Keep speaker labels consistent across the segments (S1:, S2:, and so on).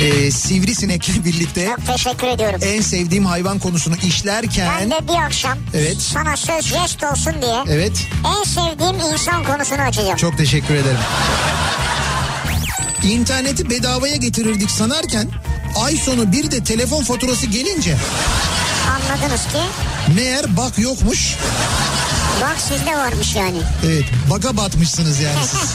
S1: e, sivrisinekle birlikte
S2: Çok teşekkür ediyorum.
S1: en sevdiğim hayvan konusunu işlerken...
S2: ben de bir akşam
S1: Evet.
S2: sana söz jest olsun diye
S1: Evet.
S2: en sevdiğim insan konusunu açacağım.
S1: Çok teşekkür ederim. İnterneti bedavaya getirirdik sanarken ay sonu bir de telefon faturası gelince
S2: Anladınız ki
S1: meğer bak yokmuş.
S2: bak sizde varmış yani.
S1: Evet baga batmışsınız yani siz.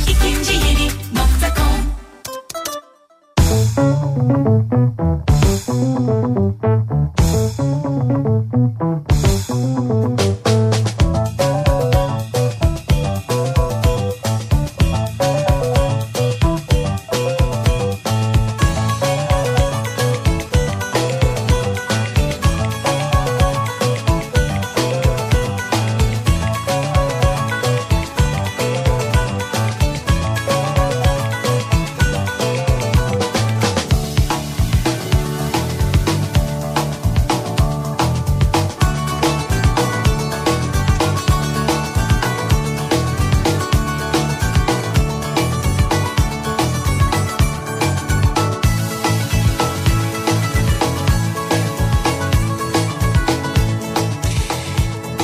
S3: İkinci yeni nokta.com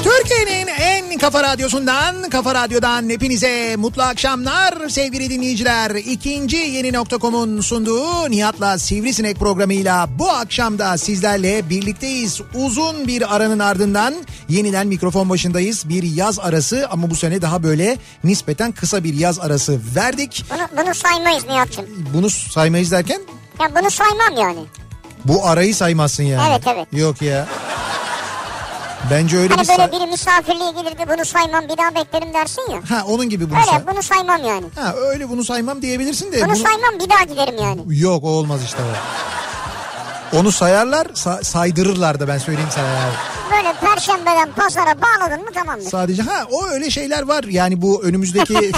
S1: Türkiye'nin en kafa radyosundan, kafa radyodan hepinize mutlu akşamlar sevgili dinleyiciler. İkinci yeni nokta.com'un sunduğu Nihat'la Sivrisinek programıyla bu akşam da sizlerle birlikteyiz. Uzun bir aranın ardından yeniden mikrofon başındayız. Bir yaz arası ama bu sene daha böyle nispeten kısa bir yaz arası verdik.
S2: Bunu, bunu saymayız Nihat'cığım.
S1: Bunu saymayız derken
S2: Ya bunu saymam yani.
S1: bu arayı saymazsın yani.
S2: Evet, evet.
S1: Yok ya. Bence öyle bir
S2: Hani
S1: say-
S2: böyle biri misafirliğe gelir de bunu saymam bir daha beklerim dersin ya.
S1: Ha onun gibi bunu say-
S2: Öyle bunu saymam yani.
S1: Ha öyle bunu saymam diyebilirsin de.
S2: Bunu
S1: bunu-
S2: saymam bir daha giderim yani.
S1: Yok o olmaz işte o. Onu sayarlar sa- saydırırlar da ben söyleyeyim sana yani.
S2: Böyle perşembeden pazara bağladın mı tamamdır.
S1: Sadece ha o öyle şeyler var yani bu önümüzdeki...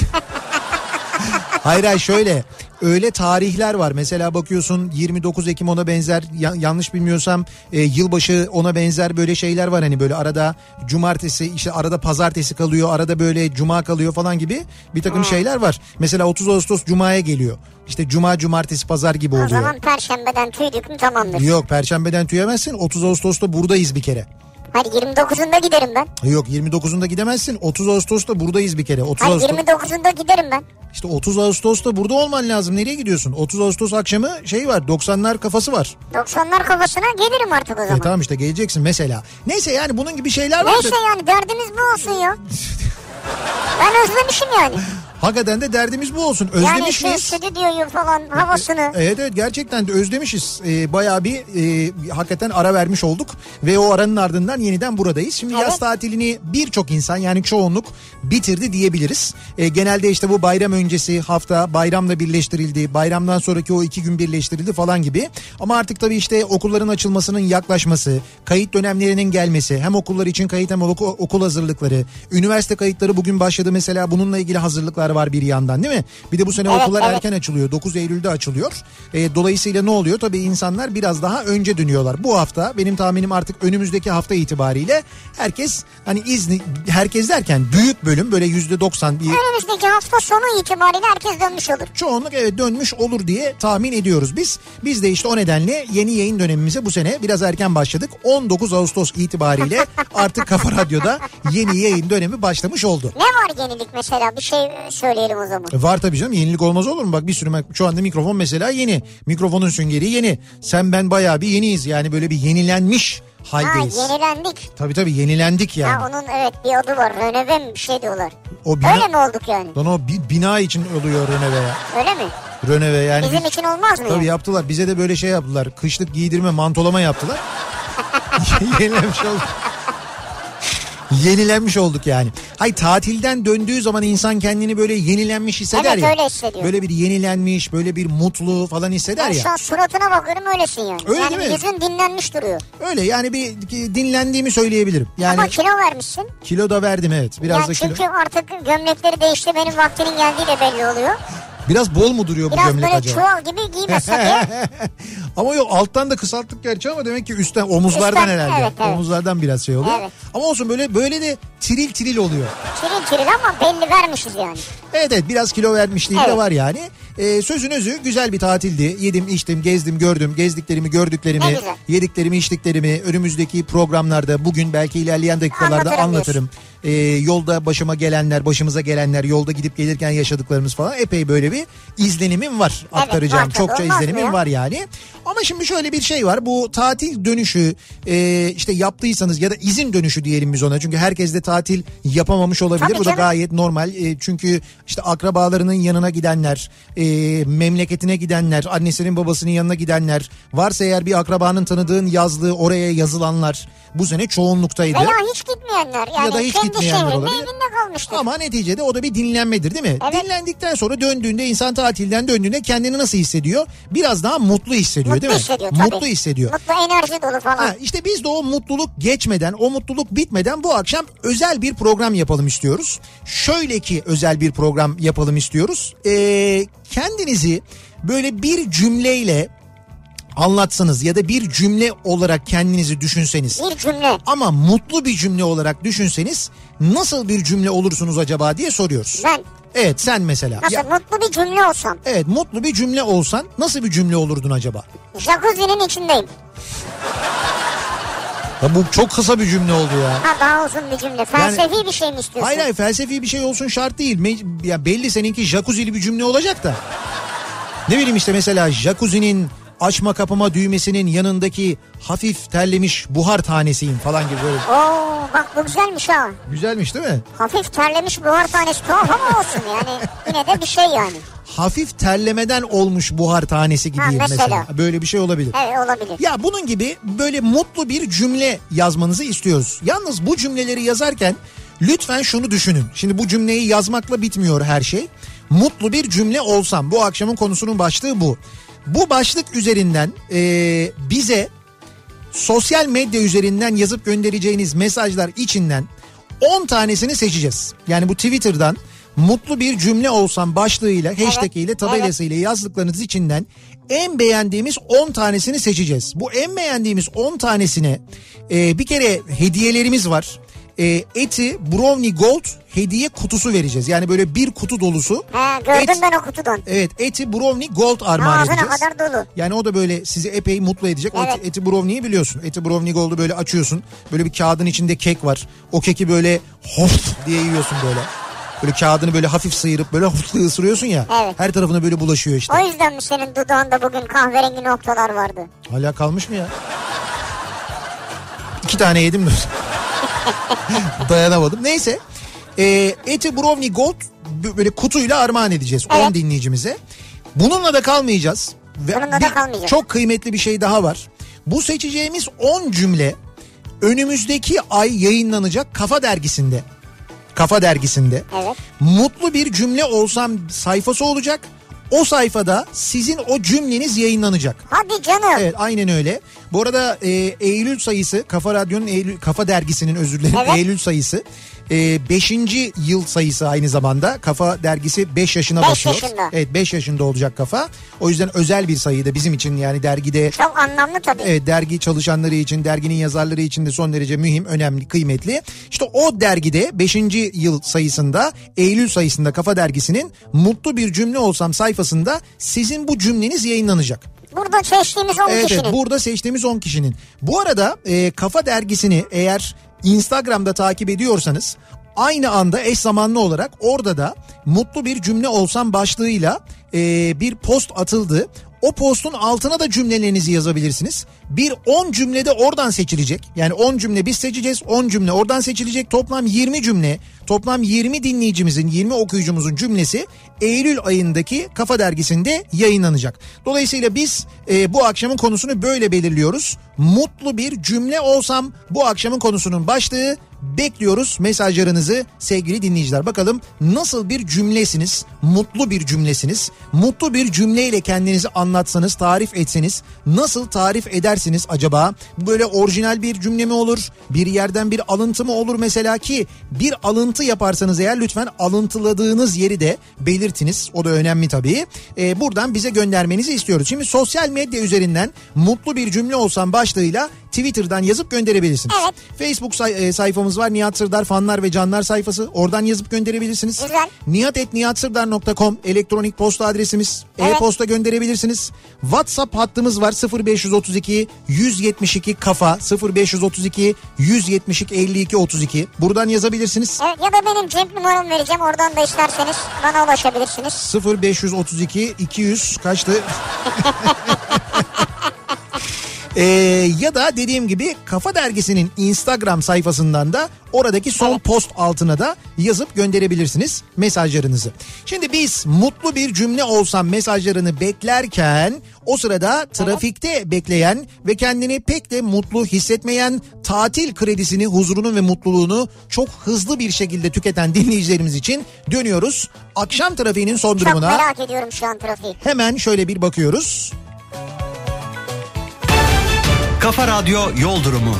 S1: hayır hayır şöyle öyle tarihler var mesela bakıyorsun 29 Ekim ona benzer ya- yanlış bilmiyorsam e, yılbaşı ona benzer böyle şeyler var hani böyle arada cumartesi işte arada pazartesi kalıyor arada böyle cuma kalıyor falan gibi bir
S2: Hmm.
S1: takım şeyler var. Mesela 30 Ağustos cumaya geliyor işte cuma cumartesi pazar gibi
S2: O
S1: oluyor.
S2: zaman perşembeden tüy döküm tamamdır.
S1: Yok perşembeden tüyemezsin 30 Ağustos'ta buradayız bir kere.
S2: Hayır 29'unda giderim ben.
S1: Yok 29'unda gidemezsin 30 Ağustos'ta buradayız bir kere. 30
S2: Hayır
S1: Ağustos,
S2: 29'unda giderim ben.
S1: İşte 30 Ağustos'ta burada olman lazım nereye gidiyorsun? 30 Ağustos akşamı şey var 90'lar kafası var.
S2: 90'lar kafasına gelirim artık o
S1: E
S2: zaman.
S1: tamam işte geleceksin mesela. Neyse yani bunun gibi şeyler var. da-
S2: Neyse yani derdimiz bu olsun ya. ben özlemişim yani.
S1: Hakikaten de derdimiz bu olsun.
S2: Yani şey,
S1: Özlemiş
S2: şu
S1: miyiz?
S2: stüdyoyu falan havasını.
S1: Evet evet gerçekten de özlemişiz. Ee, bayağı bir e, hakikaten ara vermiş olduk ve o aranın ardından yeniden buradayız. Şimdi
S2: Evet.
S1: yaz tatilini birçok insan yani çoğunluk bitirdi diyebiliriz. Ee, genelde işte bu bayram öncesi hafta bayramla birleştirildi. Bayramdan sonraki o iki gün birleştirildi falan gibi. Ama artık tabii işte okulların açılmasının yaklaşması, kayıt dönemlerinin gelmesi, hem okullar için kayıt hem oku- okul hazırlıkları, üniversite kayıtları bugün başladı mesela bununla ilgili hazırlıklar var bir yandan değil mi? Bir de bu sene
S2: Evet,
S1: okullar
S2: evet.
S1: erken erken açılıyor. 9 Eylül'de açılıyor. E, dolayısıyla ne oluyor? Tabii insanlar biraz daha önce dönüyorlar. Bu hafta benim tahminim artık önümüzdeki hafta itibariyle herkes hani izni herkes derken büyük bölüm böyle %90 bir
S2: Önümüzdeki hafta sonu itibariyle herkes dönmüş olur.
S1: çoğunluk evet dönmüş olur diye tahmin ediyoruz biz. Biz de işte o nedenle yeni yayın dönemimize bu sene biraz erken başladık. 19 Ağustos itibariyle artık Kafa Radyo'da yeni yayın dönemi başlamış oldu.
S2: Ne var yenilik mesela bir şey söyleyelim o zaman.
S1: E Var tabii canım yenilik olmaz olur mu? Bak bir sürü şu anda mikrofon mesela yeni. Mikrofonun süngeri yeni. Sen ben bayağı bir yeniyiz yani böyle bir yenilenmiş
S2: Ha
S1: haldeyiz.
S2: yenilendik.
S1: Tabii tabii yenilendik yani.
S2: Ha onun evet bir adı var. Röneve mi bir şey diyorlar.
S1: O bina,
S2: Öyle mi olduk yani?
S1: Lan o bi- bina için oluyor Röneve ya.
S2: Öyle mi?
S1: Röneve yani.
S2: Bizim için olmaz mı?
S1: Tabii
S2: ya?
S1: yaptılar. Bize de böyle şey yaptılar. Kışlık giydirme, mantolama yaptılar. Yenilenmiş olduk. Yenilenmiş olduk yani. Hay tatilden döndüğü zaman insan kendini böyle yenilenmiş hisseder
S2: Evet,
S1: ya.
S2: öyle hissediyor.
S1: Böyle bir yenilenmiş, böyle bir mutlu falan hisseder
S2: Ben
S1: ya.
S2: şu an suratına bakıyorum öylesin yani.
S1: Öyle
S2: yani
S1: değil mi?
S2: yüzün dinlenmiş duruyor.
S1: Öyle yani bir dinlendiğimi söyleyebilirim. Yani
S2: Ama kilo vermişsin.
S1: kilo da verdim evet. Biraz
S2: yani
S1: da kilo.
S2: çünkü artık gömlekleri değişti benim vaktimin geldiği de belli oluyor.
S1: Biraz bol mu duruyor bu
S2: Biraz
S1: gömlek
S2: böyle
S1: acaba?
S2: çuval gibi giymezsek ya.
S1: ama yok alttan da kısalttık gerçi ama demek ki üstten omuzlardan
S2: Üstten,
S1: herhalde.
S2: evet, evet.
S1: Omuzlardan biraz şey oluyor.
S2: Evet.
S1: Ama olsun böyle böyle de tiril tiril oluyor.
S2: Çiril çiril ama belli vermişiz yani.
S1: Evet evet biraz kilo vermişliği de
S2: Evet.
S1: var yani. Ee, sözün özü güzel bir tatildi. Yedim, içtim, gezdim, gördüm. Gezdiklerimi, gördüklerimi,
S2: Ne güzel.
S1: yediklerimi, içtiklerimi önümüzdeki programlarda bugün belki ilerleyen dakikalarda
S2: Anlatırım
S1: anlatırım. Ee, yolda başıma gelenler, başımıza gelenler, yolda gidip gelirken yaşadıklarımız falan epey böyle bir izlenimim var. Aktaracağım
S2: var tabii,
S1: çokça
S2: olmaz mı
S1: izlenimim
S2: ya?
S1: var yani. Ama şimdi şöyle bir şey var. Bu tatil dönüşü e, işte yaptıysanız ya da izin dönüşü diyelim biz ona. Çünkü herkes de tatil yapamamış olabilir.
S2: Tabii
S1: Bu da
S2: canım.
S1: gayet normal. E, çünkü işte akrabalarının yanına gidenler, e, memleketine gidenler, annesinin babasının yanına gidenler, varsa eğer bir akrabanın tanıdığın yazlığı oraya yazılanlar bu sene çoğunluktaydı.
S2: Veya hiç gitmeyenler yani
S1: Ya da hiç
S2: kendi
S1: gitmeyenler
S2: şehrinde
S1: olabilir.
S2: evinde kalmıştır.
S1: Ama neticede o da bir dinlenmedir değil mi?
S2: Evet.
S1: Dinlendikten sonra döndüğünde insan tatilden döndüğünde kendini nasıl hissediyor? Biraz daha mutlu hissediyor
S2: Mutlu
S1: değil mi?
S2: hissediyor tabii.
S1: mutlu hissediyor.
S2: Mutlu enerji dolu falan.
S1: Ha, işte biz de o mutluluk geçmeden, o mutluluk bitmeden bu akşam özel bir program yapalım istiyoruz. Şöyle ki özel bir program yapalım istiyoruz. Ee, kendinizi böyle bir cümleyle anlatsanız ya da bir cümle olarak kendinizi düşünseniz
S2: Bir cümle.
S1: ama mutlu bir cümle olarak düşünseniz nasıl bir cümle olursunuz acaba diye soruyoruz.
S2: Ben
S1: Evet sen mesela.
S2: nasıl
S1: Ya-
S2: mutlu bir cümle olsam.
S1: evet mutlu bir cümle olsan nasıl bir cümle olurdun acaba?
S2: Jacuzzi'nin içindeyim.
S1: Ya bu çok kısa bir cümle oldu ya.
S2: Ha daha uzun bir cümle. Felsefi bir şey mi istiyorsun?
S1: Hayır hayır felsefi bir şey olsun şart değil. Me- ya belli seninki jacuzzi'li bir cümle olacak da. Ne bileyim işte mesela jacuzzi'nin açma kapama düğmesinin yanındaki hafif terlemiş buhar tanesiyim falan gibi böyle.
S2: Oo bak bu güzelmiş ha.
S1: Güzelmiş değil mi?
S2: Hafif terlemiş buhar tanesi tuhaf ama olsun yani. Yine de bir şey yani.
S1: Hafif terlemeden olmuş buhar tanesi gibiyim
S2: mesela.
S1: mesela. Böyle bir şey olabilir.
S2: Evet olabilir.
S1: Ya bunun gibi böyle mutlu bir cümle yazmanızı istiyoruz. Yalnız bu cümleleri yazarken lütfen şunu düşünün. Şimdi bu cümleyi yazmakla bitmiyor her şey. Mutlu bir cümle olsam bu akşamın konusunun başlığı bu. Bu başlık üzerinden eee, bize sosyal medya üzerinden yazıp göndereceğiniz mesajlar içinden 10 tanesini seçeceğiz. Yani bu Twitter'dan mutlu bir cümle olsam başlığıyla, hashtag ile, tabelasıyla yazdıklarınız içinden en beğendiğimiz 10 tanesini seçeceğiz. Bu en beğendiğimiz 10 tanesine e, bir kere hediyelerimiz var. E, eti Brownie Gold hediye kutusu vereceğiz. Yani böyle bir kutu dolusu.
S2: He, gördüm
S1: et-
S2: ben o kutudan.
S1: Evet eti brownie gold armağan
S2: Ağzına
S1: edeceğiz.
S2: kadar dolu.
S1: Yani o da böyle sizi epey mutlu edecek. O
S2: Evet.
S1: Eti, eti brownie'yi biliyorsun. Eti brownie gold'u böyle açıyorsun. Böyle bir kağıdın içinde kek var. O keki böyle hof diye yiyorsun böyle. Böyle kağıdını böyle hafif sıyırıp böyle hoflu ısırıyorsun ya.
S2: Evet.
S1: Her tarafına böyle bulaşıyor işte.
S2: O yüzden mi senin dudağında bugün kahverengi noktalar vardı?
S1: Hala kalmış mı ya? İki tane yedim de. Dayanamadım. Neyse. Ee, Eti Brownie Gold bö- böyle kutuyla armağan edeceğiz 10
S2: Evet.
S1: dinleyicimize. Bununla da kalmayacağız. Ve
S2: Bununla da
S1: bir-
S2: kalmayacağız.
S1: Çok kıymetli bir şey daha var. Bu seçeceğimiz 10 cümle önümüzdeki ay yayınlanacak Kafa Dergisi'nde. Kafa Dergisi'nde.
S2: Evet.
S1: Mutlu bir cümle olsam sayfası olacak. O sayfada sizin o cümleniz yayınlanacak.
S2: Hadi canım.
S1: Evet aynen öyle. Bu arada e, Eylül sayısı Kafa Radyo'nun Eylül, Kafa Dergisi'nin özür dilerim
S2: Evet.
S1: Eylül sayısı. 5. yıl sayısı aynı zamanda. Kafa Dergisi 5 yaşına
S2: Beş
S1: başlıyor.
S2: yaşında.
S1: Evet 5 yaşında olacak Kafa. O yüzden özel bir sayı da bizim için yani dergide
S2: Çok anlamlı tabii.
S1: Evet, dergi çalışanları için, derginin yazarları için de son derece mühim, önemli, kıymetli. İşte o dergide 5. yıl sayısında, Eylül sayısında Kafa Dergisi'nin Mutlu Bir Cümle Olsam sayfasında sizin bu cümleniz yayınlanacak.
S2: Burada seçtiğimiz 10
S1: Evet,
S2: kişinin.
S1: evet burada seçtiğimiz 10 kişinin. Bu arada e, Kafa Dergisi'ni eğer Instagram'da takip ediyorsanız aynı anda eş zamanlı olarak orada da mutlu bir cümle olsam başlığıyla e, bir post atıldı. O postun altına da cümlelerinizi yazabilirsiniz. Bir 10 cümle de oradan seçilecek. Yani 10 cümle biz seçeceğiz, 10 cümle oradan seçilecek. Toplam 20 cümle, toplam 20 dinleyicimizin, 20 okuyucumuzun cümlesi Eylül ayındaki Kafa Dergisi'nde yayınlanacak. Dolayısıyla biz e, bu akşamın konusunu böyle belirliyoruz. Mutlu bir cümle olsam bu akşamın konusunun başlığı Bekliyoruz mesajlarınızı sevgili dinleyiciler. Bakalım nasıl bir cümlesiniz? Mutlu bir cümlesiniz. Mutlu bir cümleyle kendinizi anlatsanız, tarif etseniz nasıl tarif edersiniz acaba? Bu Böyle orijinal bir cümle mi olur? Bir yerden bir alıntı mı olur mesela ki bir alıntı yaparsanız eğer lütfen alıntıladığınız yeri de belirtiniz. O da önemli tabii. Ee, buradan bize göndermenizi istiyoruz. Şimdi sosyal medya üzerinden mutlu bir cümle olsam başlığıyla Twitter'dan yazıp gönderebilirsiniz.
S2: Evet.
S1: Facebook say- e, sayfamız var. Nihat Sırdar fanlar ve canlar sayfası. Oradan yazıp gönderebilirsiniz.
S2: Güzel.
S1: Nihat.nihatsırdar.com elektronik posta adresimiz.
S2: Evet.
S1: E-posta gönderebilirsiniz. WhatsApp hattımız var 0532 172 kafa 0532 172 52 32. Buradan yazabilirsiniz.
S2: Evet ya da benim cep numaramı vereceğim. Oradan da isterseniz bana ulaşabilirsiniz.
S1: 0532 200 kaçtı? Ee, ya da dediğim gibi Kafa Dergisi'nin Instagram sayfasından da oradaki son post altına da yazıp gönderebilirsiniz mesajlarınızı. Şimdi biz mutlu bir cümle olsam mesajlarını beklerken o sırada trafikte bekleyen ve kendini pek de mutlu hissetmeyen tatil kredisini, huzurunu ve mutluluğunu çok hızlı bir şekilde tüketen dinleyicilerimiz için dönüyoruz. Akşam trafiğinin son
S2: Çok
S1: durumuna
S2: merak ediyorum şu an trafiği.
S1: hemen şöyle bir bakıyoruz.
S4: Kafa Radyo Yol Durumu.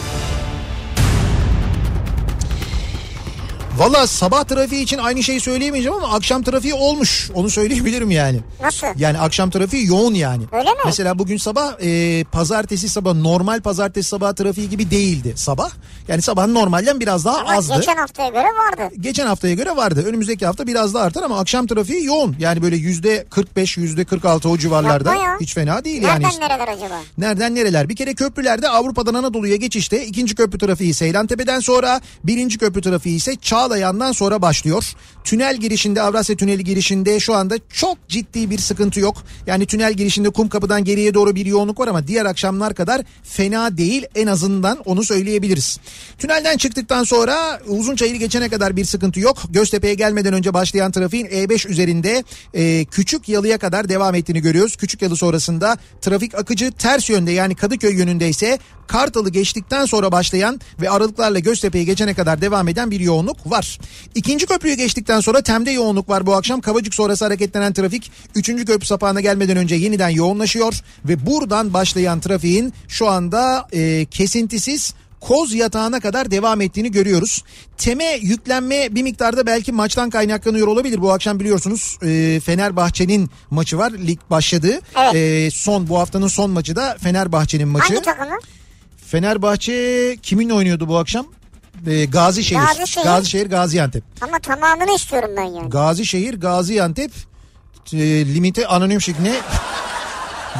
S1: Valla sabah trafiği için aynı şeyi söyleyemeyeceğim ama akşam trafiği olmuş. Onu söyleyebilirim yani.
S2: Nasıl?
S1: Yani akşam trafiği yoğun yani.
S2: Öyle mi?
S1: Mesela bugün sabah e, pazartesi sabah normal pazartesi sabah trafiği gibi değildi sabah. Yani sabah normalden biraz daha
S2: Ama
S1: azdı.
S2: geçen haftaya göre vardı.
S1: Geçen haftaya göre vardı. Önümüzdeki hafta biraz daha artar ama akşam trafiği yoğun. Yani böyle yüzde 45 yüzde 46 o civarlarda.
S2: Yapma ya.
S1: Hiç fena değil yani.
S2: Nereden
S1: işte.
S2: nereler acaba?
S1: Nereden nereler? Bir kere köprülerde Avrupa'dan Anadolu'ya geçişte ikinci köprü trafiği Seylantepe'den sonra birinci köprü trafiği ise Çağlayan'dan sonra başlıyor. Tünel girişinde Avrasya Tüneli girişinde şu anda çok ciddi bir sıkıntı yok. Yani tünel girişinde Kumkapı'dan geriye doğru bir yoğunluk var ama diğer akşamlar kadar fena değil en azından onu söyleyebiliriz. Tünelden çıktıktan sonra Uzunçayır'ı geçene kadar bir sıkıntı yok. Göztepe'ye gelmeden önce başlayan trafiğin E5 üzerinde e, Küçük Yalı'ya kadar devam ettiğini görüyoruz. Küçük Yalı sonrasında trafik akıcı ters yönde yani Kadıköy yönünde ise Kartal'ı geçtikten sonra başlayan ve aralıklarla Göztepe'ye geçene kadar devam eden bir yoğunluk var. İkinci köprüyü geçtikten sonra Tem'de yoğunluk var bu akşam. Kavacık sonrası hareketlenen trafik 3. köprü sapağına gelmeden önce yeniden yoğunlaşıyor ve buradan başlayan trafiğin şu anda e, kesintisiz koz yatağına kadar devam ettiğini görüyoruz. Teme yüklenme bir miktarda belki maçtan kaynaklanıyor olabilir. Bu akşam biliyorsunuz e, Fenerbahçe'nin maçı var. Lig başladı.
S2: Evet.
S1: E, son bu haftanın son maçı da Fenerbahçe'nin maçı.
S2: Hangi takımın?
S1: Fenerbahçe kiminle oynuyordu bu akşam? E, Gazişehir.
S2: Gazişehir.
S1: Gazişehir Gaziantep.
S2: Ama tamamını istiyorum ben yani.
S1: Gazişehir Gaziantep e, limite anonim şekline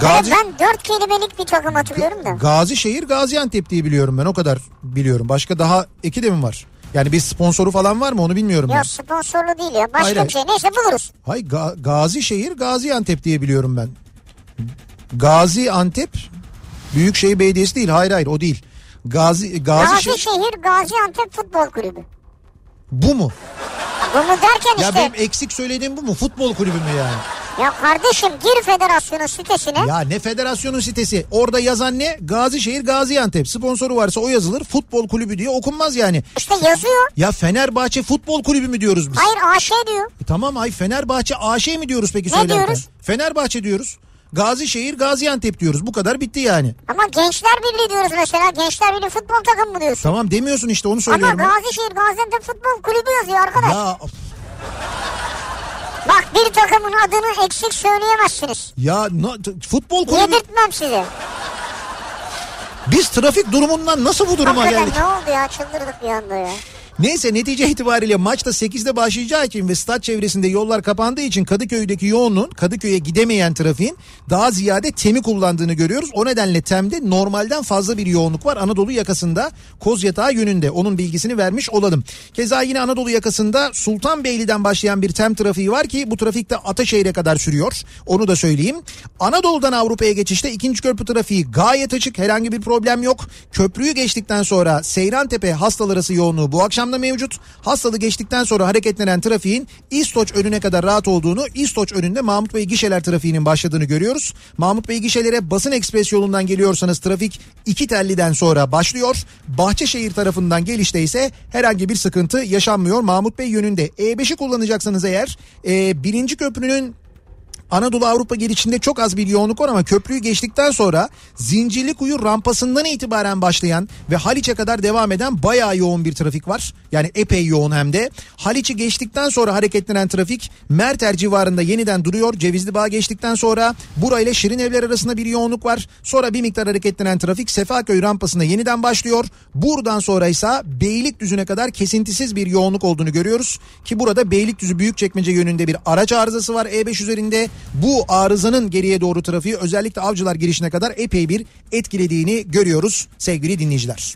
S2: Evet, ben dört kelimelik bir takım hatırlıyorum da.
S1: Gazişehir Gaziantep diye biliyorum ben o kadar biliyorum. Başka daha iki de mi var? Yani bir sponsoru falan var mı onu bilmiyorum ben.
S2: Yok sponsorlu değil ya. Başka
S1: Hayır,
S2: bir şey. Neyse buluruz.
S1: Hay Ga- Gazişehir Gaziantep diye biliyorum ben. Gaziantep Büyükşehir Belediyesi değil. Hayır hayır o değil. Gazi şey- Gazişehir
S2: Gazişehir Gaziantep Futbol Kulübü.
S1: bu mu?
S2: Bunu derken
S1: Ya
S2: işte.
S1: benim eksik söylediğim bu mu? Futbol kulübü mü yani?
S2: Ya kardeşim gir federasyonun sitesine.
S1: Ya ne federasyonun sitesi. Orada yazan ne? Gazişehir Gaziantep. Sponsoru varsa o yazılır. Futbol kulübü diye okunmaz yani.
S2: İşte yazıyor.
S1: Ya Fenerbahçe Futbol Kulübü mü diyoruz biz?
S2: Hayır AŞ diyor.
S1: E Tamam ay Fenerbahçe AŞ mi diyoruz peki
S2: Ne
S1: söylerken?
S2: diyoruz?
S1: Fenerbahçe diyoruz. Gazişehir, Gaziantep diyoruz. Bu kadar bitti yani.
S2: Ama Gençler Birliği diyoruz mesela. Gençler Birliği futbol takımı mı diyorsun?
S1: Tamam demiyorsun işte onu
S2: Ama
S1: söylüyorum. ben.
S2: Gazişehir Gaziantep Futbol Kulübü yazıyor arkadaş.
S1: ya of,
S2: Bak bir takımın adını eksik söyleyemezsiniz.
S1: ya na- t- futbol kulübü
S2: Yedirtmem sizi.
S1: biz trafik durumundan nasıl bu duruma
S2: Hakikaten
S1: geldik?
S2: ne oldu ya çıldırdık bir anda ya.
S1: Neyse netice itibariyle maçta 8'de başlayacağı için ve stat çevresinde yollar kapandığı için Kadıköy'deki yoğunluğun Kadıköy'e gidemeyen trafiğin daha ziyade temi kullandığını görüyoruz. O nedenle temde normalden fazla bir yoğunluk var Anadolu yakasında Kozyatağı yönünde onun bilgisini vermiş olalım. Keza yine Anadolu yakasında Sultanbeyli'den başlayan bir tem trafiği var ki bu trafikte Ataşehir'e kadar sürüyor. Onu da söyleyeyim. Anadolu'dan Avrupa'ya geçişte ikinci köprü trafiği gayet açık herhangi bir problem yok. Köprüyü geçtikten sonra Seyrantepe hastalarası yoğunluğu bu akşam programda mevcut. Hastalı geçtikten sonra hareketlenen trafiğin İstoç önüne kadar rahat olduğunu, İstoç önünde Mahmut Bey gişeler trafiğinin başladığını görüyoruz. Mahmut Bey gişelere basın ekspres yolundan geliyorsanız trafik iki telliden sonra başlıyor. Bahçeşehir tarafından gelişte ise herhangi bir sıkıntı yaşanmıyor. Mahmut Bey yönünde E5'i kullanacaksanız eğer e, birinci köprünün Anadolu Avrupa gelişinde çok az bir yoğunluk var ama köprüyü geçtikten sonra Zincirlikuyu rampasından itibaren başlayan ve Haliç'e kadar devam eden bayağı yoğun bir trafik var. Yani epey yoğun hem de. Haliç'i geçtikten sonra hareketlenen trafik Merter civarında yeniden duruyor. Cevizli Bağ geçtikten sonra burayla Şirin Evler arasında bir yoğunluk var. Sonra bir miktar hareketlenen trafik Sefaköy rampasında yeniden başlıyor. Buradan sonra ise Beylikdüzü'ne kadar kesintisiz bir yoğunluk olduğunu görüyoruz. Ki burada Beylikdüzü Büyükçekmece yönünde bir araç arızası var E5 üzerinde. Bu arızanın geriye doğru trafiği özellikle avcılar girişine kadar epey bir etkilediğini görüyoruz sevgili dinleyiciler.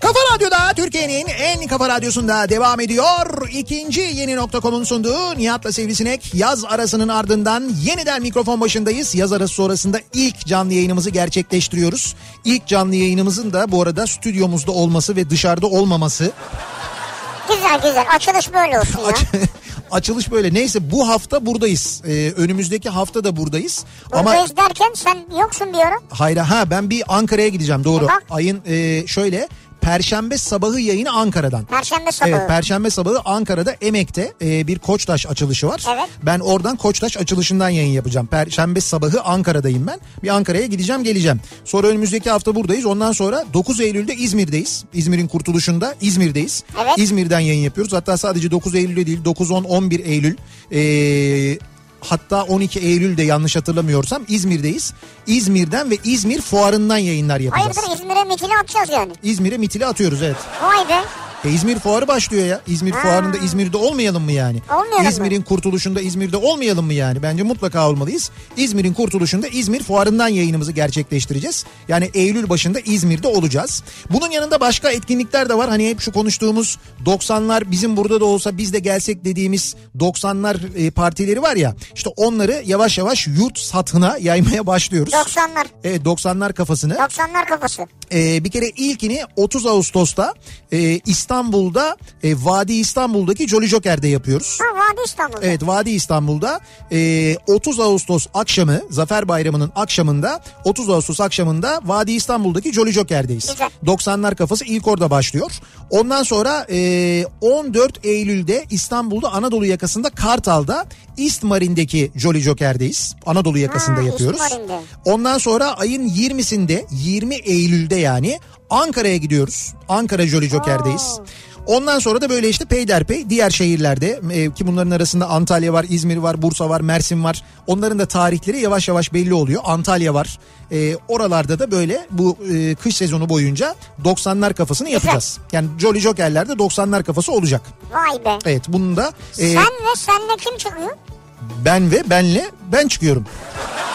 S1: Kafa Radyo'da Türkiye'nin en kafa radyosunda devam ediyor. İkinci yeni nokta.com'un sunduğu Nihat'la Sivrisinek yaz arasının ardından yeniden mikrofon başındayız. Yaz arası sonrasında ilk canlı yayınımızı gerçekleştiriyoruz. İlk canlı yayınımızın da bu arada stüdyomuzda olması ve dışarıda olmaması
S2: Güzel güzel açılış böyle olsun ya.
S1: açılış böyle. Neyse bu hafta buradayız. Ee, önümüzdeki hafta da buradayız. Ama
S2: Buradayız derken sen yoksun bir ara.
S1: hayra ha ben bir Ankara'ya gideceğim doğru.
S2: E bak.
S1: Ayın e, şöyle Perşembe sabahı yayını Ankara'dan.
S2: Perşembe sabahı.
S1: Evet, Perşembe sabahı Ankara'da Emek'te e, bir Koçtaş açılışı var.
S2: Evet.
S1: Ben oradan Koçtaş açılışından yayın yapacağım. Perşembe sabahı Ankara'dayım ben. Bir Ankara'ya gideceğim geleceğim. Sonra önümüzdeki hafta buradayız. Ondan sonra 9 Eylül'de İzmir'deyiz. İzmir'in kurtuluşunda İzmir'deyiz.
S2: Evet.
S1: İzmir'den yayın yapıyoruz. Hatta sadece 9 Eylül'de değil 9, 10, 11 Eylül. E, Hatta 12 Eylül'de yanlış hatırlamıyorsam İzmir'deyiz. İzmir'den ve İzmir fuarından yayınlar yapacağız.
S2: Hayırdır İzmir'e mitini atacağız yani.
S1: İzmir'e mitili atıyoruz evet.
S2: Vay be.
S1: E İzmir fuarı başlıyor ya. İzmir fuarında İzmir'de olmayalım mı yani?
S2: Olmayalım mı?
S1: İzmir'in kurtuluşunda İzmir'de olmayalım mı yani? Bence mutlaka olmalıyız. İzmir'in kurtuluşunda İzmir fuarından yayınımızı gerçekleştireceğiz. Yani Eylül başında İzmir'de olacağız. Bunun yanında başka etkinlikler de var. Hani hep şu konuştuğumuz 90'lar bizim burada da olsa biz de gelsek dediğimiz 90'lar e, partileri var ya. İşte onları yavaş yavaş yurt satına yaymaya başlıyoruz.
S2: 90'lar.
S1: Evet 90'lar kafasını.
S2: 90'lar kafası.
S1: Ee, bir kere ilkini 30 Ağustos'ta e, İstanbul'da e, Vadi İstanbul'daki Jolly Joker'de yapıyoruz.
S2: Ha Vadi İstanbul'da.
S1: Evet Vadi İstanbul'da e, 30 Ağustos akşamı Zafer Bayramı'nın akşamında 30 Ağustos akşamında Vadi İstanbul'daki Jolly Joker'deyiz.
S2: Güzel.
S1: 90'lar kafası ilk orada başlıyor. Ondan sonra e, 14 Eylül'de İstanbul'da Anadolu yakasında Kartal'da East Marine'deki Jolly Joker'deyiz. Anadolu yakasında
S2: Ha, East
S1: yapıyoruz.
S2: Marine'de.
S1: Ondan sonra ayın 20'sinde 20 Eylül'de yani Ankara'ya gidiyoruz. Ankara Jolly Joker'deyiz. Ondan sonra da böyle işte peyderpey diğer şehirlerde e, ki bunların arasında Antalya var, İzmir var, Bursa var, Mersin var. Onların da tarihleri yavaş yavaş belli oluyor. Antalya var. E, oralarda da böyle bu e, kış sezonu boyunca 90'lar kafasını yapacağız. Yani Jolly Joker'lerde 90'lar kafası olacak.
S2: Vay be.
S1: Evet bunun da e,
S2: Sen ve senle kim çıkıyor?
S1: ben ve benle ben çıkıyorum.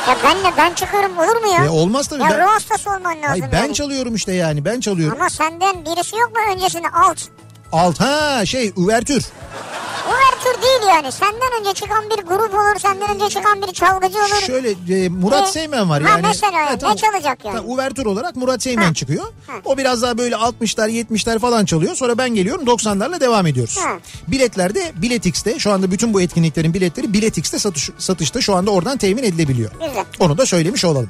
S2: Ya benle ben çıkıyorum olur mu ya?
S1: E, olmaz tabii.
S2: Ya
S1: Ben-
S2: ruh hastası olman lazım.
S1: Ay ben
S2: yani.
S1: çalıyorum işte yani ben çalıyorum.
S2: Ama senden birisi yok mu öncesinde alt?
S1: Alt ha şey üvertür.
S2: Uvertür değil yani. Senden önce çıkan bir grup olur, senden önce çıkan bir çalgıcı olur.
S1: Şöyle e, Murat
S2: E,
S1: Seymen var
S2: ha,
S1: yani.
S2: mesela yani. Ne çalacak yani?
S1: Ta- Uvertür olarak Murat Seymen
S2: Ha.
S1: çıkıyor.
S2: Ha.
S1: O biraz daha böyle 60'lar 70'ler falan çalıyor. Sonra ben geliyorum 90'larla devam ediyoruz.
S2: Ha.
S1: Biletlerde Biletix'te şu anda bütün bu etkinliklerin biletleri Biletix'te satış, satışta şu anda oradan temin edilebiliyor.
S2: Güzel.
S1: Onu da söylemiş olalım.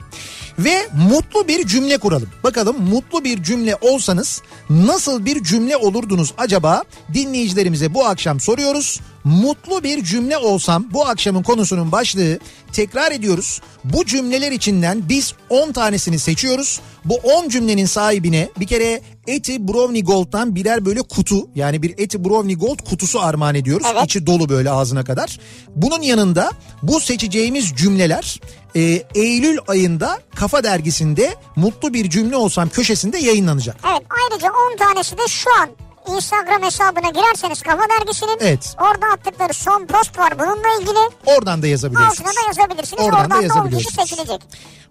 S1: Ve mutlu bir cümle kuralım. Bakalım mutlu bir cümle olsanız nasıl bir cümle olurdunuz acaba? Dinleyicilerimize bu akşam soruyoruz. Mutlu bir cümle olsam bu akşamın konusunun başlığı tekrar ediyoruz. Bu cümleler içinden biz 10 tanesini seçiyoruz. Bu 10 cümlenin sahibine bir kere Eti Brownie Gold'dan birer böyle kutu yani bir Eti Brownie Gold kutusu armağan ediyoruz.
S2: Evet.
S1: İçi dolu böyle ağzına kadar. Bunun yanında bu seçeceğimiz cümleler e, Eylül ayında Kafa Dergisi'nde Mutlu Bir Cümle Olsam köşesinde yayınlanacak.
S2: Evet ayrıca 10 tanesi de şu an Instagram hesabına girerseniz Kafa Dergisi'nin
S1: Evet.
S2: orada attıkları son post var bununla ilgili.
S1: Oradan da yazabiliyorsunuz.
S2: Altına da yazabilirsiniz.
S1: Oradan da
S2: Oradan, da, o kişi
S1: yazabiliyorsunuz.
S2: seçilecek.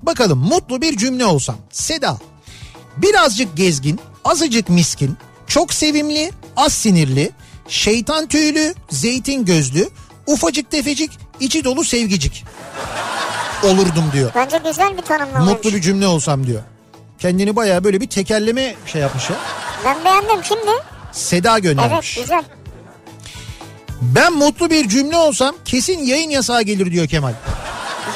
S1: Bakalım mutlu bir cümle olsam. Seda birazcık gezgin, azıcık miskin, Çok sevimli, az sinirli, şeytan tüylü, zeytin gözlü, ufacık tefecik, içi dolu sevgicik olurdum diyor.
S2: Bence güzel bir tanımlamaymış.
S1: Mutlu bir cümle olsam diyor. Kendini bayağı böyle bir tekerleme şey yapmış ya.
S2: Ben beğendim şimdi.
S1: Seda
S2: Evet
S1: göndermiş.
S2: güzel.
S1: Ben mutlu bir cümle olsam kesin yayın yasağı gelir diyor Kemal.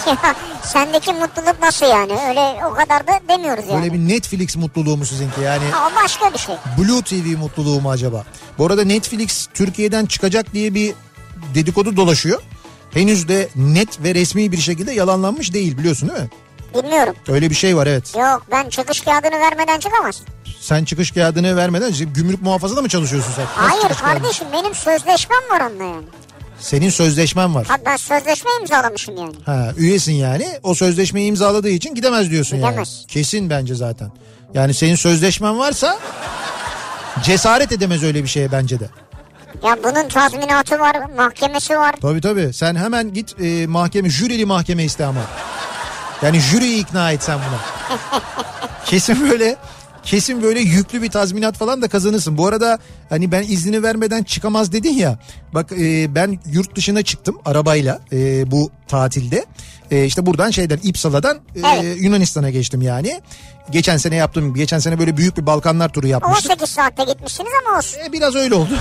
S2: Ya, sendeki mutluluk nasıl yani? Öyle o kadar da demiyoruz yani.
S1: Böyle bir Netflix mutluluğu mu sizinki yani?
S2: Ha, o başka bir şey.
S1: Blue TV mutluluğu mu acaba? Bu arada Netflix Türkiye'den çıkacak diye bir dedikodu dolaşıyor. Henüz de net ve resmi bir şekilde yalanlanmış değil biliyorsun değil mi?
S2: Bilmiyorum.
S1: Öyle bir şey var evet.
S2: Yok ben çıkış kağıdını vermeden çıkamaz.
S1: Sen çıkış kağıdını vermeden işte gümrük muhafazada mı çalışıyorsun sen? Nasıl
S2: Hayır
S1: çıkış kağıdı?
S2: kardeşim benim sözleşmem var onunla yani.
S1: Senin sözleşmen var.
S2: Abi ben sözleşme imzalamışım yani.
S1: Ha, üyesin yani. O sözleşmeyi imzaladığı için gidemez diyorsun
S2: Gidemez.
S1: yani. Kesin bence zaten. Yani senin sözleşmen varsa cesaret edemez öyle bir şeye bence de.
S2: Ya bunun tazminatı var, mahkemesi var.
S1: Tabii tabii. Sen hemen git e, mahkeme, jürili mahkeme iste ama. Yani jüriyi ikna et sen buna. kesin böyle kesin böyle yüklü bir tazminat falan da kazanırsın. Bu arada hani ben iznini vermeden çıkamaz dedin ya. Bak e, ben yurt dışına çıktım arabayla e, bu tatilde. E, işte buradan şeyden İpsala'dan e,
S2: Evet.
S1: Yunanistan'a geçtim yani. Geçen sene yaptım. Geçen sene böyle büyük bir Balkanlar turu yapmıştık.
S2: 18 saatte gitmişsiniz ama olsun.
S1: E, biraz öyle oldu.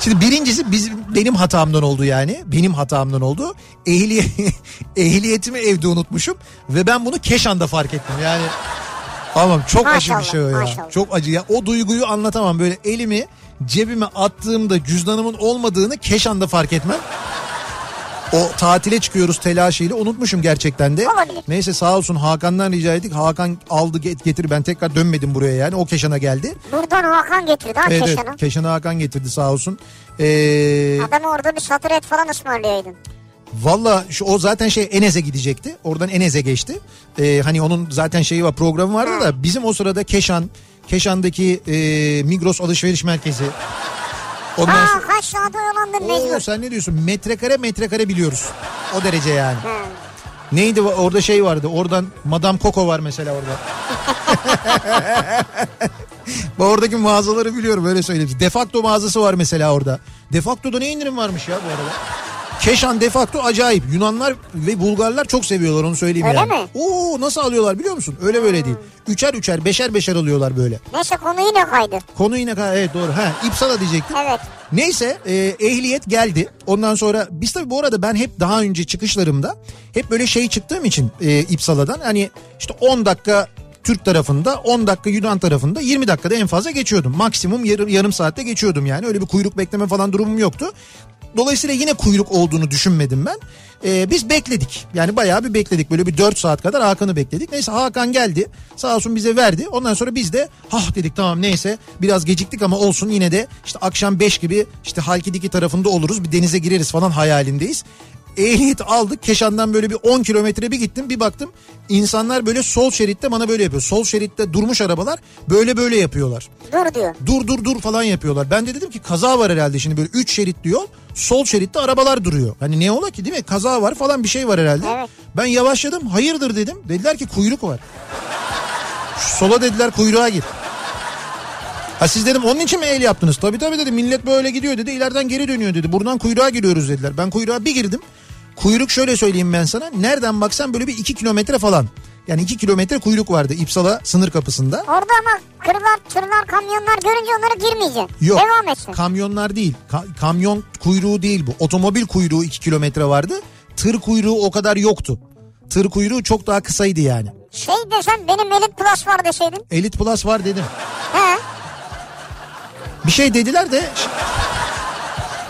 S1: Şimdi birincisi bizim benim hatamdan oldu yani. Benim hatamdan oldu. Ehliye, ehliyetimi evde unutmuşum ve ben bunu Keşan'da fark ettim. Yani tamam çok acı bir
S2: Maşallah,
S1: şey o ya.
S2: maşallah.
S1: Çok acı ya. O duyguyu anlatamam. Böyle elimi cebime attığımda cüzdanımın olmadığını Keşan'da fark etmem. O tatile çıkıyoruz telaşıyla unutmuşum gerçekten de.
S2: Olabilir.
S1: Neyse sağ olsun Hakan'dan rica ettik. Hakan aldı get- getir ben tekrar dönmedim buraya yani. O Keşan'a geldi.
S2: Buradan Hakan getirdi ha
S1: Evet, evet.
S2: Keşan'ı.
S1: Keşan'ı Hakan getirdi sağ olsun. Ee,
S2: Adamı orada bir satır et falan ısmarlayaydın.
S1: Valla şu- o zaten şey Enez'e gidecekti. Oradan Enez'e geçti. Ee, hani onun zaten şeyi var programı vardı da bizim o sırada Keşan, Keşan'daki e, Migros Alışveriş Merkezi. Ondan
S2: Aa
S1: sonra...
S2: kaç saat oyalandın
S1: Oo,
S2: mecbur.
S1: sen ne diyorsun? Metrekare metrekare biliyoruz. O derece yani. Neydi va- orada şey vardı. Oradan Madame Coco var mesela orada. Ben Oradaki mağazaları biliyorum öyle söyleyeyim. Defakto mağazası var mesela orada. Defakto'da ne indirim varmış ya bu arada? Keşan Defakto acayip. Yunanlar ve Bulgarlar çok seviyorlar onu söyleyeyim
S2: Öyle
S1: yani.
S2: mi? Hmm.
S1: Oo nasıl alıyorlar biliyor musun? Öyle böyle değil. Üçer üçer, beşer beşer alıyorlar böyle.
S2: Neyse konu yine kaydı.
S1: Konu yine ka- evet doğru. Ha İpsala diyecektim.
S2: Evet.
S1: Neyse e, ehliyet geldi. Ondan sonra biz tabii bu arada ben hep daha önce çıkışlarımda hep böyle şey çıktığım için e, İpsala'dan hani işte 10 dakika Türk tarafında 10 dakika Yunan tarafında 20 dakikada en fazla geçiyordum. Maksimum yarım, yarım saatte geçiyordum yani öyle bir kuyruk bekleme falan durumum yoktu. Dolayısıyla yine kuyruk olduğunu düşünmedim ben. E, biz bekledik yani bayağı bir bekledik böyle bir 4 saat kadar Hakan'ı bekledik. Neyse Hakan geldi sağ olsun bize verdi ondan sonra biz de hah dedik tamam neyse biraz geciktik ama olsun yine de işte akşam 5 gibi işte Halkidiki tarafında oluruz bir denize gireriz falan hayalindeyiz. Ehliyet aldık Keşan'dan böyle bir 10 kilometre bir gittim bir baktım insanlar böyle sol şeritte bana böyle yapıyor. Sol şeritte durmuş arabalar böyle böyle yapıyorlar
S2: Dur diyor.
S1: dur dur dur falan yapıyorlar. Ben de dedim ki kaza var herhalde şimdi böyle 3 şeritli yol sol şeritte arabalar duruyor. Hani ne ola ki değil mi kaza var falan bir şey var herhalde.
S2: Evet.
S1: Ben yavaşladım hayırdır dedim dediler ki kuyruk var. Şu Sola dediler kuyruğa gir. Ha siz dedim onun için mi el yaptınız? Tabii tabii dedi millet böyle gidiyor dedi ileriden geri dönüyor dedi. Buradan kuyruğa giriyoruz dediler. Ben kuyruğa bir girdim. Kuyruk şöyle söyleyeyim ben sana. Nereden baksan böyle bir 2 kilometre falan. Yani 2 kilometre kuyruk vardı İpsala sınır kapısında.
S2: Orada ama kırlar, tırlar, kamyonlar görünce onlara girmeyeceksin.
S1: Yok.
S2: Devam etsin.
S1: Kamyonlar değil. Ka- kamyon kuyruğu değil bu. Otomobil kuyruğu 2 kilometre vardı. Tır kuyruğu o kadar yoktu. Tır kuyruğu çok daha kısaydı yani.
S2: şey desen benim Elite Plus var deseydin.
S1: Elite Plus var dedim.
S2: He.
S1: Bir şey dediler de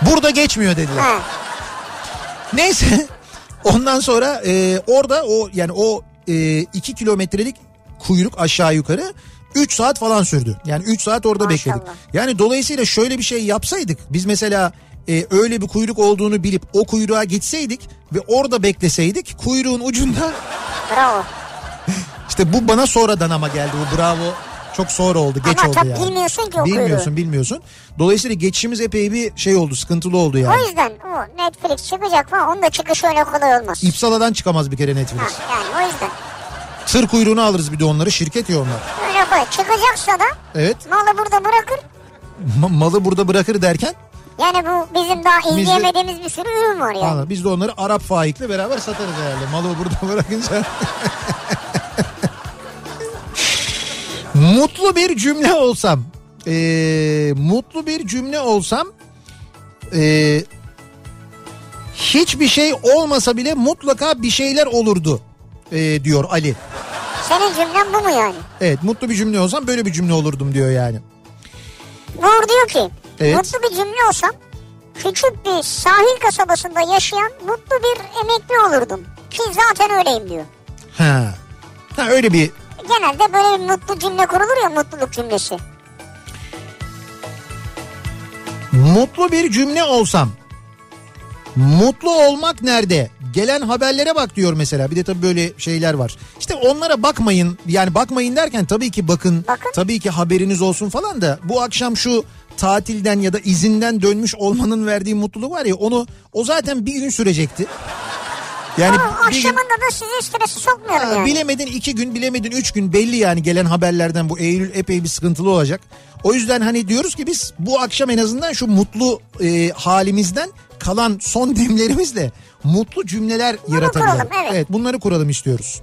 S1: burada geçmiyor dediler.
S2: He.
S1: Neyse ondan sonra e, orada o yani o 2 kilometrelik kuyruk aşağı yukarı 3 saat falan sürdü. Yani 3 saat orada
S2: Maşallah.
S1: bekledik. Yani dolayısıyla şöyle bir şey yapsaydık biz mesela e, öyle bir kuyruk olduğunu bilip o kuyruğa gitseydik ve orada bekleseydik kuyruğun ucunda
S2: Bravo.
S1: işte bu bana sonradan ama geldi bu bravo çok sonra oldu geç
S2: Ama
S1: oldu
S2: tabii
S1: yani.
S2: bilmiyorsun ki o
S1: Bilmiyorsun
S2: kuyruğu.
S1: bilmiyorsun. Dolayısıyla geçişimiz epey bir şey oldu sıkıntılı oldu yani.
S2: O yüzden o Netflix çıkacak falan onun da çıkışı öyle kolay olmaz.
S1: İpsala'dan çıkamaz bir kere Netflix.
S2: Ha, yani o yüzden.
S1: Tır kuyruğuna alırız bir de onları. Şirket ya onlar.
S2: Öyle koy. Çıkacaksa da
S1: Evet.
S2: malı burada bırakır.
S1: Ma- malı burada bırakır derken
S2: Yani bu bizim daha izleyemediğimiz bir sürü ürün var yani.
S1: anladım. biz de onları Arap faikle beraber satarız herhalde. Malı burada bırakınca. mutlu bir cümle olsam. ee, mutlu bir cümle olsam. ee, hiçbir şey olmasa bile mutlaka bir şeyler olurdu ee, diyor Ali.
S2: Senin cümlen bu mu yani?
S1: Evet mutlu bir cümle olsam böyle bir cümle olurdum diyor yani.
S2: Uğur diyor ki
S1: Evet.
S2: mutlu bir cümle olsam küçük bir sahil kasabasında yaşayan mutlu bir emekli olurdum. Ki zaten öyleyim diyor.
S1: Ha. Ha öyle bir
S2: Genelde böyle bir mutlu cümle kurulur ya mutluluk cümlesi.
S1: Mutlu bir cümle olsam. Mutlu olmak nerede? Gelen haberlere bak diyor mesela. Bir de tabii böyle şeyler var. İşte onlara bakmayın. Yani bakmayın derken tabii ki bakın.
S2: Bakın.
S1: Tabii ki haberiniz olsun falan da bu akşam şu tatilden ya da izinden dönmüş olmanın verdiği mutluluk var ya onu o zaten bir gün sürecekti. Yani
S2: Ama
S1: bir gün-
S2: akşamında da sizi stresi sokmuyorum
S1: Ha,
S2: yani.
S1: Ee, Bilemedin iki gün bilemedin üç gün belli yani gelen haberlerden bu Eylül epey bir sıkıntılı olacak. O yüzden hani diyoruz ki biz bu akşam en azından şu mutlu e, halimizden kalan son demlerimizle mutlu cümleler yaratabiliriz.
S2: kuralım, evet.
S1: bunları kuralım istiyoruz.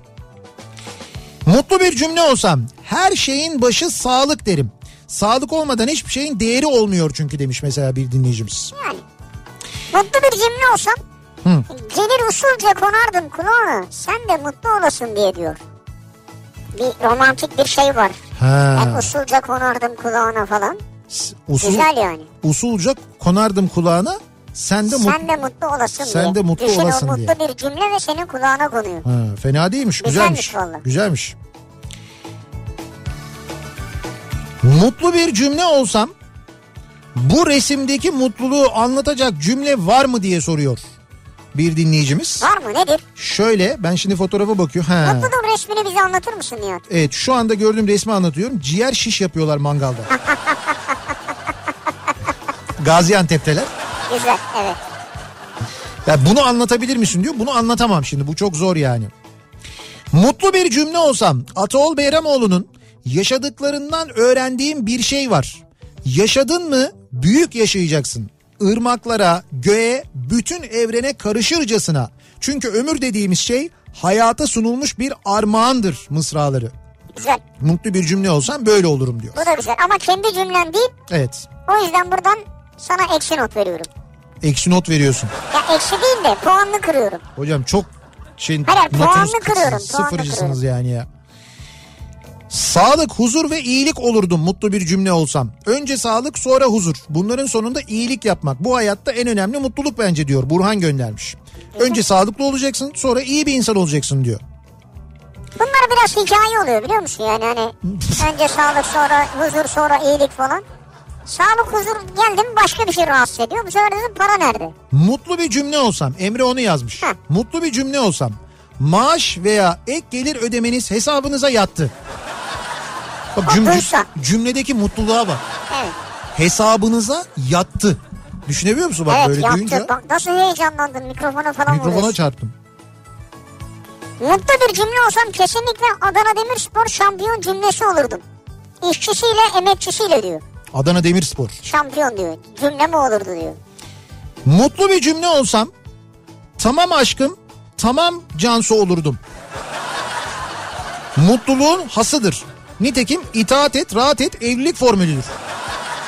S1: Mutlu bir cümle olsam her şeyin başı sağlık derim. Sağlık olmadan hiçbir şeyin değeri olmuyor çünkü demiş mesela bir dinleyicimiz.
S2: Yani. Mutlu bir cümle olsam gelir usulca konardım kulağına sen de mutlu olasın diye diyor. Bir romantik bir şey var.
S1: Ha.
S2: Ben usulca konardım kulağına falan.
S1: Usul,
S2: Güzel yani.
S1: usulca konardım kulağına sen de mutlu
S2: Sen de mutlu olasın
S1: Sen
S2: diye.
S1: de mutlu
S2: Düşün, o
S1: olasın
S2: mutlu
S1: diye.
S2: bir cümle ve senin kulağına konuyor.
S1: Ha, fena değilmiş. Güzelmiş.
S2: Güzelmiş
S1: Güzelmiş.
S2: vallahi.
S1: Mutlu bir cümle olsam bu resimdeki mutluluğu anlatacak cümle var mı diye soruyor bir dinleyicimiz.
S2: Var mı nedir?
S1: Şöyle ben şimdi fotoğrafa bakıyorum. Ha.
S2: Mutluluğun resmini bize anlatır mısın diyor.
S1: Evet şu anda gördüğüm resmi anlatıyorum. Ciğer şiş yapıyorlar mangalda. Gaziantep'teler.
S2: Güzel evet.
S1: Ya bunu anlatabilir misin diyor. Bunu anlatamam şimdi. Bu çok zor yani. Mutlu bir cümle olsam Ataol Beyramoğlu'nun yaşadıklarından öğrendiğim bir şey var. Yaşadın mı büyük yaşayacaksın. Irmaklara, göğe, bütün evrene karışırcasına. Çünkü ömür dediğimiz şey hayata sunulmuş bir armağandır mısraları.
S2: Güzel.
S1: Mutlu bir cümle olsam böyle olurum diyor.
S2: Bu da güzel ama kendi cümlen değil.
S1: Evet.
S2: O yüzden buradan sana eksi not veriyorum.
S1: Eksi not veriyorsun.
S2: Ya eksi değil de puanlı kırıyorum.
S1: Hocam çok şey
S2: Hayır,
S1: notunuz
S2: puanını kırıyorum, puanını
S1: Sıfırcısınız
S2: kırıyorum.
S1: yani ya. Sağlık, huzur ve iyilik olurdum mutlu bir cümle olsam. Önce sağlık sonra huzur. Bunların sonunda iyilik yapmak. Bu hayatta en önemli mutluluk bence diyor. Burhan göndermiş. Önce sağlıklı olacaksın sonra iyi bir insan olacaksın diyor.
S2: Bunlar biraz hikaye oluyor biliyor musun? Yani hani önce sağlık sonra huzur sonra iyilik falan. Sağlık huzur geldi mi başka bir şey rahatsız ediyor. Bu sefer dedim para nerede?
S1: Mutlu bir cümle olsam Emre onu yazmış.
S2: Heh.
S1: Mutlu bir cümle olsam maaş veya ek gelir ödemeniz hesabınıza yattı. Bak
S2: Bak
S1: cüm-
S2: duysa.
S1: cümledeki mutluluğa bak.
S2: Evet.
S1: hesabınıza yattı. Düşünebiliyor musun bak
S2: evet
S1: böyle
S2: yaptı.
S1: duyunca?
S2: Bak nasıl heyecanlandın mikrofona falan
S1: Mikrofona
S2: vuruyorsun.
S1: çarptım.
S2: Mutlu bir cümle olsam kesinlikle Adana Demirspor şampiyon cümlesi olurdum. İşçisiyle emekçisiyle diyor.
S1: Adana Demirspor.
S2: Şampiyon diyor. Cümle mi olurdu diyor.
S1: Mutlu bir cümle olsam tamam aşkım tamam Cansu olurdum. Mutluluğun hasıdır. Nitekim itaat et rahat et evlilik formülüdür.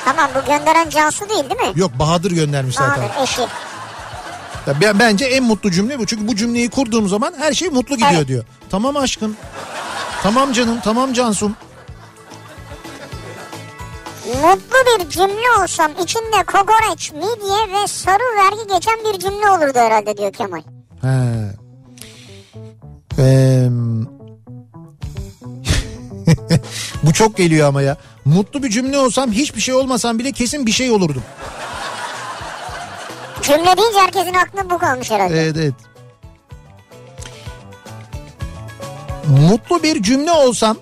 S2: Tamam bu gönderen Cansu değil değil mi?
S1: Yok Bahadır göndermiş zaten.
S2: Bahadır eşi.
S1: Ya ben Bence en mutlu cümle bu. Çünkü bu cümleyi kurduğum zaman her şey mutlu gidiyor
S2: Evet.
S1: diyor. Tamam aşkım. Tamam canım. Tamam Cansum.
S2: Mutlu bir cümle olsam içinde kokoreç, midye ve sarı vergi geçen bir cümle olurdu herhalde diyor Kemal.
S1: He. Eee, bu çok geliyor ama ya. Mutlu bir cümle olsam hiçbir şey olmasam bile kesin bir şey olurdum.
S2: Cümle deyince herkesin aklına bu kalmış herhalde.
S1: Evet evet. Mutlu bir cümle olsam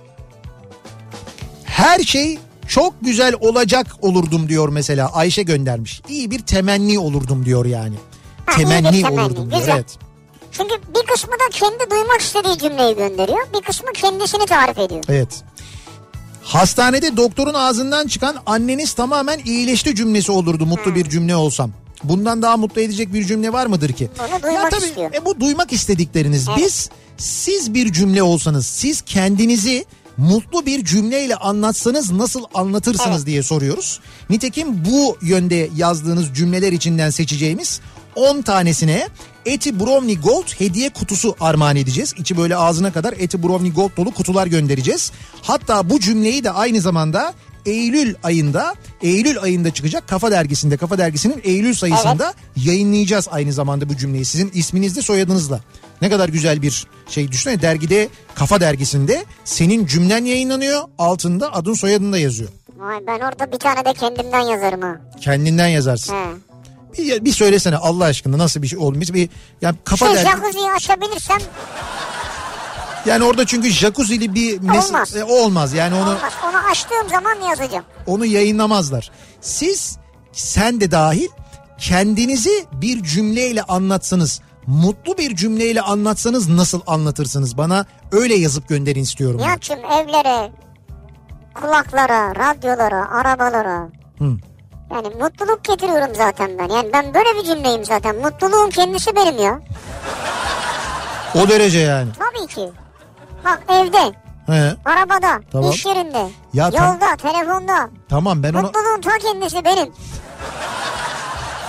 S1: her şey çok güzel olacak olurdum diyor mesela Ayşe göndermiş. İyi bir temenni olurdum diyor yani.
S2: Ha, iyi bir
S1: temenni
S2: temenni,
S1: olurdum diyor.
S2: güzel.
S1: Evet.
S2: Çünkü bir kısmı da kendi duymak istediği cümleyi gönderiyor. Bir kısmı kendisini tarif ediyor.
S1: Evet. Hastanede doktorun ağzından çıkan anneniz tamamen iyileşti cümlesi olurdu
S2: Hmm.
S1: mutlu bir cümle olsam. Bundan daha mutlu edecek bir cümle var mıdır ki?
S2: Onu duymak
S1: ya tabii
S2: istiyor.
S1: e, bu duymak istedikleriniz.
S2: Evet.
S1: Biz siz bir cümle olsanız, siz kendinizi mutlu bir cümleyle anlatsanız nasıl anlatırsınız diye soruyoruz. Nitekim bu yönde yazdığınız cümleler içinden seçeceğimiz 10 tanesine Eti Brownie Gold hediye kutusu armağan edeceğiz. İçi böyle ağzına kadar Eti Brownie Gold dolu kutular göndereceğiz. Hatta bu cümleyi de aynı zamanda Eylül ayında Eylül ayında çıkacak Kafa Dergisi'nde Kafa Dergisi'nin Eylül sayısında yayınlayacağız aynı zamanda bu cümleyi sizin isminizle soyadınızla. Ne kadar güzel bir şey düşünsene dergide Kafa Dergisi'nde senin cümlen yayınlanıyor altında adın soyadın da yazıyor.
S2: Vay ben orada bir tane de kendimden yazarım ha.
S1: Kendinden yazarsın.
S2: He.
S1: Bir, bir söylesene Allah aşkına nasıl bir şey olmuş bir yani kafa
S2: Şey
S1: dergi.
S2: jacuzziyi açabilirsem
S1: Yani orada çünkü jacuzzi'li bir mes-
S2: Olmaz.
S1: e, olmaz. Yani onu
S2: olmaz. Onu açtığım zaman yazacağım.
S1: onu yayınlamazlar. Siz sen de dahil kendinizi bir cümleyle anlatsanız, mutlu bir cümleyle anlatsanız nasıl anlatırsınız? Bana öyle yazıp gönderin istiyorum. ben.
S2: Nihat'cığım evlere, kulaklara, radyolara, arabalara.
S1: Hı.
S2: Yani mutluluk getiriyorum zaten ben. Yani ben böyle bir cümleyim zaten. Mutluluğun kendisi benim ya.
S1: O derece yani.
S2: Tabii ki. Bak evde,
S1: He,
S2: arabada,
S1: Tamam.
S2: iş yerinde,
S1: Ya tam-
S2: yolda, telefonda.
S1: tamam ben onu
S2: Mutluluğun ta kendisi benim.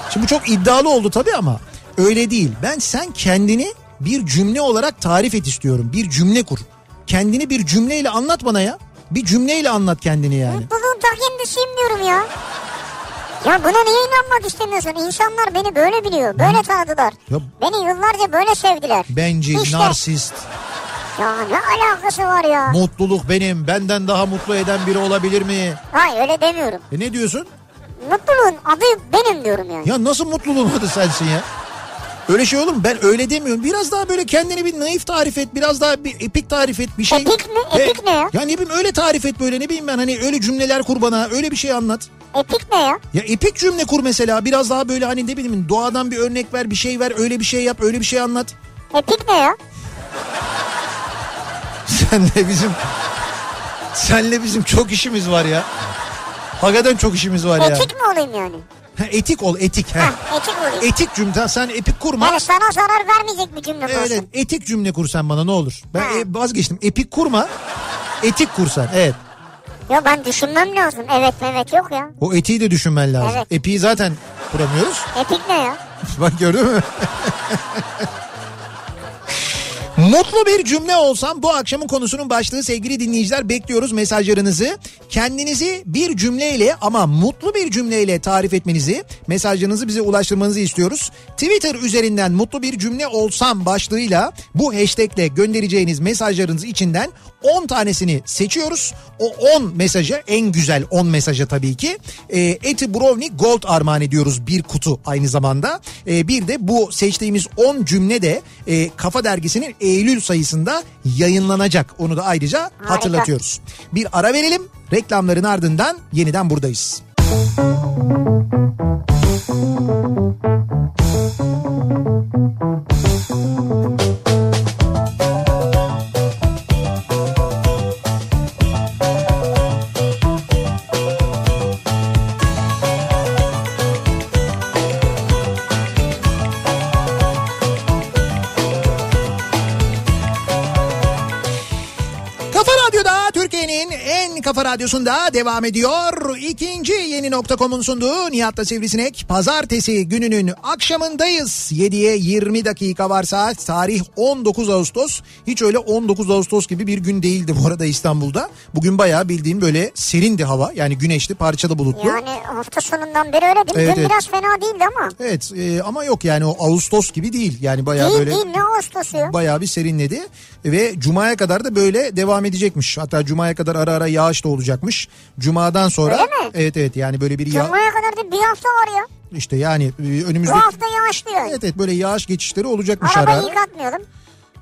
S1: Şimdi bu çok iddialı oldu tabii ama öyle değil. Ben sen kendini bir cümle olarak tarif et istiyorum. Bir cümle kur. Kendini bir cümleyle anlat bana ya. Bir cümleyle anlat kendini yani.
S2: Mutluluğun ta kendisiyim diyorum ya. Ya buna niye inanmak istemiyorsun? İnsanlar beni böyle biliyor, böyle tanıdılar.
S1: Ya-
S2: Beni yıllarca böyle sevdiler.
S1: Bencil,
S2: İşte.
S1: narsist,
S2: Ya ne alakası var ya?
S1: mutluluk benim, benden daha mutlu eden biri olabilir mi?
S2: Hayır öyle demiyorum.
S1: E ne diyorsun?
S2: Mutluluğun adı benim diyorum yani.
S1: Ya nasıl mutluluğun adı sensin ya? Öyle şey olur mu? Ben öyle demiyorum. Biraz daha böyle kendini bir naif tarif et. Biraz daha bir epik tarif et. Bir şey.
S2: Epik mi? Epik ne ya?
S1: Ya ne bileyim öyle tarif et böyle. Ne bileyim ben hani öyle cümleler kur bana. Öyle bir şey anlat.
S2: Epik ne ya?
S1: Ya epik cümle kur mesela biraz daha böyle hani ne bileyim doğadan bir örnek ver bir şey ver öyle bir şey yap öyle bir şey anlat.
S2: Epik ne ya?
S1: Senle bizim senle bizim çok işimiz var ya. Hakikaten çok işimiz var ya.
S2: Etik mi olayım yani?
S1: Ha, etik ol etik. Ha.
S2: Heh, etik olayım.
S1: Etik cümle sen epik kurma.
S2: yani sana zarar vermeyecek bir cümle kursun.
S1: Evet, etik cümle kur sen bana ne olur. Ben
S2: Ha.
S1: e, vazgeçtim epik kurma etik kursan evet.
S2: Ya ben düşünmem lazım. Evet evet yok ya.
S1: O etiği de düşünmen lazım.
S2: Evet.
S1: Epiği zaten kuramıyoruz.
S2: Epik ne ya?
S1: Bak gördün mü? Mutlu bir cümle olsam bu akşamın konusunun başlığı sevgili dinleyiciler bekliyoruz mesajlarınızı. Kendinizi bir cümleyle ama mutlu bir cümleyle tarif etmenizi, mesajlarınızı bize ulaştırmanızı istiyoruz. Twitter üzerinden mutlu bir cümle olsam başlığıyla bu hashtagle göndereceğiniz mesajlarınız içinden 10 tanesini seçiyoruz. O 10 mesaja en güzel 10 mesaja tabii ki e, Eti Brownie Gold armağan ediyoruz bir kutu aynı zamanda. E, bir de bu seçtiğimiz 10 cümle de e, Kafa Dergisi'nin Eylül sayısında yayınlanacak. Onu da ayrıca hatırlatıyoruz. Bir ara verelim reklamların ardından yeniden buradayız. Kafa Radyo'da Türkiye'nin en kafa radyosunda devam ediyor. İkinci yeni nokta.com'un sunduğu Nihat'la Sivrisinek. Pazartesi gününün akşamındayız. 7'ye 20 dakika var saat. Tarih 19 Ağustos. Hiç öyle 19 Ağustos gibi bir gün değildi bu arada İstanbul'da. Bugün bayağı bildiğim böyle serindi hava. Yani güneşli parçalı bulutlu.
S2: Yani hafta sonundan beri öyle değil mi?
S1: Evet,
S2: Dün
S1: evet.
S2: biraz fena değildi ama.
S1: Evet e, ama yok yani o Ağustos gibi değil. Yani bayağı
S2: değil
S1: böyle...
S2: değil ne Ağustos'u ya?
S1: bayağı bir serinledi ve cumaya kadar da böyle devam edecekmiş. Hatta cumaya kadar ara ara yağış da olacakmış. Cumadan sonra
S2: Öyle mi?
S1: evet evet yani böyle bir ya
S2: Cuma'ya kadar da bir hafta var ya.
S1: işte yani e,
S2: Bu
S1: önümüzdeki
S2: hafta yağışlı yani.
S1: evet evet böyle yağış geçişleri olacakmış ara
S2: Arabayı
S1: ara.
S2: yıkatmıyorum.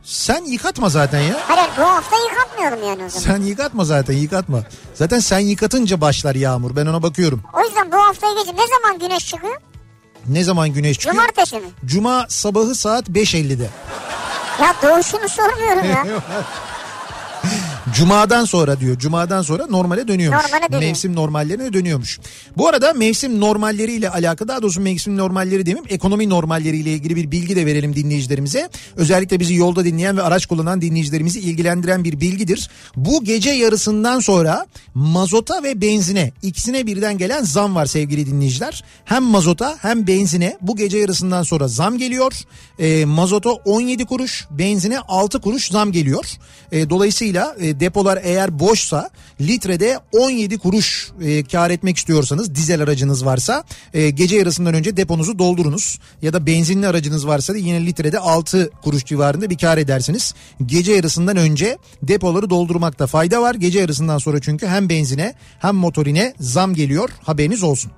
S1: Sen yıkatma zaten ya.
S2: Hayır bu hafta yıkatmıyorum yani o zaman.
S1: Sen yıkatma zaten yıkatma. Zaten sen yıkatınca başlar yağmur. Ben ona bakıyorum.
S2: O yüzden bu haftayı geçin. Ne zaman güneş çıkıyor?
S1: Ne zaman güneş çıkıyor?
S2: Cumartesi mi?
S1: Cuma sabahı saat 5.50'de.
S2: Ya doğuşunu sormuyorum ya.
S1: Cuma'dan sonra diyor. Cuma'dan sonra normale dönüyormuş.
S2: Normale dönüyor.
S1: Mevsim normallerine dönüyormuş. Bu arada mevsim normalleriyle alakalı daha doğrusu mevsim normalleri demeyeyim ekonomi normalleriyle ilgili bir bilgi de verelim dinleyicilerimize. Özellikle bizi yolda dinleyen ve araç kullanan dinleyicilerimizi ilgilendiren bir bilgidir. Bu gece yarısından sonra mazota ve benzine ikisine birden gelen zam var sevgili dinleyiciler. Hem mazota hem benzine bu gece yarısından sonra zam geliyor. E, mazota 17 kuruş, benzine 6 kuruş zam geliyor. E, dolayısıyla e, depolar eğer boşsa litrede 17 kuruş e, kar etmek istiyorsanız dizel aracınız varsa e, gece yarısından önce deponuzu doldurunuz. Ya da benzinli aracınız varsa da yine litrede 6 kuruş civarında bir kar edersiniz. Gece yarısından önce depoları doldurmakta fayda var. Gece yarısından sonra çünkü hem benzine hem motorine zam geliyor haberiniz olsun.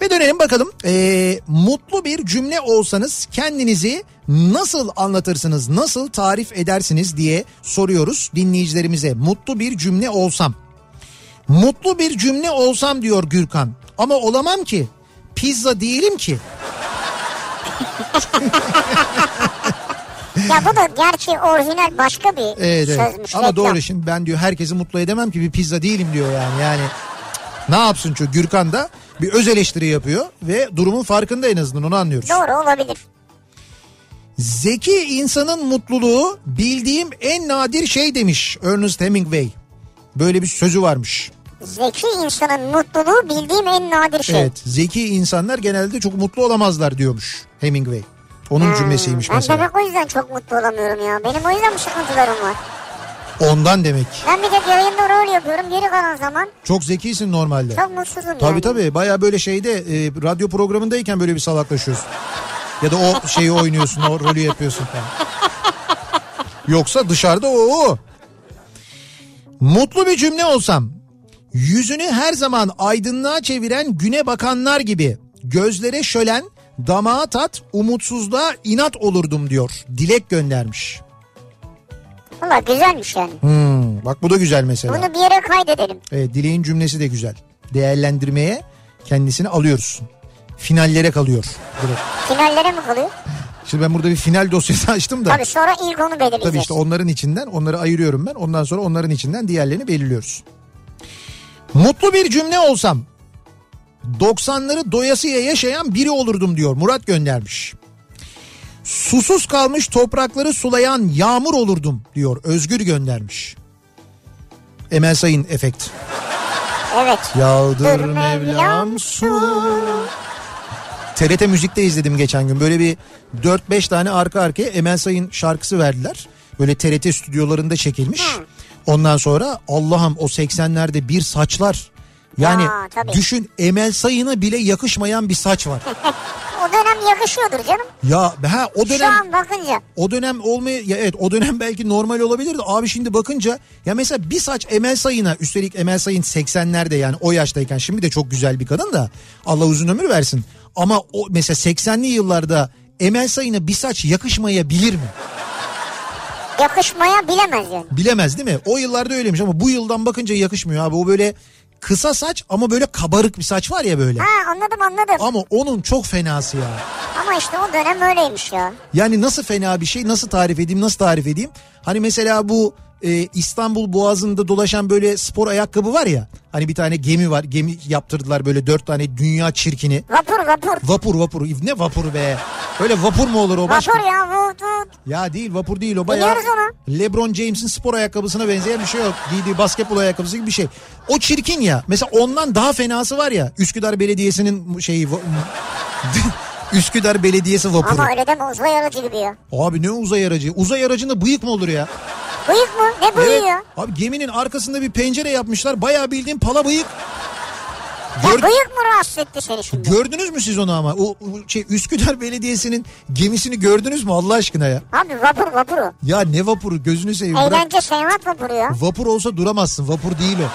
S1: Ve dönelim bakalım. Ee, mutlu bir cümle olsanız kendinizi nasıl anlatırsınız, nasıl tarif edersiniz diye soruyoruz dinleyicilerimize. Mutlu bir cümle olsam. Mutlu bir cümle olsam diyor Gürkan. Ama olamam ki. Pizza değilim ki.
S2: Ya bu da gerçi orijinal başka bir
S1: Ee, Evet, evet.
S2: sözmüş.
S1: Ama
S2: reklam.
S1: doğru şimdi ben diyor herkesi mutlu edemem ki bir pizza değilim diyor yani. Yani ne yapsın çünkü Gürkan da bir öz eleştiri yapıyor ve durumun farkında en azından onu anlıyoruz.
S2: Doğru olabilir.
S1: Zeki insanın mutluluğu bildiğim en nadir şey demiş Ernest Hemingway. Böyle bir sözü varmış.
S2: Zeki insanın mutluluğu bildiğim en nadir şey.
S1: Evet, zeki insanlar genelde çok mutlu olamazlar diyormuş Hemingway. Onun cümlesiymiş
S2: Hmm. ben
S1: mesela.
S2: demek o yüzden çok mutlu olamıyorum ya. Benim o yüzden bu sıkıntılarım var.
S1: Ondan demek.
S2: Ben bir tek yayınları öyle yapıyorum. Geri kalan zaman
S1: Çok zekisin normalde.
S2: çok mutsuzum
S1: Tabii
S2: yani.
S1: tabii baya böyle şeyde e, radyo programındayken böyle bir salaklaşıyorsun. Ya da o şeyi oynuyorsun o rolü yapıyorsun falan. Yoksa dışarıda o, o. Mutlu bir cümle olsam yüzünü her zaman aydınlığa çeviren güne bakanlar gibi gözlere şölen damağa tat umutsuzluğa inat olurdum diyor. Dilek göndermiş.
S2: Valla güzelmiş yani.
S1: Hmm, bak bu da güzel mesela.
S2: Bunu bir yere kaydedelim.
S1: Evet, E, dileğin cümlesi de güzel. Değerlendirmeye kendisini alıyoruz. Finallere kalıyor. direkt.
S2: Finallere mi kalıyor?
S1: Şimdi ben burada bir final dosyası açtım da.
S2: Tabii sonra ilk onu belirleyeceğiz.
S1: Tabii işte onların içinden onları ayırıyorum ben. Ondan sonra onların içinden diğerlerini belirliyoruz. Mutlu bir cümle olsam 90'ları doyasıya yaşayan biri olurdum diyor. Murat göndermiş. Susuz kalmış toprakları sulayan yağmur olurdum diyor. Özgür göndermiş. Emel Sayın efekt.
S2: Evet.
S1: Yağdır
S2: Dur
S1: Mevlam
S2: Mevlam
S1: su. TRT Müzik'te izledim geçen gün. Böyle bir 4-5 tane arka arkaya Emel Sayın şarkısı verdiler. Böyle TRT stüdyolarında çekilmiş. Ondan sonra Allah'ım o 80'lerde bir saçlar. Yani
S2: Ya, tabii.
S1: düşün Emel Sayın'a bile yakışmayan bir saç var.
S2: O dönem yakışıyordur canım.
S1: ya ha o
S2: Şu
S1: dönem
S2: an bakınca.
S1: o dönem olmaya ya evet o dönem belki normal olabilirdi. Abi şimdi bakınca ya mesela bir saç Emel Sayın'a üstelik Emel Sayın 80'lerde yani o yaştayken şimdi de çok güzel bir kadın da Allah uzun ömür versin. Ama o mesela 80'li yıllarda Emel Sayın'a bir saç yakışmayabilir mi?
S2: Yakışmaya bilemez yani.
S1: Bilemez değil mi? O yıllarda öyleymiş ama bu yıldan bakınca yakışmıyor abi. O böyle kısa saç ama böyle kabarık bir saç var ya böyle.
S2: Ha anladım anladım.
S1: Ama onun çok fenası ya.
S2: Ama işte o dönem öyleymiş ya.
S1: Yani nasıl fena bir şey nasıl tarif edeyim nasıl tarif edeyim? Hani mesela bu e, İstanbul Boğazı'nda dolaşan böyle spor ayakkabı var ya. Hani bir tane gemi var gemi yaptırdılar böyle dört tane dünya çirkini.
S2: Vapur vapur.
S1: Vapur vapur ne vapur be. Öyle vapur mu olur o başka?
S2: Vapur ya vut vut.
S1: Ya değil vapur değil o bayağı.
S2: Biliyoruz onu.
S1: Lebron James'in spor ayakkabısına benzeyen bir şey yok. Giydiği basketbol ayakkabısı gibi bir şey. O çirkin ya. Mesela ondan daha fenası var ya. Üsküdar Belediyesi'nin şeyi... va- Üsküdar Belediyesi vapuru.
S2: Ama öyle deme uzay aracı gibi ya.
S1: Abi ne uzay aracı? Uzay aracında bıyık mı olur ya?
S2: Bıyık mı? Ne bıyığı
S1: Evet.
S2: ya?
S1: Abi geminin arkasında bir pencere yapmışlar. Bayağı bildiğin pala bıyık.
S2: Ya
S1: Gör-
S2: bıyık mı rahatsız etti seni şimdi?
S1: gördünüz mü siz onu ama? O, o şey Üsküdar Belediyesi'nin gemisini gördünüz mü Allah aşkına ya?
S2: Abi vapur vapur o.
S1: Ya ne vapuru gözünü seveyim bırak.
S2: Eğlence seyahat vapuru ya.
S1: Vapur olsa duramazsın. Vapur değil o.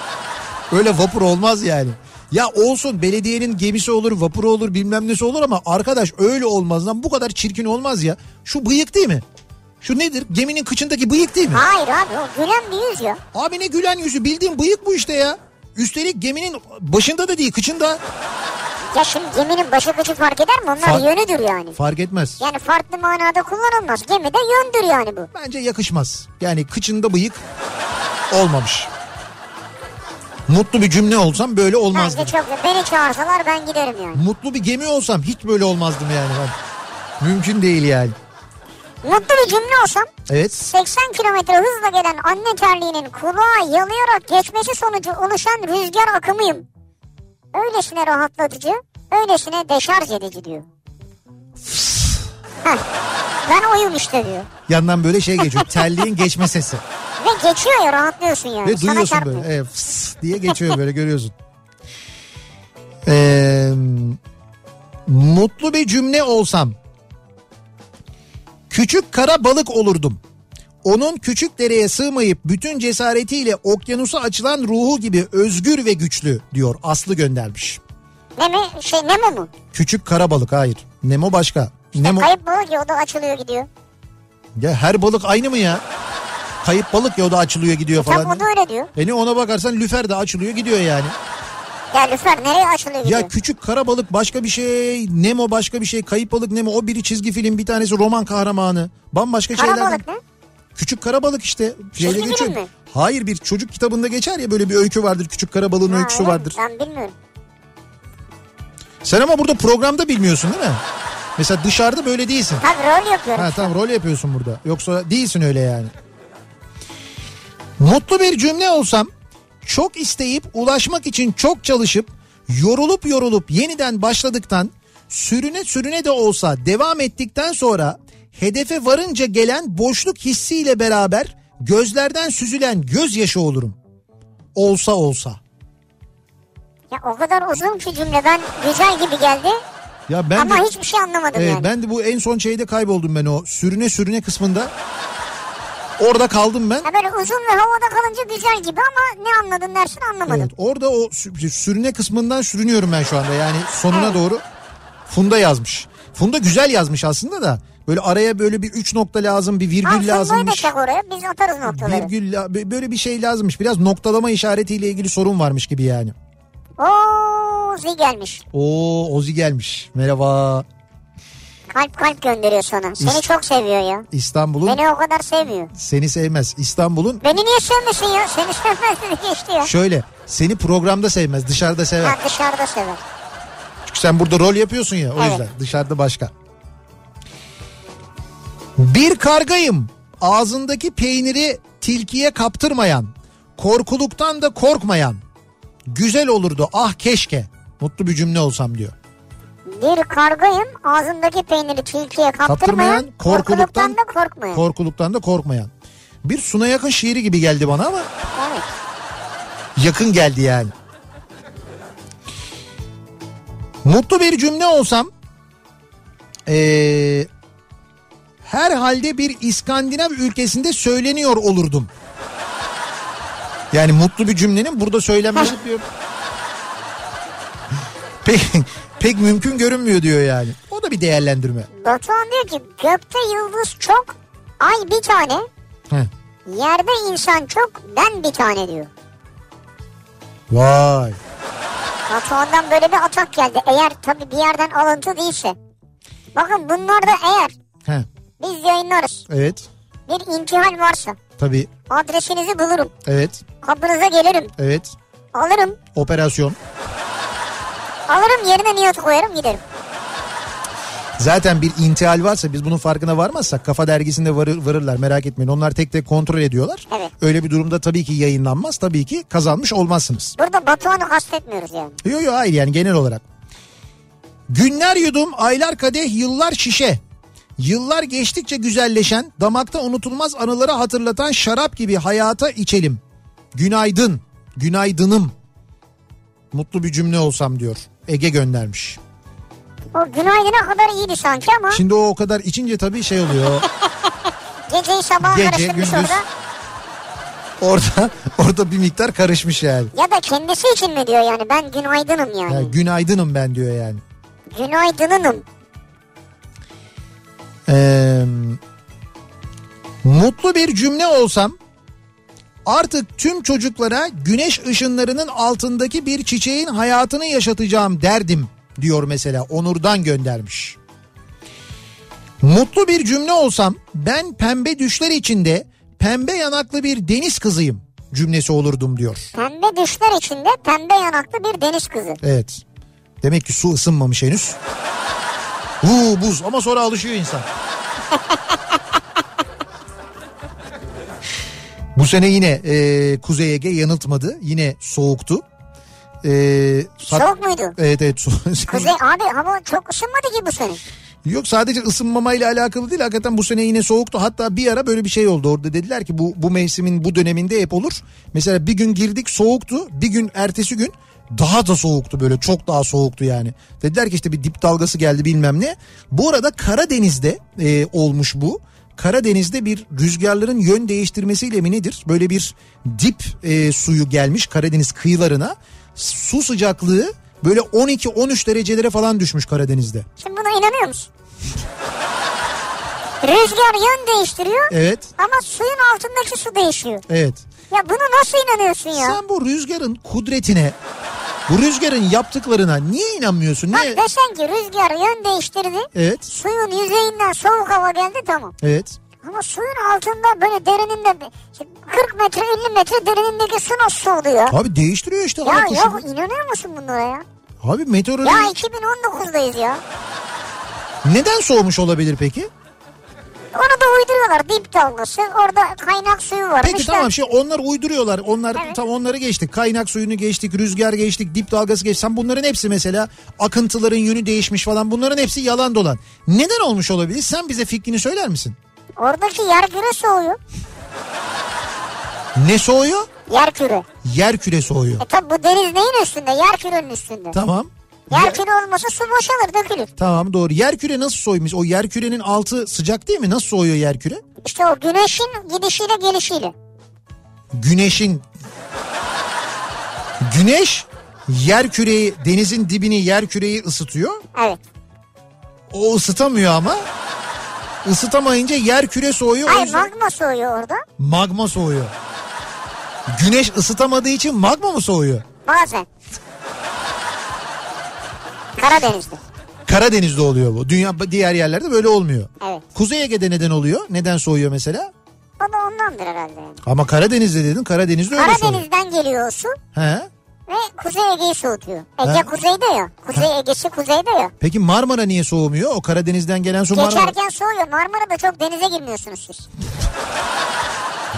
S1: Öyle vapur olmaz yani. Ya olsun belediyenin gemisi olur, vapuru olur, bilmem nesi olur ama arkadaş öyle olmaz lan. Bu kadar çirkin olmaz ya. Şu bıyık değil mi? Şu nedir? Geminin kıçındaki bıyık değil mi?
S2: Hayır abi o gülen bir yüz ya.
S1: Abi ne gülen yüzü bildiğin bıyık bu işte ya. Üstelik geminin başında da değil kıçında.
S2: Ya şimdi geminin başı kıçı fark eder mi? Onlar
S1: Fark-
S2: yönüdür yani.
S1: Fark etmez.
S2: Yani farklı manada kullanılmaz. Gemide yöndür yani bu.
S1: Bence yakışmaz. Yani kıçında bıyık olmamış. Mutlu bir cümle olsam böyle olmazdı.
S2: Bence çok Beni çağırsalar ben giderim yani.
S1: Mutlu bir gemi olsam hiç böyle olmazdım yani ben. Mümkün değil yani.
S2: Mutlu bir cümle olsam
S1: Evet.
S2: 80 kilometre hızla gelen anne terliğinin kulağa yalayarak geçmesi sonucu oluşan rüzgar akımıyım. Öylesine rahatlatıcı, öylesine deşarj edici diyor. Heh, ben oyum işte diyor.
S1: Yandan böyle şey geçiyor. Terliğin geçme sesi.
S2: Ve geçiyor ya rahatlıyorsun yani.
S1: Ve
S2: Sana
S1: duyuyorsun
S2: çarpmıyor.
S1: böyle. Evet, fıs diye geçiyor böyle görüyorsun. Ee, mutlu bir cümle olsam. Küçük kara balık olurdum. Onun küçük dereye sığmayıp bütün cesaretiyle okyanusa açılan ruhu gibi özgür ve güçlü diyor Aslı göndermiş.
S2: Ne mi? Şey Nemo mu?
S1: Küçük kara balık hayır. Nemo başka. Nemo
S2: Kayıp balık ya o da açılıyor gidiyor.
S1: ya her balık aynı mı ya? Kayıp balık ya o da açılıyor gidiyor
S2: Tam o
S1: falan.
S2: da öyle diyor.
S1: Yani ona bakarsan lüfer de açılıyor gidiyor yani.
S2: Ya lüfer nereye açılıyor gidiyor?
S1: Ya küçük kara balık başka bir şey, Nemo başka bir şey, kayıp balık Nemo o biri çizgi film, bir tanesi roman kahramanı. Bambaşka
S2: Kara
S1: şeylerden.
S2: balık ne?
S1: Küçük kara balık işte. Şeyde
S2: Çizgi film
S1: geçiyor.
S2: mi?
S1: Hayır bir çocuk kitabında geçer ya böyle bir öykü vardır. Küçük kara balığın
S2: Ha, öyle
S1: öyküsü
S2: mi?
S1: vardır.
S2: Ben bilmiyorum.
S1: Sen ama burada programda bilmiyorsun değil mi? Mesela dışarıda böyle değilsin.
S2: Tabii rol yapıyorum.
S1: Ha tamam rol yapıyorsun burada. Yoksa değilsin öyle yani. Mutlu bir cümle olsam çok isteyip ulaşmak için çok çalışıp yorulup yorulup yeniden başladıktan sürüne sürüne de olsa devam ettikten sonra hedefe varınca gelen boşluk hissiyle beraber gözlerden süzülen gözyaşı olurum. Olsa olsa.
S2: Ya o kadar uzun ki cümle ben güzel gibi geldi
S1: Ya ben
S2: ama
S1: de,
S2: hiçbir şey anlamadım
S1: Evet,
S2: yani.
S1: ben de bu en son şeyde kayboldum ben o sürüne sürüne kısmında. Orada kaldım ben.
S2: Ya böyle uzun ve havada kalınca güzel gibi ama ne anladın dersin anlamadım.
S1: Evet, orada o sü- sürüne kısmından sürünüyorum ben şu anda yani sonuna doğru. Funda yazmış. Funda güzel yazmış aslında da. Böyle araya böyle bir üç nokta lazım, bir virgül
S2: Ha, Funda'yı da
S1: lazımmış.
S2: çak oraya biz atarız noktaları.
S1: Virgül la- bö- böyle bir şey lazımmış. Biraz noktalama işaretiyle ilgili sorun varmış gibi yani.
S2: Oo zi gelmiş.
S1: Oo Ozi gelmiş. Merhaba.
S2: Kalp kalp gönderiyor sana. Seni çok seviyor ya.
S1: İstanbul'un
S2: Beni o kadar sevmiyor.
S1: seni sevmez. İstanbul'un
S2: Beni niye sevmesin ya? Seni sevmez dedi geçti ya.
S1: şöyle seni programda sevmez, dışarıda sever.
S2: Ha, dışarıda sever.
S1: Çünkü sen burada rol yapıyorsun ya o
S2: Evet.
S1: yüzden dışarıda başka. Bir kargayım ağzındaki peyniri tilkiye kaptırmayan, korkuluktan da korkmayan. Güzel olurdu ah keşke mutlu bir cümle olsam diyor.
S2: Bir kargayım ağzındaki peyniri tilkiye kaptırmayan,
S1: Kaptırmayan, korkuluktan-
S2: korkuluktan da korkmayan.
S1: Korkuluktan da korkmayan. Bir Suna Yakın şiiri gibi geldi bana ama
S2: evet.
S1: yakın geldi yani. Mutlu bir cümle olsam eee herhalde bir İskandinav ülkesinde söyleniyor olurdum. Yani mutlu bir cümlenin burada söylenmesi diyor. Pek, pek mümkün görünmüyor diyor yani. O da bir değerlendirme.
S2: Batuhan diyor ki gökte yıldız çok, ay bir tane,
S1: Heh.
S2: yerde insan çok, ben bir tane diyor.
S1: Vay.
S2: Batuhan'dan böyle bir atak geldi. Eğer tabii bir yerden alıntı değilse. Bakın bunlar da eğer
S1: Heh.
S2: biz yayınlarız.
S1: Evet.
S2: Bir intihal varsa
S1: Tabii.
S2: adresinizi bulurum.
S1: Evet.
S2: Kapınıza gelirim.
S1: Evet.
S2: Alırım.
S1: Operasyon.
S2: Alırım yerine niyet koyarım giderim.
S1: Zaten bir intihal varsa biz bunun farkına varmazsak Kafa Dergisi'nde varır, varırlar merak etmeyin. Onlar tek tek kontrol ediyorlar.
S2: Evet.
S1: Öyle bir durumda tabii ki yayınlanmaz. Tabii ki kazanmış olmazsınız.
S2: Burada Batuhan'ı kastetmiyoruz yani.
S1: Yok yok hayır yani genel olarak. Günler yudum, aylar kadeh, yıllar şişe. Yıllar geçtikçe güzelleşen, damakta unutulmaz anıları hatırlatan şarap gibi hayata içelim. Günaydın, günaydınım. Mutlu bir cümle olsam diyor. Ege göndermiş.
S2: O günaydına kadar iyiydi sanki ama
S1: Şimdi o o kadar içince tabii şey oluyor.
S2: geceyi sabaha
S1: Gece,
S2: karıştırmış
S1: gündüz.
S2: orada.
S1: Orada orada bir miktar karışmış yani.
S2: Ya da kendisi için mi diyor yani ben günaydınım yani.
S1: Ya günaydınım ben diyor yani.
S2: Günaydınınım.
S1: Ee, mutlu bir cümle olsam artık tüm çocuklara güneş ışınlarının altındaki bir çiçeğin hayatını yaşatacağım derdim diyor mesela Onur'dan göndermiş. Mutlu bir cümle olsam ben pembe düşler içinde pembe yanaklı bir deniz kızıyım cümlesi olurdum diyor.
S2: Pembe düşler içinde pembe yanaklı bir deniz kızı.
S1: Evet. Demek ki su ısınmamış henüz. Huu buz ama sonra alışıyor insan. Bu sene yine e, Kuzey Ege yanıltmadı. Yine soğuktu. E, hat-
S2: Soğuk muydu?
S1: Evet evet. so-
S2: Kuzey abi hava çok ısınmadı ki bu sene.
S1: Yok sadece ısınmamayla alakalı değil. Hakikaten bu sene yine soğuktu. Hatta bir ara böyle bir şey oldu orada. Dediler ki bu, bu mevsimin bu döneminde hep olur. Mesela bir gün girdik soğuktu. Bir gün ertesi gün daha da soğuktu böyle çok daha soğuktu yani. Dediler ki işte bir dip dalgası geldi bilmem ne. Bu arada Karadeniz'de e, olmuş bu. Karadeniz'de bir rüzgarların yön değiştirmesiyle mi nedir? Böyle bir dip e, suyu gelmiş Karadeniz kıyılarına. Su sıcaklığı böyle 12-13 derecelere falan düşmüş Karadeniz'de.
S2: Şimdi buna inanıyor musun? Rüzgar yön değiştiriyor
S1: Evet.
S2: ama suyun altındaki su değişiyor.
S1: Evet.
S2: Ya bunu nasıl inanıyorsun ya?
S1: Sen bu rüzgarın kudretine, bu rüzgarın yaptıklarına niye inanmıyorsun?
S2: Bak
S1: Niye?
S2: desen ki rüzgar yön değiştirdi.
S1: Evet.
S2: Suyun yüzeyinden soğuk hava geldi tamam.
S1: Evet.
S2: Ama suyun altında böyle derininde işte 40 metre 50 metre derinindeki su nasıl soğudu ya?
S1: Abi değiştiriyor işte hava
S2: Ya
S1: koşulu.
S2: yok inanıyor musun bunlara ya?
S1: Abi meteoroloji
S2: Ya 2019'dayız ya.
S1: neden soğumuş olabilir peki?
S2: Onu da uyduruyorlar dip dalgası. Orada kaynak suyu var.
S1: Peki tamam şey onlar uyduruyorlar. Onlar
S2: Evet.
S1: tam onları geçtik. Kaynak suyunu geçtik, rüzgar geçtik, dip dalgası geçtik. Sen bunların hepsi mesela akıntıların yönü değişmiş falan. Bunların hepsi yalan dolan. Neden olmuş olabilir? Sen bize fikrini söyler misin?
S2: Oradaki yer küre soğuyor.
S1: Ne soğuyor?
S2: Yer küre.
S1: Yer küre soğuyor.
S2: E tabi bu deniz neyin üstünde? Yer kürenin üstünde.
S1: Tamam.
S2: Yer küre olmasa su boşalır dökülür.
S1: Tamam doğru. Yerküre nasıl soymuş? O yerkürenin altı sıcak değil mi? Nasıl soğuyor yerküre?
S2: İşte o güneşin gidişiyle gelişiyle.
S1: Güneşin Güneş yerküreyi denizin dibini yerküreyi ısıtıyor.
S2: Evet.
S1: O ısıtamıyor ama. Isıtamayınca yerküre soğuyor. o
S2: Hayır
S1: yüzden
S2: magma soğuyor orada.
S1: magma soğuyor. Güneş ısıtamadığı için magma mı soğuyor?
S2: Bazen. Karadeniz'de.
S1: Karadeniz'de oluyor bu. Dünya diğer yerlerde böyle olmuyor.
S2: Evet.
S1: Kuzey Ege'de neden oluyor? Neden soğuyor mesela?
S2: O da ondandır herhalde yani.
S1: Ama Karadeniz'de dedin. Karadeniz'de öyle soğuyor.
S2: Karadeniz'den geliyor o su
S1: He?
S2: ve Kuzey Ege'yi soğutuyor. Ege
S1: Ha.
S2: kuzeyde ya. Kuzey Ege'si kuzeyde ya.
S1: Peki Marmara niye soğumuyor? O Karadeniz'den gelen su Marmara.
S2: Geçerken soğuyor. Marmara'da çok denize girmiyorsunuz siz.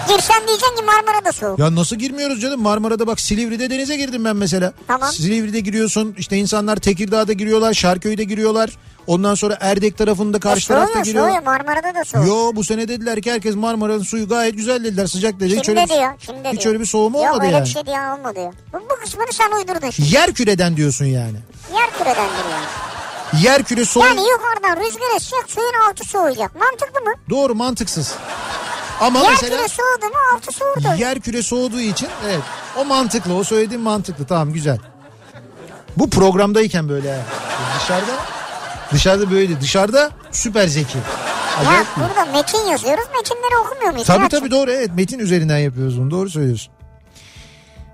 S2: Girsen diyeceksin ki Marmara'da soğuk.
S1: Ya nasıl girmiyoruz canım? Marmara'da bak Silivri'de denize girdim ben mesela.
S2: Tamam.
S1: Silivri'de giriyorsun. işte insanlar Tekirdağ'da giriyorlar, Şarköy'de giriyorlar. Ondan sonra Erdek tarafında
S2: E,
S1: karşı tarafta
S2: soğuyor
S1: giriyor.
S2: soğuyor. Marmara'da da soğuk.
S1: Yo bu sene dediler ki herkes Marmara'nın suyu gayet güzel dediler. Sıcak dediler.
S2: Kim
S1: Hiç öyle,
S2: dedi
S1: bir,
S2: ya? Kim dedi
S1: hiç
S2: ya?
S1: öyle bir soğuma
S2: Yok,
S1: olmadı
S2: öyle
S1: yani.
S2: bir şey diyen olmadı ya. Bu, bu kısmını sen uydurdun şimdi.
S1: Yer küreden diyorsun yani.
S2: Yer küredendir yani.
S1: Yer küre soğu.
S2: Yani yukarıdan rüzgar esecek suyun altı soğuyacak. Mantıklı mı?
S1: Doğru mantıksız. Ama
S2: Yer
S1: mesela
S2: küre soğudu mu altı soğurdu.
S1: Yer küre soğuduğu için evet. O mantıklı. O söylediğin mantıklı. Tamam güzel. Bu programdayken böyle yani. dışarıda dışarıda böyle dışarıda süper zeki.
S2: Ya
S1: Acayip bir-
S2: burada metin yazıyoruz. Metinleri okumuyor muyuz?
S1: Tabii
S2: Ya?
S1: tabii doğru evet metin üzerinden yapıyoruz bunu doğru söylüyorsun.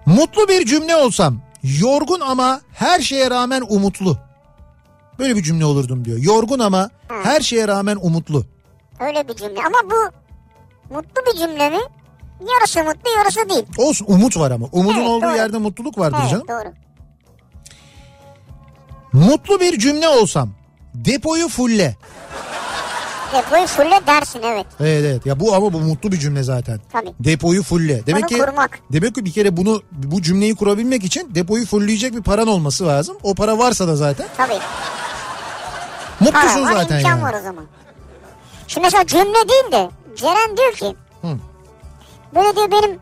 S1: Mutlu bir cümle olsam yorgun ama her şeye rağmen umutlu. Böyle bir cümle olurdum diyor. Yorgun ama her şeye rağmen umutlu.
S2: Öyle bir cümle. Ama bu mutlu bir cümle mi? Yarısı mutlu yarısı değil.
S1: Olsun umut var ama. Umudun
S2: Evet,
S1: olduğu
S2: doğru.
S1: yerde mutluluk vardır
S2: Evet
S1: canım.
S2: doğru.
S1: Mutlu bir cümle olsam depoyu fulle.
S2: Depoyu fulle dersin evet.
S1: Evet evet. Ya bu ama bu mutlu bir cümle zaten.
S2: Tabii.
S1: Depoyu fulle. Demek
S2: Onu
S1: ki
S2: kurmak.
S1: demek ki bir kere bunu bu cümleyi kurabilmek için depoyu fullleyecek bir paran olması lazım. O para varsa da zaten
S2: Tabii.
S1: mutlusun
S2: Para var
S1: zaten
S2: imkan
S1: yani.
S2: var o zaman. Şimdi mesela cümle değil de Ceren diyor ki
S1: Hı.
S2: böyle diyor benim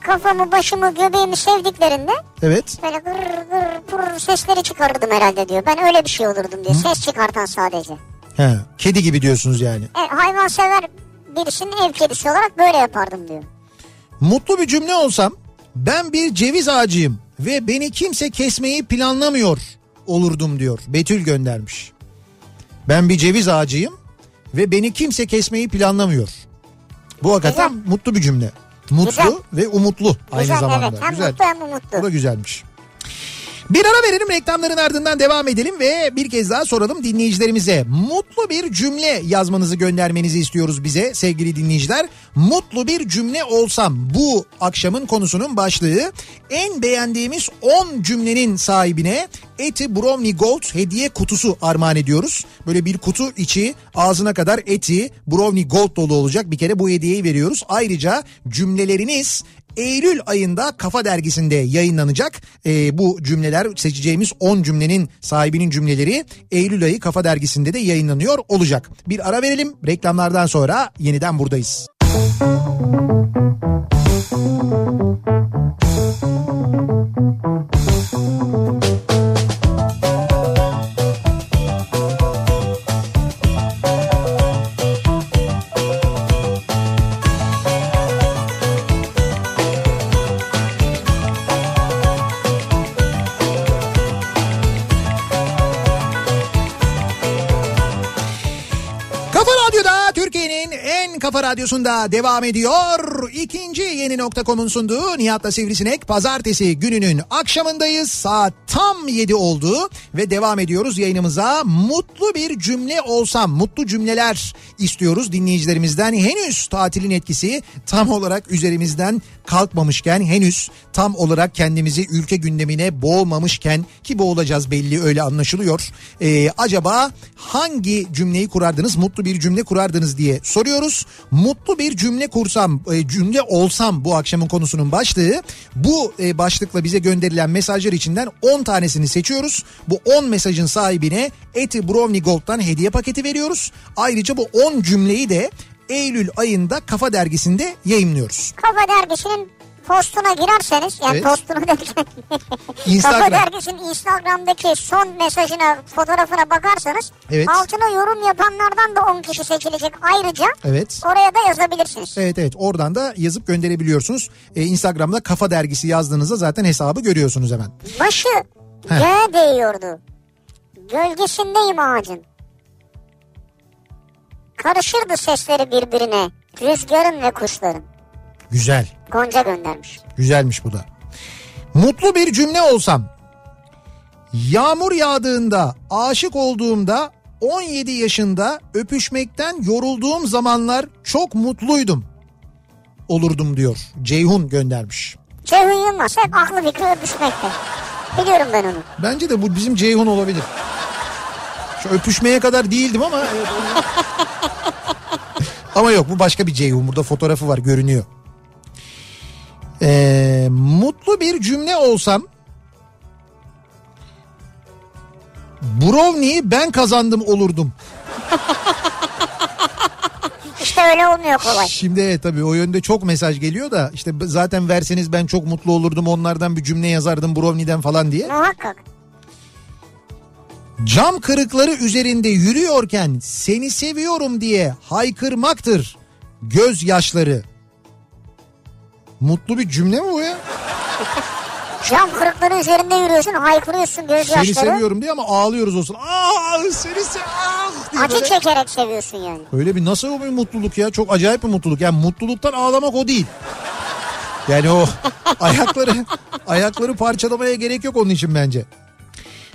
S2: kafamı başımı göbeğimi sevdiklerinde
S1: Evet.
S2: böyle gır gır pır sesleri çıkarırdım herhalde diyor. Ben öyle bir şey olurdum diyor. Ses çıkartan sadece.
S1: He. Kedi gibi diyorsunuz yani.
S2: E, hayvan sever birisinin ev kedisi olarak böyle yapardım diyor.
S1: Mutlu bir cümle olsam ben bir ceviz ağacıyım ve beni kimse kesmeyi planlamıyor olurdum diyor. Betül göndermiş. Ben bir ceviz ağacıyım ve beni kimse kesmeyi planlamıyor. Bu hakikaten
S2: Güzel.
S1: mutlu bir cümle. Mutlu
S2: Güzel.
S1: ve umutlu aynı
S2: güzel
S1: zamanda.
S2: evet hem
S1: Güzel.
S2: mutlu hem umutlu.
S1: Bu da güzelmiş. Bir ara verelim reklamların ardından devam edelim ve bir kez daha soralım dinleyicilerimize. Mutlu bir cümle yazmanızı göndermenizi istiyoruz bize sevgili dinleyiciler. Mutlu bir cümle olsam bu akşamın konusunun başlığı en beğendiğimiz 10 cümlenin sahibine Eti Bromley Gold hediye kutusu armağan ediyoruz. Böyle bir kutu içi ağzına kadar Eti Brownie Gold dolu olacak. Bir kere bu hediyeyi veriyoruz. Ayrıca cümleleriniz Eylül ayında Kafa Dergisi'nde yayınlanacak. Ee, bu cümleler seçeceğimiz 10 cümlenin sahibinin cümleleri Eylül ayı Kafa Dergisi'nde de yayınlanıyor olacak. Bir ara verelim reklamlardan sonra yeniden buradayız. Kafa Radyo'da Türkiye'nin en kafa radyosunda devam ediyor. İkinci yeni nokta.com'un sunduğu Nihat'la Sivrisinek pazartesi gününün akşamındayız. Saat tam 7 oldu ve devam ediyoruz yayınımıza. Mutlu bir cümle olsam, mutlu cümleler istiyoruz dinleyicilerimizden. Henüz tatilin etkisi tam olarak üzerimizden kalkmamışken, henüz tam olarak kendimizi ülke gündemine boğmamışken ki boğulacağız belli öyle anlaşılıyor. Ee, acaba hangi cümleyi kurardınız? Mutlu bir cümle kurardınız diye soruyoruz. Mutlu bir cümle kursam, e, cümle olsam bu akşamın konusunun başlığı. Bu e, başlıkla bize gönderilen mesajlar içinden 10 tanesini seçiyoruz. Bu 10 mesajın sahibine Eti Brownie Gold'dan hediye paketi veriyoruz. Ayrıca bu 10 cümleyi de Eylül ayında Kafa Dergisi'nde yayınlıyoruz.
S2: Kafa dergisinin postuna girerseniz yani
S1: Evet.
S2: postuna derken Kafa
S1: Instagram.
S2: dergisinin Instagram'daki son mesajına fotoğrafına bakarsanız
S1: Evet.
S2: altına yorum yapanlardan da 10 kişi seçilecek ayrıca
S1: Evet.
S2: oraya da yazabilirsiniz.
S1: Evet evet oradan da yazıp gönderebiliyorsunuz. Ee, Instagram'da Kafa Dergisi yazdığınızda zaten hesabı görüyorsunuz hemen.
S2: Başı göğe değiyordu. Gölgesindeyim ağacın. Karışırdı sesleri birbirine rüzgarın ve kuşların.
S1: Güzel.
S2: Gonca göndermiş.
S1: Güzelmiş bu da. Mutlu bir cümle olsam. Yağmur yağdığında, aşık olduğumda, 17 yaşında öpüşmekten yorulduğum zamanlar çok mutluydum. Olurdum diyor. Ceyhun göndermiş.
S2: Ceyhun Yılmaz hep aklı fikri öpüşmekte. Biliyorum ben onu.
S1: Bence de bu bizim Ceyhun olabilir. Şu öpüşmeye kadar değildim ama... ama yok bu başka bir Ceyhun. Burada fotoğrafı var görünüyor. Ee, mutlu bir cümle olsam... Brownie'yi ben kazandım olurdum.
S2: İşte öyle olmuyor kolay.
S1: Şimdi evet tabii o yönde çok mesaj geliyor da işte b- zaten verseniz ben çok mutlu olurdum onlardan bir cümle yazardım Brownie'den falan diye.
S2: Muhakkak.
S1: Cam kırıkları üzerinde yürüyorken seni seviyorum diye haykırmaktır gözyaşları. Mutlu bir cümle mi bu ya?
S2: Cam kırıkları üzerinde yürüyorsun, haykırıyorsun
S1: Seni
S2: gözyaşları.
S1: seviyorum diye ama ağlıyoruz olsun. Aa seni se ah diye
S2: Acı
S1: böyle.
S2: çekerek seviyorsun yani.
S1: Öyle bir nasıl bir mutluluk ya? Çok acayip bir mutluluk. Yani mutluluktan ağlamak o değil. Yani o ayakları ayakları parçalamaya gerek yok onun için bence.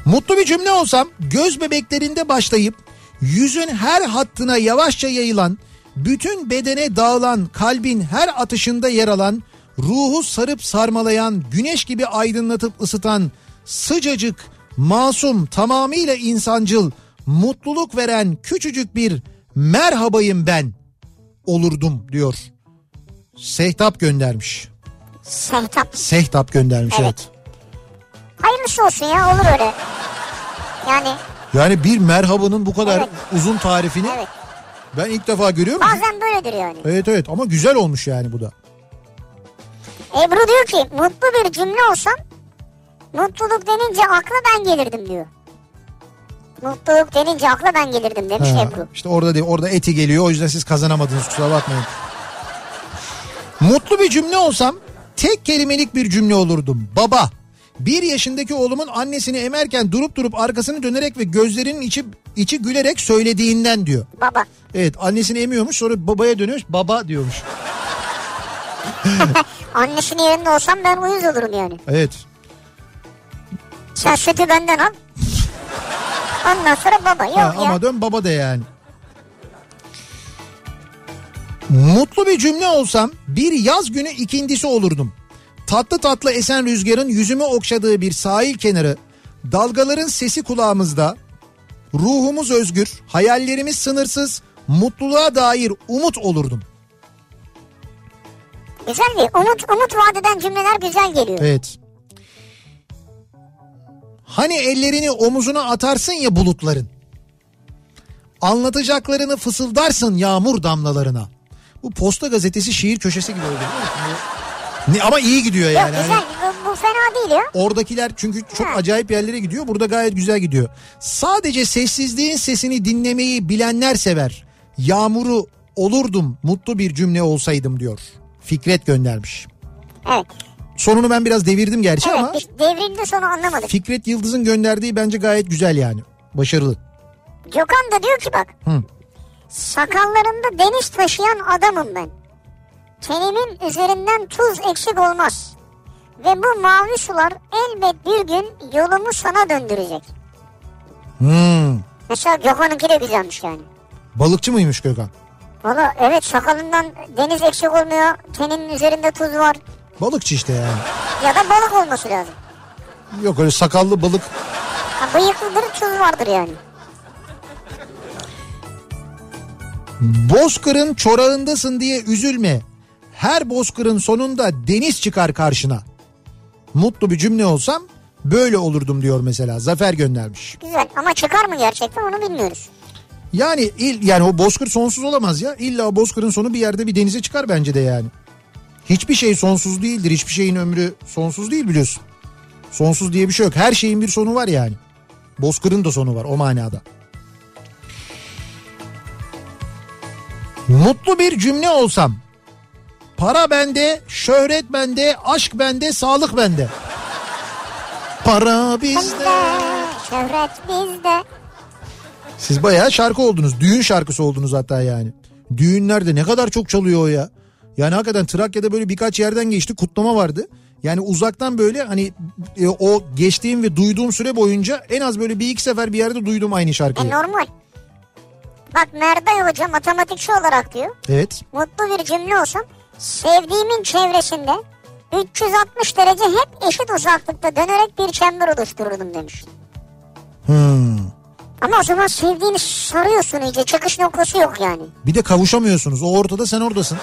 S1: Mutlu bir cümle olsam göz bebeklerinde başlayıp yüzün her hattına yavaşça yayılan, bütün bedene dağılan, kalbin her atışında yer alan, ruhu sarıp sarmalayan, güneş gibi aydınlatıp ısıtan, sıcacık, masum, tamamıyla insancıl, mutluluk veren küçücük bir merhabayım ben olurdum diyor. Sehtap göndermiş.
S2: Sehtap.
S1: Sehtap göndermiş evet.
S2: Evet. Hayırlısı olsun ya olur öyle. Yani
S1: Yani bir merhabanın bu kadar
S2: Evet.
S1: uzun tarifini
S2: Evet.
S1: ben ilk defa görüyorum.
S2: bazen böyledir yani.
S1: Evet evet ama güzel olmuş yani bu da.
S2: Ebru diyor ki mutlu bir cümle olsam mutluluk denince akla ben gelirdim diyor. Mutluluk denince akla ben gelirdim demiş
S1: Ha,
S2: Ebru.
S1: işte orada değil, orada eti geliyor o yüzden siz kazanamadınız kusura bakmayın. Mutlu bir cümle olsam tek kelimelik bir cümle olurdum. Baba. Bir yaşındaki oğlumun annesini emerken durup durup arkasını dönerek ve gözlerinin içi içi gülerek söylediğinden diyor.
S2: Baba.
S1: Evet annesini emiyormuş sonra babaya dönüyormuş baba diyormuş.
S2: Annesinin yerinde olsam ben uyuz olurum yani.
S1: Evet.
S2: Sen sütü benden al. Ondan sonra baba yok
S1: Ha,
S2: ya.
S1: ama dön baba de yani. Mutlu bir cümle olsam bir yaz günü ikindisi olurdum. Tatlı tatlı esen rüzgarın yüzümü okşadığı bir sahil kenarı, dalgaların sesi kulağımızda, ruhumuz özgür, hayallerimiz sınırsız, mutluluğa dair umut olurdum.
S2: Güzel bir umut, umut vadeden cümleler güzel geliyor.
S1: Evet. Hani ellerini omuzuna atarsın ya bulutların. Anlatacaklarını fısıldarsın yağmur damlalarına. Bu posta gazetesi şiir köşesi gibi oldu. değil mi? Ne, ama iyi gidiyor
S2: Yok
S1: yani.
S2: güzel
S1: Hani
S2: bu, bu fena değil ya.
S1: oradakiler çünkü çok
S2: Ha.
S1: acayip yerlere gidiyor. Burada gayet güzel gidiyor. Sadece sessizliğin sesini dinlemeyi bilenler sever. Yağmuru olurdum mutlu bir cümle olsaydım diyor. Fikret göndermiş.
S2: Evet.
S1: Sonunu ben biraz devirdim gerçi
S2: Evet
S1: ama.
S2: biz devrildi sonu anlamadık.
S1: Fikret Yıldız'ın gönderdiği bence gayet güzel yani. Başarılı.
S2: Gökhan da diyor ki bak.
S1: Hı.
S2: Sakallarımda deniz taşıyan adamım ben. Tenimin üzerinden tuz eksik olmaz. Ve bu mavi sular elbet bir gün yolumu sana döndürecek.
S1: Hmm.
S2: Mesela Gökhan'ınki de güzelmiş yani.
S1: Balıkçı mıymış Gökhan?
S2: Valla evet sakalından deniz eksik olmuyor. Teninin üzerinde tuz var.
S1: Balıkçı işte yani.
S2: Ya da balık olması lazım.
S1: Yok öyle sakallı balık.
S2: Ha, bıyıklıdır tuz vardır yani.
S1: Bozkır'ın çorağındasın diye üzülme. Her bozkırın sonunda deniz çıkar karşına. Mutlu bir cümle olsam böyle olurdum diyor mesela. Zafer göndermiş.
S2: Güzel ama çıkar mı gerçekten onu bilmiyoruz.
S1: Yani il, yani o bozkır sonsuz olamaz ya. İlla o bozkırın sonu bir yerde bir denize çıkar bence de yani. Hiçbir şey sonsuz değildir. Hiçbir şeyin ömrü sonsuz değil biliyorsun. Sonsuz diye bir şey yok. Her şeyin bir sonu var yani. Bozkırın da sonu var o manada. Mutlu bir cümle olsam. Para bende, şöhret bende, aşk bende, sağlık bende. Para bizde.
S2: Şöhret bizde.
S1: Siz bayağı şarkı oldunuz. Düğün şarkısı oldunuz hatta yani. Düğünlerde ne kadar çok çalıyor o ya. Yani hakikaten Trakya'da böyle birkaç yerden geçti. Kutlama vardı. Yani uzaktan böyle hani e, o geçtiğim ve duyduğum süre boyunca en az böyle bir iki sefer bir yerde duydum aynı
S2: E
S1: şarkıyı.
S2: normal. Bak Merday Hoca matematikçi olarak diyor.
S1: Evet.
S2: Mutlu bir cümle olsun. Sevdiğimin çevresinde 360 derece hep eşit uzaklıkta dönerek bir çember oluştururdum demiş.
S1: Hmm.
S2: Ama o zaman sevdiğini sarıyorsun iyice. Çıkış noktası yok yani.
S1: Bir de kavuşamıyorsunuz. O ortada sen oradasın.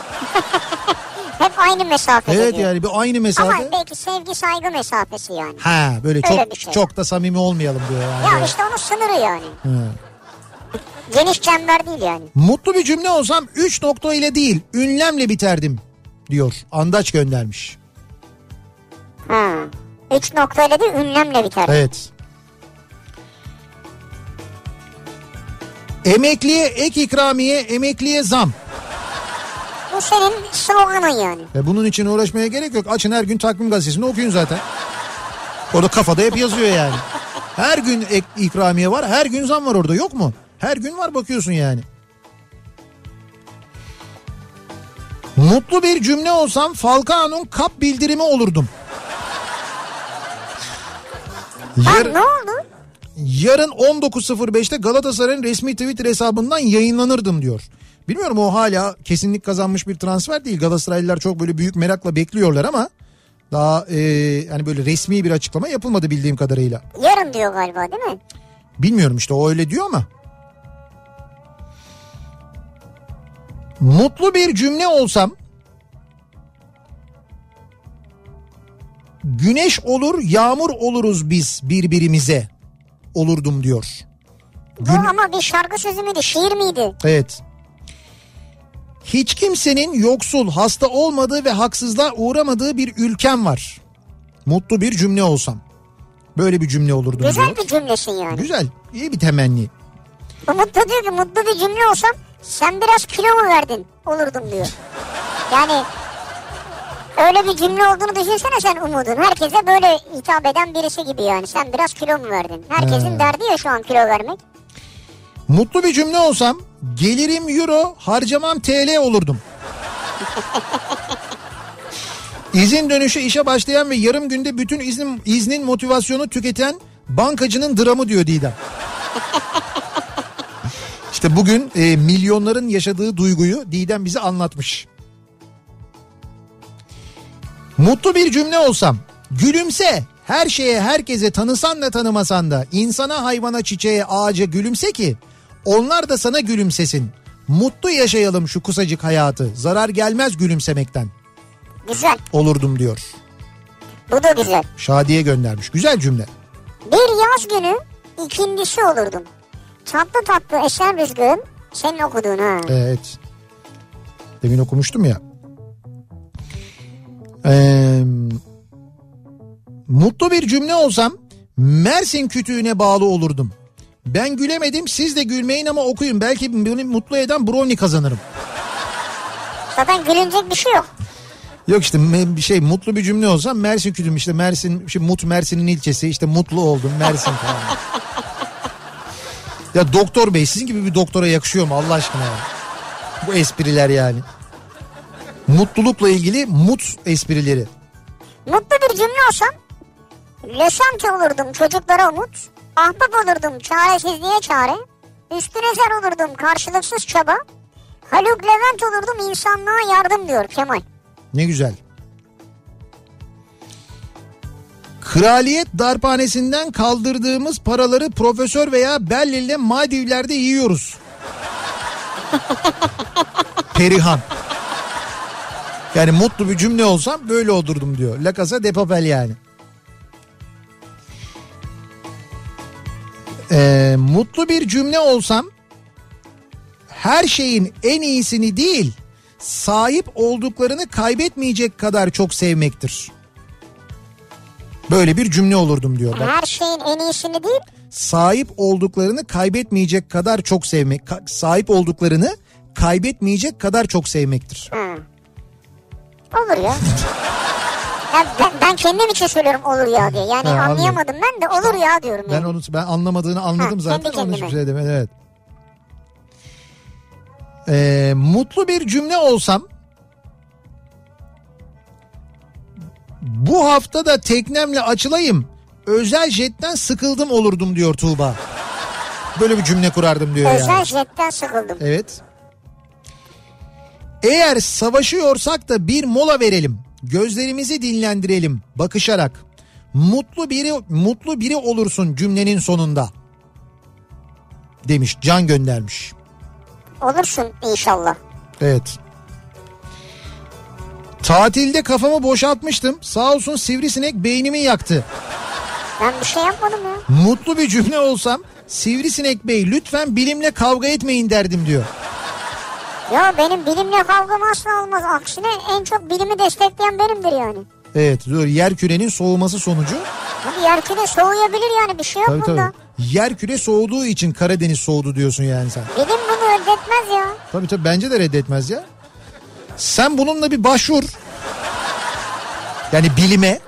S2: Hep aynı mesafede
S1: Evet
S2: diyor.
S1: yani bir aynı
S2: Ama
S1: mesafe.
S2: belki sevgi saygı mesafesi yani.
S1: Ha böyle
S2: Öyle
S1: çok
S2: bir şey.
S1: çok da samimi olmayalım diyor yani.
S2: Ya işte onun sınırı yani.
S1: Hmm.
S2: Geniş çember değil yani.
S1: Mutlu bir cümle olsam 3 nokta ile değil ünlemle biterdim diyor. Andaç göndermiş.
S2: Ha. Üç noktayla değil ünlemle biter.
S1: Evet. Emekliye ek ikramiye, emekliye zam.
S2: Bu senin sloganın yani.
S1: Ve E, bunun için uğraşmaya gerek yok. Açın her gün takvim gazetesini okuyun zaten. Orada kafada hep yazıyor yani. Her gün ek ikramiye var, her gün zam var orada yok mu? Her gün var bakıyorsun yani. Mutlu bir cümle olsam Falcao'nun kap bildirimi olurdum. Yar-
S2: Lan ne oldu?
S1: Yarın 19.05'te Galatasaray'ın resmi Twitter hesabından yayınlanırdım diyor. Bilmiyorum o hala kesinlik kazanmış bir transfer değil. Galatasaraylılar çok böyle büyük merakla bekliyorlar ama daha e, hani böyle resmi bir açıklama yapılmadı bildiğim kadarıyla.
S2: Yarın diyor galiba değil mi?
S1: Bilmiyorum işte o öyle diyor ama. Mutlu bir cümle olsam güneş olur yağmur oluruz biz birbirimize olurdum diyor.
S2: Bu ama bir şarkı sözü müydü? Şiir miydi?
S1: Evet. Hiç kimsenin yoksul, hasta olmadığı ve haksızlığa uğramadığı bir ülkem var. Mutlu bir cümle olsam. Böyle bir cümle olurdu.
S2: Güzel bir cümlesin yani.
S1: Güzel. iyi bir temenni.
S2: Bu Mutlu diyor ki mutlu bir cümle olsam sen biraz kilo mu verdin olurdum diyor. Yani öyle bir cümle olduğunu düşünsene sen Umud'un. Herkese böyle hitap eden birisi gibi yani. Sen biraz kilo mu verdin? Herkesin derdi ya şu an kilo vermek.
S1: Mutlu bir cümle olsam gelirim euro, harcamam TL olurdum. İzin dönüşü işe başlayan ve yarım günde bütün iznin, iznin motivasyonu tüketen bankacının dramı diyor Didem. işte bugün e, milyonların yaşadığı duyguyu Didem bize anlatmış. Mutlu bir cümle olsam. Gülümse. Her şeye herkese tanısan da tanımasan da insana hayvana çiçeğe ağaca gülümse ki onlar da sana gülümsesin. Mutlu yaşayalım şu kısacık hayatı. Zarar gelmez gülümsemekten
S2: Güzel.
S1: olurdum diyor.
S2: Bu da güzel.
S1: Şadiye göndermiş. Güzel cümle.
S2: Bir yaz günü ikindisi olurdum. Tatlı tatlı esen rüzgarın senin okuduğun ha.
S1: Evet. Demin okumuştum ya. Ee, mutlu bir cümle olsam Mersin kütüğüne bağlı olurdum. Ben gülemedim siz de gülmeyin ama okuyun. Belki beni mutlu eden brownie kazanırım.
S2: Zaten gülünecek bir şey yok.
S1: Yok işte me- bir şey mutlu bir cümle olsam Mersin kütüğüm işte Mersin şimdi Mut Mersin'in ilçesi işte mutlu oldum Mersin falan. ya doktor bey sizin gibi bir doktora yakışıyor mu Allah aşkına ya? Bu espriler yani. Mutlulukla ilgili mut esprileri.
S2: Mutlu bir cümle olsam Lösanti olurdum çocuklara umut. Ahbap olurdum çaresizliğe çare. Üstüne ser olurdum karşılıksız çaba. Haluk Levent olurdum insanlığa yardım diyor Kemal.
S1: Ne güzel. Kraliyet darphanesinden kaldırdığımız paraları profesör veya Berlin'de Maldivler'de yiyoruz. Perihan. Yani mutlu bir cümle olsam böyle olurdum diyor. La Casa de Papel yani. Ee, mutlu bir cümle olsam her şeyin en iyisini değil sahip olduklarını kaybetmeyecek kadar çok sevmektir. Böyle bir cümle olurdum diyor. Bak,
S2: Her şeyin en iyisini değil
S1: sahip olduklarını kaybetmeyecek kadar çok sevmek, ka- sahip olduklarını kaybetmeyecek kadar çok sevmektir.
S2: olur ya. Ya ben, ben kendim için söylüyorum olur ya diye. Yani
S1: Ha, anladım.
S2: anlayamadım ben de olur ya diyorum.
S1: Ben
S2: yani.
S1: onu ben anlamadığını anladım
S2: Ha,
S1: zaten.
S2: kendi
S1: Onun hiçbir
S2: kendime.
S1: şey demedim evet. Ee, mutlu bir cümle olsam bu hafta da teknemle açılayım. Özel jetten sıkıldım olurdum diyor Tuğba. Böyle bir cümle kurardım diyor yani.
S2: Özel jetten sıkıldım.
S1: Evet. Eğer savaşıyorsak da bir mola verelim. Gözlerimizi dinlendirelim bakışarak. Mutlu biri mutlu biri olursun cümlenin sonunda. Demiş Can göndermiş.
S2: Olursun inşallah.
S1: Evet. Tatilde kafamı boşaltmıştım. Sağ olsun sivrisinek beynimi yaktı.
S2: Ben bir şey yapmadım ya.
S1: Mutlu bir cümle olsam sivrisinek bey lütfen bilimle kavga etmeyin derdim diyor.
S2: Ya benim bilimle kavgam asla olmaz. Aksine en çok bilimi destekleyen benimdir yani.
S1: Evet dur yer kürenin soğuması sonucu
S2: Abi yerkine soğuyabilir yani bir şey yok
S1: Tabii
S2: bunda.
S1: tabii. Yer küre soğuduğu için Karadeniz soğudu diyorsun yani sen.
S2: Bilim bunu reddetmez ya.
S1: Tabii tabii bence de reddetmez ya. Sen bununla bir başvur. Yani bilime.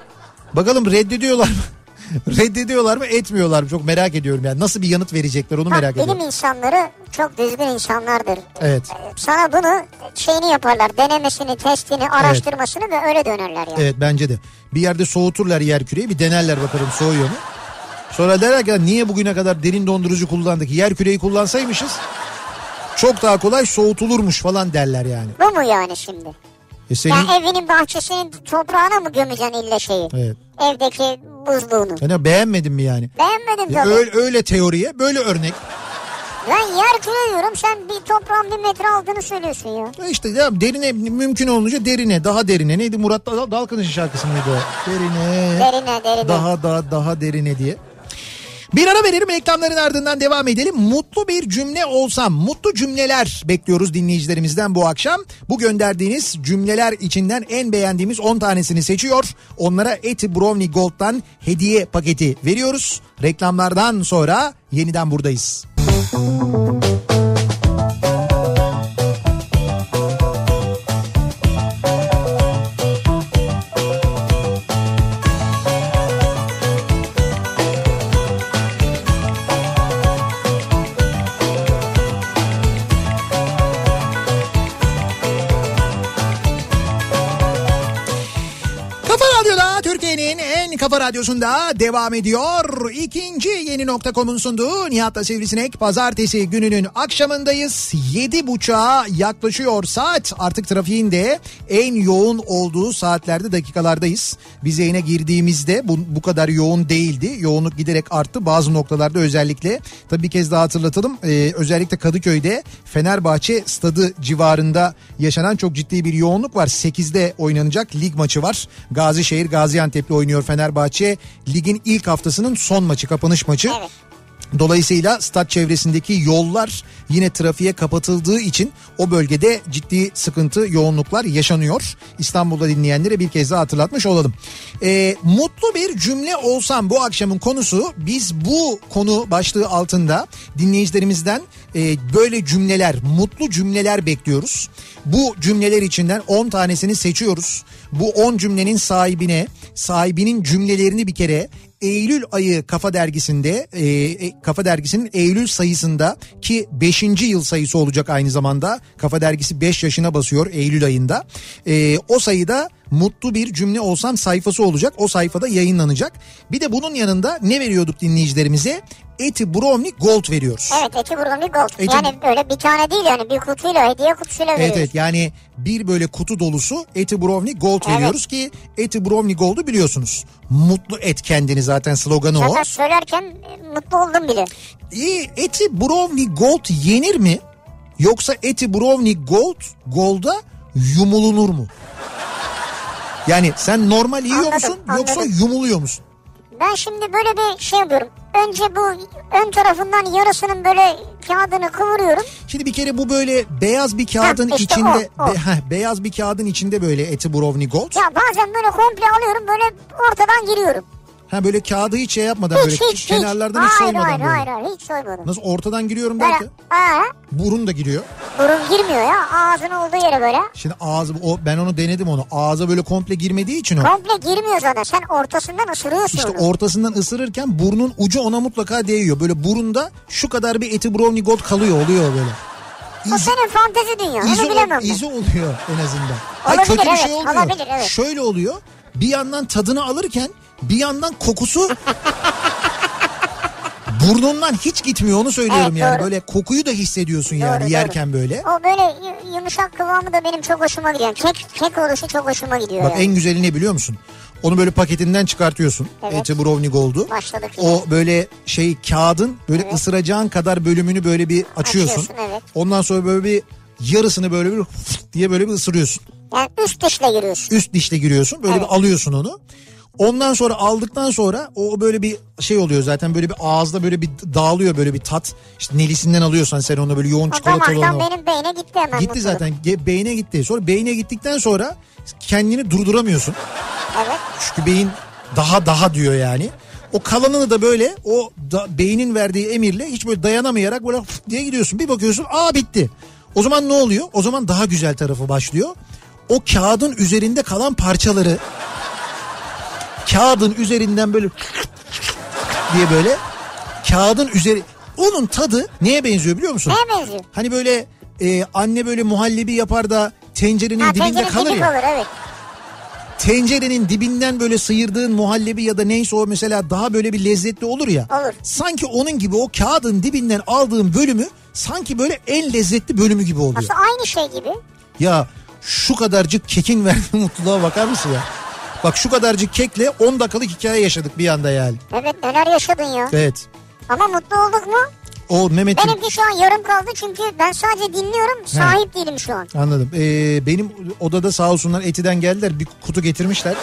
S1: Bakalım reddediyorlar mı? reddediyorlar mı etmiyorlar mı? Çok merak ediyorum yani. Nasıl bir yanıt verecekler onu
S2: Bak,
S1: merak
S2: bilim
S1: ediyorum.
S2: insanları çok düzgün insanlardır. Ee,
S1: Evet.
S2: Sana bunu şeyini yaparlar. Denemesini, testini, araştırmasını ve öyle dönerler yani.
S1: Evet bence de. Bir yerde soğuturlar yer küreyi bir denerler bakalım soğuyor mu? Sonra derler ki "Ya niye bugüne kadar derin dondurucu kullandık? Yer küreyi kullansaymışız çok daha kolay soğutulurmuş falan derler yani.
S2: Bu mu yani şimdi?
S1: E
S2: Ya
S1: senin...
S2: evinin bahçesinin toprağına mı gömeceksin illa şeyi?
S1: Evet.
S2: Evdeki buzluğunu.
S1: Yani beğenmedin mi yani?
S2: Beğenmedim
S1: Ya
S2: tabii.
S1: öyle, öyle teoriye böyle örnek.
S2: Ben yer küre diyorum sen bir toprağın bir metre aldığını söylüyorsun ya.
S1: Ya İşte ya derine mümkün olunca derine daha derine neydi Murat Dal- Dalkılıç'ın şarkısı mıydı o? Derine.
S2: Derine derine.
S1: Daha daha daha derine diye. Bir ara verelim reklamların ardından devam edelim. Mutlu bir cümle olsam, mutlu cümleler bekliyoruz dinleyicilerimizden bu akşam. Bu gönderdiğiniz cümleler içinden en beğendiğimiz 10 tanesini seçiyor. Onlara Eti Brownie Gold'dan hediye paketi veriyoruz. Reklamlardan sonra yeniden buradayız. Kafa Radyosu'nda devam ediyor. İkinci yeni nokta.com'un sunduğu Nihat'la Sivrisinek pazartesi gününün akşamındayız. Yedi buçuğa yaklaşıyor saat. Artık trafiğin de en yoğun olduğu saatlerde dakikalardayız. Biz yayına girdiğimizde bu, bu kadar yoğun değildi. Yoğunluk giderek arttı. Bazı noktalarda özellikle tabii bir kez daha hatırlatalım. Ee, özellikle Kadıköy'de Fenerbahçe stadı civarında yaşanan çok ciddi bir yoğunluk var. 8'de oynanacak lig maçı var. Gazişehir Gaziantep'le oynuyor Fenerbahçe. Ligin ilk haftasının son maçı, kapanış maçı.
S2: Evet.
S1: Dolayısıyla stat çevresindeki yollar yine trafiğe kapatıldığı için o bölgede ciddi sıkıntı, yoğunluklar yaşanıyor. İstanbul'da dinleyenlere bir kez daha hatırlatmış olalım. Ee, mutlu bir cümle olsam bu akşamın konusu biz bu konu başlığı altında dinleyicilerimizden e, böyle cümleler, mutlu cümleler bekliyoruz. Bu cümleler içinden 10 tanesini seçiyoruz. Bu 10 cümlenin sahibine, sahibinin cümlelerini bir kere Eylül ayı Kafa Dergisi'nde e, e, Kafa Dergisi'nin Eylül sayısında ki 5. yıl sayısı olacak aynı zamanda. Kafa Dergisi 5 yaşına basıyor Eylül ayında. E, o sayıda mutlu bir cümle olsam sayfası olacak. O sayfada yayınlanacak. Bir de bunun yanında ne veriyorduk dinleyicilerimize? Eti Brownie Gold veriyoruz.
S2: Evet eti buradan bir gold.
S1: Eti-
S2: Yani öyle bir tane değil yani bir kutuyla hediye kutusuyla
S1: Evet
S2: veriyoruz.
S1: evet yani bir böyle kutu dolusu Eti Brownie Gold
S2: Evet.
S1: veriyoruz ki Eti Brownie Gold'u biliyorsunuz. Mutlu et kendini zaten sloganı o.
S2: Zaten söylerken e, mutlu oldum bile.
S1: İyi eti brownie gold yenir mi? Yoksa eti brownie gold golda yumulunur mu? Yani sen normal yiyor
S2: Anladım,
S1: musun yoksa
S2: anladım.
S1: yumuluyor musun?
S2: Ben şimdi böyle bir şey yapıyorum. Önce bu ön tarafından yarısının böyle kağıdını kıvırıyorum.
S1: Şimdi bir kere bu böyle beyaz bir kağıdın
S2: Heh, işte
S1: içinde
S2: o, o.
S1: be- heh, beyaz bir kağıdın içinde böyle eti brownie gold.
S2: Ya bazen böyle komple alıyorum böyle ortadan giriyorum.
S1: Ha böyle kağıdı hiç şey yapmadan
S2: Hiç
S1: böyle
S2: hiç hiç.
S1: kenarlardan hiç,
S2: hayır,
S1: soymadan
S2: hayır,
S1: böyle.
S2: hayır hayır hiç soymadım.
S1: Nasıl ortadan giriyorum
S2: Böyle
S1: derken
S2: aa,
S1: burun da giriyor.
S2: burun girmiyor ya ağzın olduğu yere böyle.
S1: Şimdi ağzı o ben onu denedim onu. Ağza böyle komple girmediği için o.
S2: Komple girmiyor zaten sen ortasından ısırıyorsun
S1: İşte
S2: onu.
S1: ortasından ısırırken burnun ucu ona mutlaka değiyor. Böyle burunda şu kadar bir eti brownie gold kalıyor oluyor böyle.
S2: O senin fantezi dünya onu bilemem ben.
S1: izi oluyor en azından. Hayır,
S2: Olabilir,
S1: kötü bir
S2: evet,
S1: şey olmuyor.
S2: olabilir, evet.
S1: Şöyle oluyor. Bir yandan tadını alırken bir yandan kokusu burnundan hiç gitmiyor onu söylüyorum
S2: Evet,
S1: yani.
S2: doğru.
S1: Böyle kokuyu da hissediyorsun yani
S2: Doğru,
S1: yerken böyle.
S2: O böyle yu- yumuşak kıvamı da benim çok hoşuma gidiyor. Kek, kek oluşu çok hoşuma gidiyor.
S1: Bak
S2: yani.
S1: en güzeli ne biliyor musun? Onu böyle paketinden çıkartıyorsun.
S2: Evet.
S1: Eti brownie gold'u.
S2: Başladık yine.
S1: O böyle şey kağıdın böyle ısıracağın kadar bölümünü böyle bir açıyorsun.
S2: Açıyorsun, evet.
S1: Ondan sonra böyle bir yarısını böyle bir fıt diye böyle bir ısırıyorsun.
S2: Yani üst dişle giriyorsun.
S1: Üst dişle giriyorsun. Böyle
S2: Evet.
S1: bir alıyorsun onu. Ondan sonra aldıktan sonra o böyle bir şey oluyor zaten böyle bir ağızda böyle bir dağılıyor böyle bir tat. İşte nelisinden alıyorsan sen onu böyle yoğun
S2: O
S1: çikolatalı
S2: damaktan
S1: onu.
S2: benim beyne gitti hemen
S1: Gitti
S2: mutluluk.
S1: zaten Ge- beyne gitti. Sonra beyne gittikten sonra kendini durduramıyorsun.
S2: Evet.
S1: Çünkü beyin daha daha diyor yani. O kalanını da böyle o da, beynin verdiği emirle hiç böyle dayanamayarak böyle fıt diye gidiyorsun. Bir bakıyorsun aa bitti. O zaman ne oluyor? O zaman daha güzel tarafı başlıyor. O kağıdın üzerinde kalan parçaları kağıdın üzerinden böyle diye böyle kağıdın üzeri onun tadı neye benziyor biliyor musun?
S2: Neye benziyor?
S1: Hani böyle e, anne böyle muhallebi yapar da tencerenin
S2: Ha,
S1: dibinde
S2: tencerenin
S1: kalır
S2: dibi
S1: ya
S2: kalır, evet.
S1: tencerenin dibinden böyle sıyırdığın muhallebi ya da neyse o mesela daha böyle bir lezzetli olur ya.
S2: Olur.
S1: Sanki onun gibi o kağıdın dibinden aldığın bölümü sanki böyle en lezzetli bölümü gibi oluyor.
S2: Aslında aynı şey gibi.
S1: Ya şu kadarcık kekin verdiği mutluluğa bakar mısın ya? Bak şu kadarcık kekle 10 dakikalık hikaye yaşadık bir anda yani.
S2: Evet neler yaşadın ya.
S1: Evet.
S2: Ama mutlu olduk mu?
S1: O Mehmet'in...
S2: Benimki şu an yarım kaldı çünkü ben sadece dinliyorum sahip değilim şu an.
S1: Anladım. Ee, benim odada sağ olsunlar Eti'den geldiler. Bir kutu getirmişler.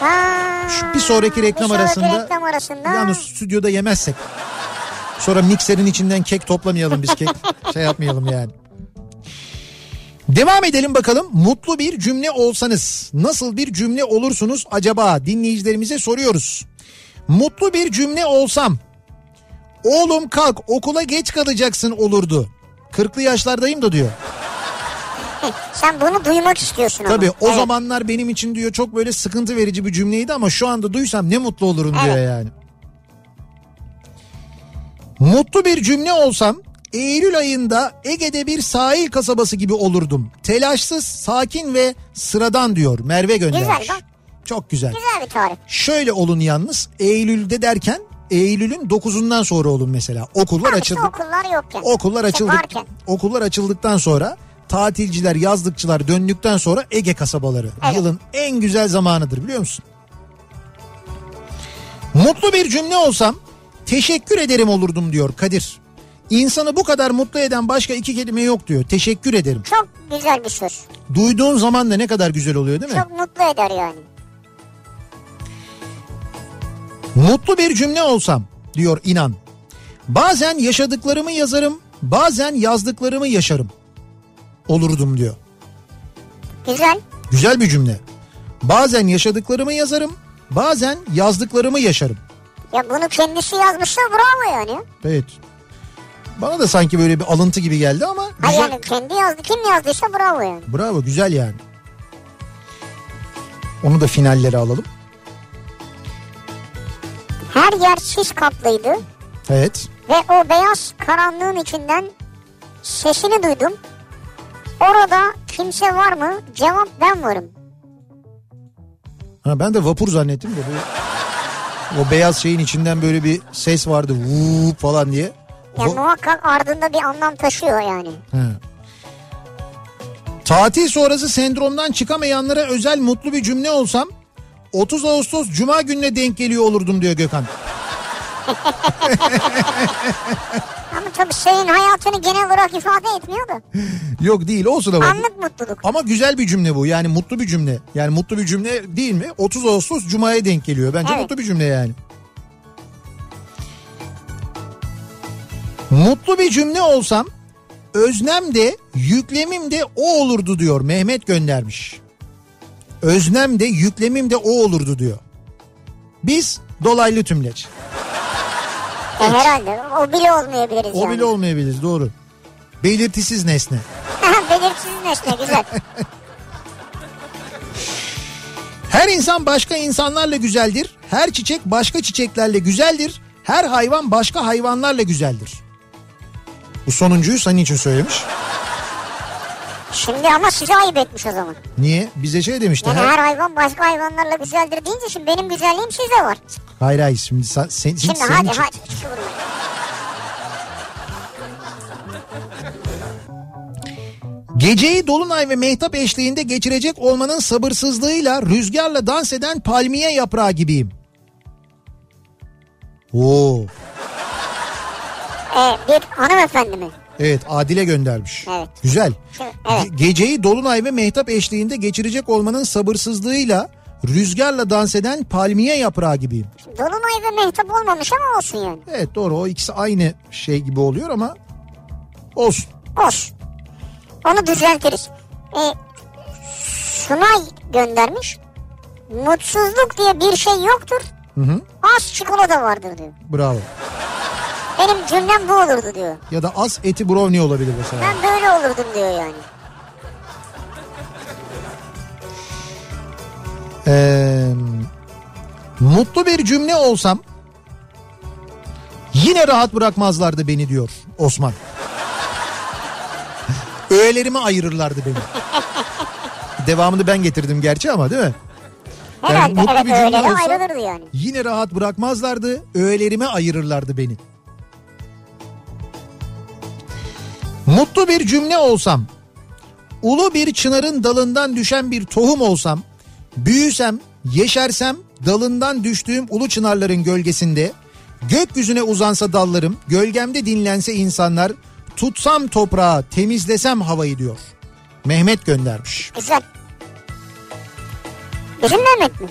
S2: Ha,
S1: Şu- bir sonraki reklam
S2: bir sonraki
S1: arasında.
S2: reklam arasında.
S1: Yalnız stüdyoda yemezsek. Sonra mikserin içinden kek toplamayalım biz kek. şey yapmayalım yani. Devam edelim bakalım. Mutlu bir cümle olsanız nasıl bir cümle olursunuz acaba dinleyicilerimize soruyoruz. Mutlu bir cümle olsam. Oğlum kalk okula geç kalacaksın olurdu. Kırklı yaşlardayım da diyor.
S2: Sen bunu duymak istiyorsun ama.
S1: Tabii o
S2: Evet.
S1: zamanlar benim için diyor çok böyle sıkıntı verici bir cümleydi ama şu anda duysam ne mutlu olurum diyor
S2: Evet.
S1: yani. Mutlu bir cümle olsam Eylül ayında Ege'de bir sahil kasabası gibi olurdum. Telaşsız, sakin ve sıradan diyor Merve göndermiş.
S2: Güzel bak.
S1: Çok güzel.
S2: Güzel bir tarih.
S1: Şöyle olun yalnız Eylül'de derken Eylül'ün 9'undan sonra olun mesela. Okullar
S2: Abi işte
S1: açıldı.
S2: okullar yokken.
S1: Okullar
S2: İşte
S1: açıldı.
S2: varken.
S1: Okullar açıldıktan sonra tatilciler, yazlıkçılar döndükten sonra Ege kasabaları
S2: Evet.
S1: yılın en güzel zamanıdır biliyor musun? Mutlu bir cümle olsam teşekkür ederim olurdum diyor Kadir. İnsanı bu kadar mutlu eden başka iki kelime yok diyor. Teşekkür ederim.
S2: Çok güzel bir söz.
S1: Duyduğun zaman da ne kadar güzel oluyor değil mi?
S2: Çok mutlu eder yani.
S1: Mutlu bir cümle olsam diyor inan. Bazen yaşadıklarımı yazarım, bazen yazdıklarımı yaşarım. Olurdum diyor.
S2: Güzel.
S1: Güzel bir cümle. Bazen yaşadıklarımı yazarım, bazen yazdıklarımı yaşarım.
S2: Ya bunu kendisi yazmışsa bravo yani.
S1: Evet. Bana da sanki böyle bir alıntı gibi geldi ama
S2: Hayır
S1: güzel.
S2: yani kendi yazdı. Kim yazdıysa bravo yani.
S1: Bravo, güzel yani. Onu da finallere alalım.
S2: Her yer sis kaplıydı
S1: Evet.
S2: ve o beyaz karanlığın içinden sesini duydum. Orada kimse var mı? Cevap ben varım.
S1: Ha, ben de vapur zannettim de. bu- o beyaz şeyin içinden böyle bir ses vardı. Vuuu falan diye.
S2: Ya
S1: Va-
S2: muhakkak ardında bir anlam taşıyor yani.
S1: He. Tatil sonrası sendromdan çıkamayanlara özel mutlu bir cümle olsam 30 Ağustos Cuma gününe denk geliyor olurdum diyor Gökhan.
S2: Ama tabii senin hayatını genel olarak ifade etmiyor da.
S1: Yok değil olsun ama.
S2: Anlık mutluluk.
S1: Ama güzel bir cümle bu yani mutlu bir cümle. Yani mutlu bir cümle değil mi? 30 Ağustos Cuma'ya denk geliyor. Bence
S2: Evet.
S1: mutlu bir cümle yani. Mutlu bir cümle olsam öznem de yüklemim de o olurdu diyor Mehmet göndermiş. Öznem de yüklemim de o olurdu diyor. Biz dolaylı tümleç.
S2: E, herhalde. O bile olmayabiliriz
S1: O
S2: yani.
S1: bile olmayabilir doğru. Belirtisiz nesne.
S2: Belirsiz nesne güzel.
S1: Her insan başka insanlarla güzeldir. Her çiçek başka çiçeklerle güzeldir. Her hayvan başka hayvanlarla güzeldir. Bu sonuncuyu senin için söylemiş.
S2: Şimdi ama size ayıp etmiş o zaman.
S1: Niye? Bize şey demişti.
S2: Yani
S1: Her...
S2: her hayvan başka hayvanlarla güzeldir deyince şimdi benim güzelliğim sizde var.
S1: Hayır hayır şimdi sen, sen,
S2: Şimdi
S1: senin
S2: hadi
S1: için-
S2: hadi hiç vurmayın.
S1: Geceyi dolunay ve mehtap eşliğinde geçirecek olmanın sabırsızlığıyla rüzgarla dans eden palmiye yaprağı gibiyim. Oo.
S2: E, bir hanımefendi mi?
S1: Evet Adile göndermiş.
S2: Evet.
S1: Güzel.
S2: Şimdi, evet.
S1: Ge- Geceyi dolunay ve mehtap eşliğinde geçirecek olmanın sabırsızlığıyla rüzgarla dans eden palmiye yaprağı gibiyim.
S2: Dolunay ve mehtap olmamış ama olsun yani.
S1: Evet doğru o ikisi aynı şey gibi oluyor ama olsun.
S2: Olsun. Onu düzeltiriz. E, Sunay göndermiş. Mutsuzluk diye bir şey yoktur. Az çikolata vardır diyor.
S1: Bravo.
S2: Benim cümlem bu olurdu diyor.
S1: Ya da az eti brownie olabilir mesela.
S2: Ben böyle olurdum diyor yani.
S1: Ee, mutlu bir cümle olsam yine rahat bırakmazlardı beni diyor Osman. Öğelerime ayırırlardı beni. Devamını ben getirdim gerçi ama değil mi?
S2: Herhalde
S1: mutlu bir
S2: evet
S1: cümle
S2: öyle de
S1: olsa-
S2: ayrılırdı yani.
S1: Yine rahat bırakmazlardı, öğelerime ayırırlardı beni. Mutlu bir cümle olsam, ulu bir çınarın dalından düşen bir tohum olsam, büyüsem, yeşersem, dalından düştüğüm ulu çınarların gölgesinde, gökyüzüne uzansa dallarım, gölgemde dinlense insanlar, tutsam toprağı, temizlesem havayı diyor. Mehmet göndermiş.
S2: Güzel. Bizim Mehmet mi?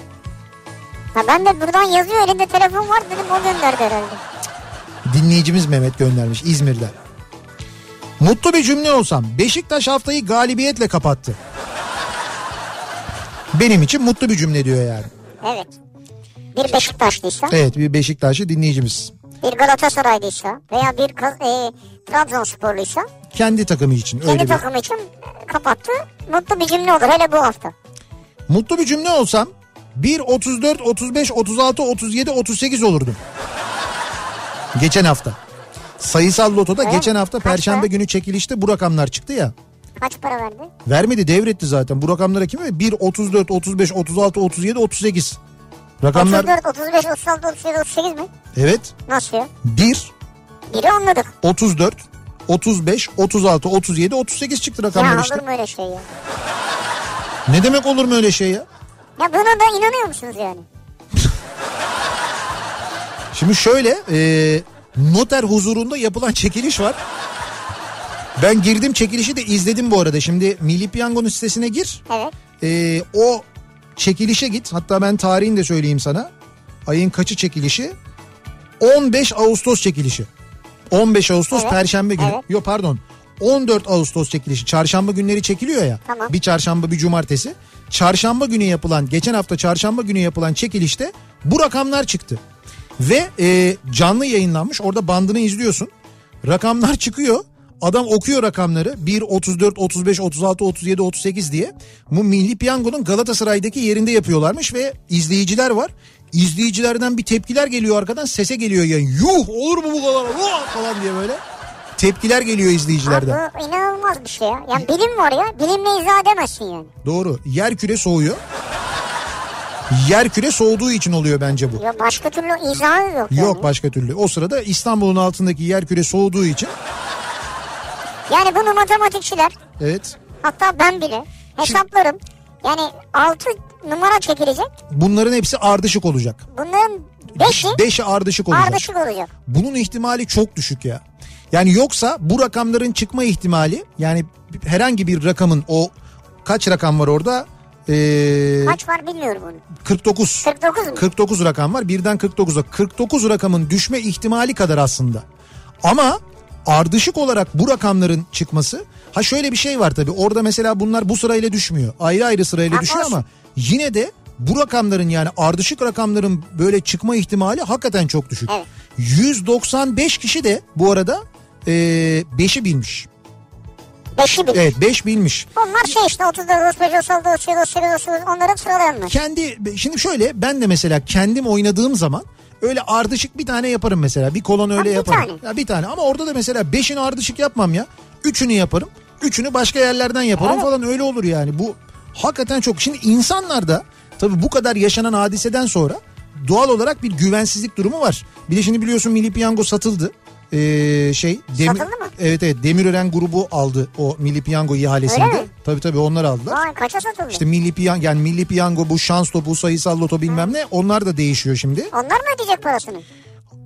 S2: Ha ben de buradan yazıyor elinde telefon var dedim o gönderdi herhalde.
S1: Dinleyicimiz Mehmet göndermiş İzmir'den. Mutlu bir cümle olsam Beşiktaş haftayı galibiyetle kapattı. Benim için mutlu bir cümle diyor yani.
S2: Evet. Bir Beşiktaşlıysa,
S1: Evet bir Beşiktaşlı dinleyicimiz.
S2: bir Galatasaraylıysa veya bir Ka- e, Trabzonsporluysa
S1: Kendi takımı için öyle
S2: kendi
S1: bir.
S2: takımı için kapattı. Mutlu bir cümle olur hele bu hafta.
S1: Mutlu bir cümle olsam 1, 34, 35, 36, 37, 38 olurdum. Geçen hafta. Sayısal lotoda
S2: Öyle
S1: geçen
S2: mi?
S1: hafta
S2: Kaçta?
S1: perşembe günü çekilişte bu rakamlar çıktı ya.
S2: Kaç para verdi?
S1: Vermedi devretti zaten. Bu rakamlara kim verdi? 1, 34, 35, 36, 37, 38. Rakamlar
S2: 34, 35, 36, 37, 38 mi?
S1: evet.
S2: Nasıl ya?
S1: 1,
S2: Biri anladık.
S1: 34, 35, 36, 37, 38 çıktı rakamlar
S2: ya
S1: işte.
S2: olur mu öyle şey ya?
S1: Ne demek olur mu öyle şey ya?
S2: Ya buna da inanıyor musunuz yani?
S1: Şimdi şöyle e, noter huzurunda yapılan çekiliş var. Ben girdim çekilişi de izledim bu arada. Şimdi Milli Piyango'nun sitesine gir.
S2: Evet.
S1: E, o çekilişe git. Hatta ben tarihini de söyleyeyim sana. Ayın kaçı çekilişi? 15 Ağustos çekilişi. 15 Ağustos
S2: Evet,
S1: Perşembe günü.
S2: evet.
S1: Yok pardon. 14 Ağustos çekilişi. Çarşamba günleri çekiliyor ya.
S2: Tamam.
S1: Bir çarşamba bir cumartesi. Çarşamba günü yapılan geçen hafta çarşamba günü yapılan çekilişte bu rakamlar çıktı. Ve e, canlı yayınlanmış orada bandını izliyorsun. Rakamlar çıkıyor. Adam okuyor rakamları 1, 34, 35, 36, 37, 38 diye. Bu Milli Piyango'nun Galatasaray'daki yerinde yapıyorlarmış ve izleyiciler var. İzleyicilerden bir tepkiler geliyor arkadan sese geliyor yani yuh olur mu bu kadar Vah! falan diye böyle tepkiler geliyor
S2: Abi
S1: izleyicilerden.
S2: bu inanılmaz bir şey ya. Yani bilim var ya. Bilimle izah edemezsin yani.
S1: Doğru. Yer küre soğuyor. Yer küre soğuduğu için oluyor bence bu.
S2: Ya başka türlü izahı
S1: Yok
S2: yok. yani.
S1: başka türlü. O sırada İstanbul'un altındaki yer küre soğuduğu için
S2: Yani bunu matematikçiler
S1: evet
S2: hatta ben bile hesaplarım. Yani 6 numara çekilecek.
S1: bunların hepsi ardışık olacak.
S2: Bunların 5'i
S1: Beşi ardışık olacak.
S2: ardışık olacak.
S1: Bunun ihtimali çok düşük ya. Yani yoksa bu rakamların çıkma ihtimali yani herhangi bir rakamın o kaç rakam var orada? Ee,
S2: Kaç var bilmiyorum bunu.
S1: 49.
S2: 49 mu?
S1: 49 rakam var. Birden 49'a. 49 rakamın düşme ihtimali kadar aslında. Ama ardışık olarak bu rakamların çıkması ha şöyle bir şey var tabii. Orada mesela bunlar bu sırayla düşmüyor. Ayrı ayrı sırayla
S2: Ama
S1: düşüyor
S2: olsun.
S1: ama yine de bu rakamların yani ardışık rakamların böyle çıkma ihtimali hakikaten çok düşük.
S2: Evet.
S1: 195 kişi de bu arada 5'i bilmiş.
S2: 5'i bilir.
S1: Evet 5 bilmiş.
S2: Onlar şey işte 34, 35, 36, 37, 38, 39 onların sıralayanlar.
S1: kendi şimdi şöyle ben de mesela kendim oynadığım zaman öyle ardışık bir tane yaparım mesela. Bir kolon öyle
S2: bir
S1: yaparım.
S2: tane.
S1: Ya bir tane ama orada da mesela beşini ardışık yapmam ya. Üçünü yaparım. Üçünü başka yerlerden yaparım falan öyle olur yani. Bu hakikaten çok. Şimdi insanlarda tabii bu kadar yaşanan hadiseden sonra doğal olarak bir güvensizlik durumu var. Bir de şimdi biliyorsun Milli Piyango satıldı. Ee, şey Demir,
S2: Satıldı mı?
S1: Evet evet Demirören grubu aldı o Milli Piyango ihalesinde.
S2: Öyle mi?
S1: Tabii tabii onlar aldılar.
S2: Vay kaça satıldı?
S1: İşte milli piyango yani milli piyango bu şans topu sayısal loto bilmem ne onlar da değişiyor şimdi.
S2: Onlar mı ödeyecek parasını?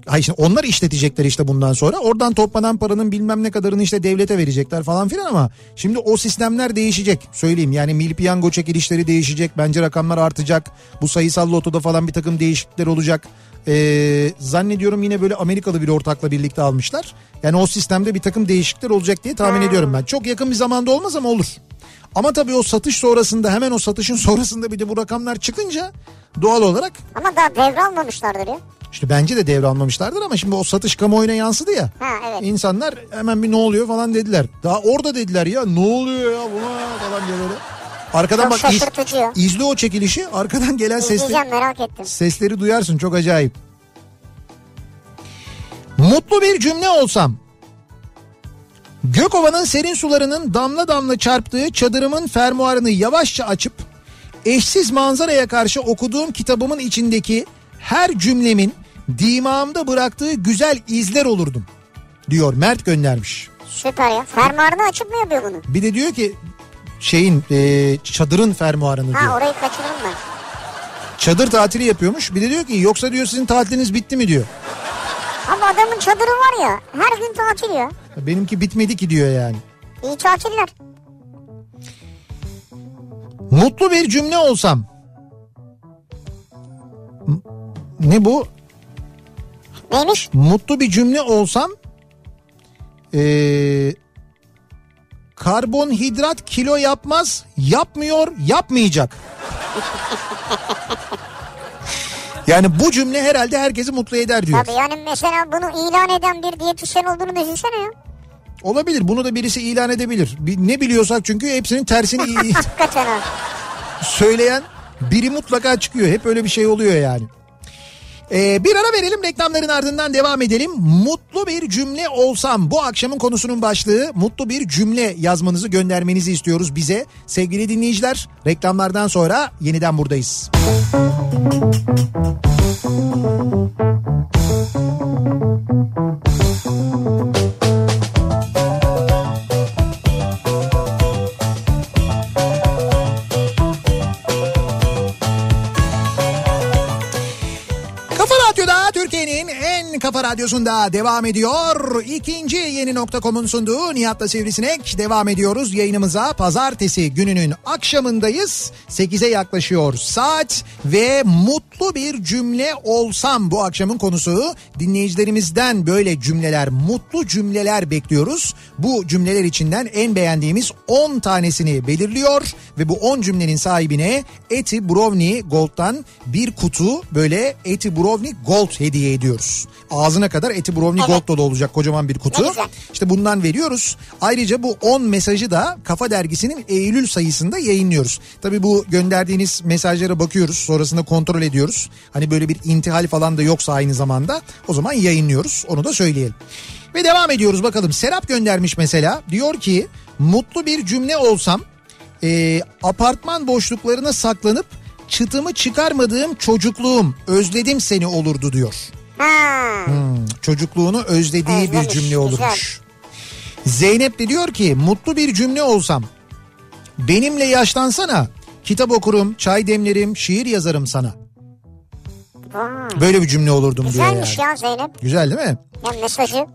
S1: Hayır şimdi onlar işletecekler işte bundan sonra. Oradan toplanan paranın bilmem ne kadarını işte devlete verecekler falan filan ama şimdi o sistemler değişecek. Söyleyeyim yani milli piyango çekilişleri değişecek. Bence rakamlar artacak. Bu sayısal lotoda falan bir takım değişiklikler olacak. Ee, zannediyorum yine böyle Amerikalı bir ortakla birlikte almışlar. Yani o sistemde bir takım değişiklikler olacak diye tahmin ediyorum ben. Çok yakın bir zamanda olmaz ama olur. Ama tabii o satış sonrasında hemen o satışın sonrasında bir de bu rakamlar çıkınca doğal olarak
S2: Ama daha devralmamışlardır ya.
S1: işte bence de devralmamışlardır ama şimdi o satış kamuoyuna yansıdı ya.
S2: Ha, evet.
S1: İnsanlar hemen bir ne oluyor falan dediler. Daha orada dediler ya ne oluyor ya buna falan diye böyle. Arkadan
S2: Çok
S1: bak iz-
S2: şaşırtıcı ya.
S1: izle o çekilişi arkadan gelen sesleri,
S2: İzleyeceğim merak ettim.
S1: sesleri duyarsın çok acayip. Mutlu bir cümle olsam. Gökova'nın serin sularının damla damla çarptığı çadırımın fermuarını yavaşça açıp eşsiz manzaraya karşı okuduğum kitabımın içindeki her cümlemin dimağımda bıraktığı güzel izler olurdum diyor Mert göndermiş.
S2: Süper ya. Fermuarını açıp mı yapıyor bunu?
S1: Bir de diyor ki şeyin e, çadırın fermuarını
S2: Ha
S1: diyor.
S2: orayı kaçırdım ben.
S1: Çadır tatili yapıyormuş. Bir de diyor ki yoksa diyor sizin tatiliniz bitti mi diyor.
S2: Ama adamın çadırı var ya. Her gün tatil ya.
S1: Benimki bitmedi ki diyor yani.
S2: İyi tatiller.
S1: Mutlu bir cümle olsam. M- Ne bu?
S2: Neymiş?
S1: Mutlu bir cümle olsam. Ee, karbonhidrat kilo yapmaz, yapmıyor, yapmayacak. yani bu cümle herhalde herkesi mutlu eder diyor.
S2: Tabii yani mesela bunu ilan eden bir diyetisyen olduğunu düşünsene ya.
S1: Olabilir. Bunu da birisi ilan edebilir. Bi- Ne biliyorsak çünkü hepsinin tersini i-
S2: Hakikaten ha.
S1: söyleyen biri mutlaka çıkıyor. Hep öyle bir şey oluyor yani. Ee, bir ara verelim reklamların ardından devam edelim. Mutlu bir cümle olsam bu akşamın konusunun başlığı mutlu bir cümle yazmanızı göndermenizi istiyoruz bize. Sevgili dinleyiciler reklamlardan sonra yeniden buradayız. Kafa Radyo'da Türkiye'nin en kafa radyosunda devam ediyor. İkinci yeni nokta.com'un sunduğu Nihat'la Sivrisinek devam ediyoruz. Yayınımıza pazartesi gününün akşamındayız. 8'e yaklaşıyor saat ve mutlu bir cümle olsam bu akşamın konusu. Dinleyicilerimizden böyle cümleler, mutlu cümleler bekliyoruz. Bu cümleler içinden en beğendiğimiz 10 tanesini belirliyor ve bu 10 cümlenin sahibine Eti Brownie Gold'dan bir kutu böyle Eti Brownie Gold hediye ediyoruz. Ağzına kadar Eti Brownie
S2: Evet.
S1: Gold dolu olacak kocaman bir kutu.
S2: Ne güzel.
S1: İşte bundan veriyoruz. Ayrıca bu 10 mesajı da Kafa Dergisi'nin Eylül sayısında yayınlıyoruz. Tabii bu gönderdiğiniz mesajlara bakıyoruz. Sonrasında kontrol ediyoruz. Hani böyle bir intihal falan da yoksa aynı zamanda o zaman yayınlıyoruz. Onu da söyleyelim. Ve devam ediyoruz bakalım. Serap göndermiş mesela. Diyor ki mutlu bir cümle olsam e, apartman boşluklarına saklanıp çıtımı çıkarmadığım çocukluğum özledim seni olurdu diyor.
S2: Ha.
S1: Çocukluğunu özlediği bir
S2: Özlemiş,
S1: cümle olurmuş. Zeynep de diyor ki mutlu bir cümle olsam benimle yaşlansana kitap okurum çay demlerim şiir yazarım sana.
S2: Vay.
S1: Böyle bir cümle olurdum diyor
S2: Güzelmiş
S1: yani.
S2: ya Zeynep.
S1: Güzel değil mi?
S2: Ya mesajı.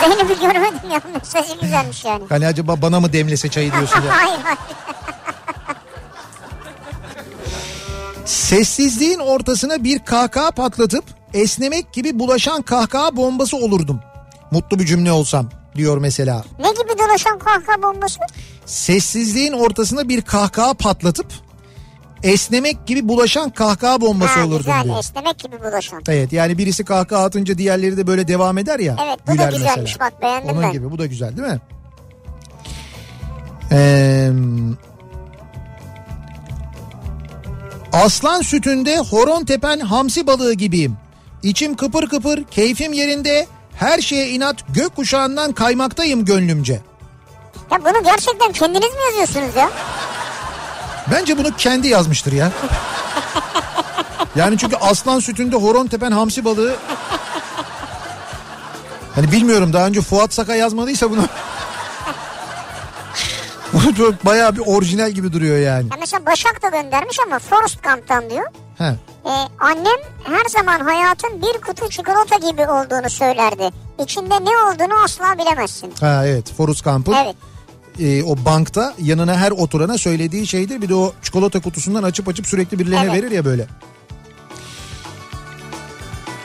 S2: Zeynep'i görmedim ya mesajı güzelmiş yani.
S1: Hani acaba bana mı demlese çayı diyorsun ya.
S2: Hayır hayır.
S1: Sessizliğin ortasına bir kahkaha patlatıp esnemek gibi bulaşan kahkaha bombası olurdum. Mutlu bir cümle olsam diyor mesela.
S2: Ne gibi dolaşan kahkaha bombası?
S1: Sessizliğin ortasına bir kahkaha patlatıp esnemek gibi bulaşan kahkaha bombası
S2: Ha,
S1: olurdum
S2: güzel
S1: diyor.
S2: esnemek gibi bulaşan.
S1: Evet yani birisi kahkaha atınca diğerleri de böyle devam eder ya.
S2: Evet, bu da
S1: güler
S2: güzelmiş,
S1: mesela.
S2: bak beğendim
S1: Onun
S2: ben.
S1: gibi bu da güzel değil mi? Ee, aslan sütünde horon tepen hamsi balığı gibiyim. İçim kıpır kıpır, keyfim yerinde, her şeye inat gökkuşağından kaymaktayım gönlümce.
S2: Ya bunu gerçekten kendiniz mi yazıyorsunuz ya?
S1: Bence bunu kendi yazmıştır ya. Yani çünkü aslan sütünde horon tepen hamsi balığı... Hani bilmiyorum daha önce Fuat Saka yazmadıysa bunu... Bu çok bayağı bir orijinal gibi duruyor yani.
S2: ya mesela Başak da göndermiş ama Forrest Gump'tan diyor.
S1: He.
S2: Ee, annem her zaman hayatın bir kutu çikolata gibi olduğunu söylerdi. İçinde ne olduğunu asla bilemezsin.
S1: Ha evet Forrest Gump'ın
S2: Evet.
S1: e, o bankta yanına her oturana söylediği şeydir. Bir de o çikolata kutusundan açıp açıp sürekli birilerine
S2: Evet.
S1: verir ya böyle.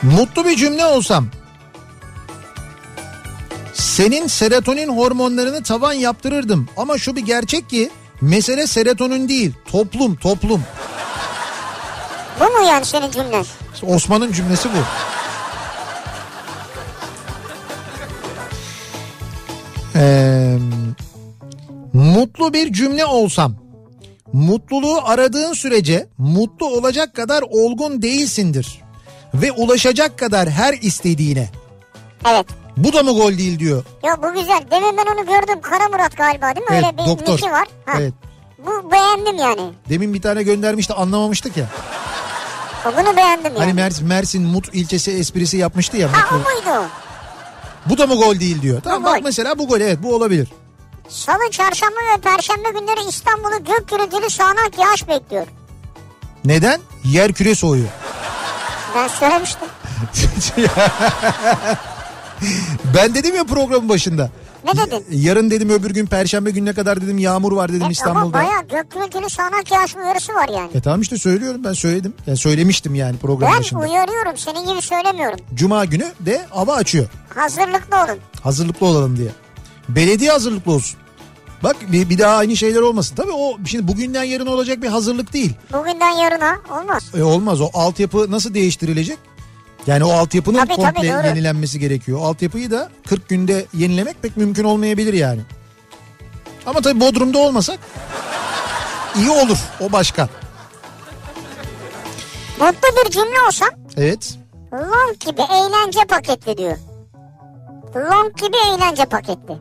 S1: Mutlu bir cümle olsam. Senin serotonin hormonlarını tavan yaptırırdım. Ama şu bir gerçek ki mesele serotonin değil toplum toplum.
S2: Bu mu yani senin cümlen?
S1: İşte Osman'ın cümlesi bu. Ee, mutlu bir cümle olsam. Mutluluğu aradığın sürece mutlu olacak kadar olgun değilsindir. Ve ulaşacak kadar her istediğine.
S2: Evet.
S1: Bu da mı gol değil diyor.
S2: Ya bu güzel. Demin ben onu gördüm. Kara Murat galiba değil mi?
S1: Evet,
S2: Öyle bir
S1: doktor.
S2: niki var. Ha.
S1: Evet.
S2: Bu beğendim yani.
S1: Demin bir tane göndermişti anlamamıştık ya.
S2: O Bunu beğendim
S1: Hani
S2: yani.
S1: Mers- Mersin Mut ilçesi esprisi yapmıştı ya.
S2: Ha o
S1: Mutlu.
S2: muydu?
S1: Bu da mı gol değil diyor. Tamam
S2: Bu
S1: bak
S2: gol.
S1: mesela bu gol evet bu olabilir.
S2: Salı, çarşamba ve perşembe günleri İstanbul'u gök gürültülü sağanak yağış bekliyor.
S1: Neden? Yer küresi oluyor.
S2: Ben söylemiştim.
S1: ben dedim ya programın başında.
S2: Ne dedin?
S1: Y- Yarın dedim öbür gün perşembe gününe kadar dedim yağmur var dedim
S2: Evet, Ama
S1: İstanbul'da.
S2: bayağı gök gürültülü sağanak yağış uyarısı var yani.
S1: E tamam işte söylüyorum ben söyledim. Yani söylemiştim yani programın
S2: Ben
S1: başında.
S2: uyarıyorum senin gibi söylemiyorum.
S1: Cuma günü de hava açıyor.
S2: Hazırlıklı olun.
S1: Hazırlıklı olalım diye. Belediye hazırlıklı olsun. Bak bir, bir daha aynı şeyler olmasın. Tabii o şimdi bugünden yarın olacak bir hazırlık değil.
S2: Bugünden yarına olmaz.
S1: E olmaz o altyapı nasıl değiştirilecek? Yani o altyapının
S2: Tabii, tabii,
S1: komple
S2: doğru.
S1: yenilenmesi gerekiyor. Altyapıyı da 40 günde yenilemek pek mümkün olmayabilir yani. Ama tabii Bodrum'da olmasak iyi olur. O başka.
S2: Mutlu bir cümle olsam
S1: Evet.
S2: Long gibi eğlence paketli diyor. Long gibi eğlence paketli.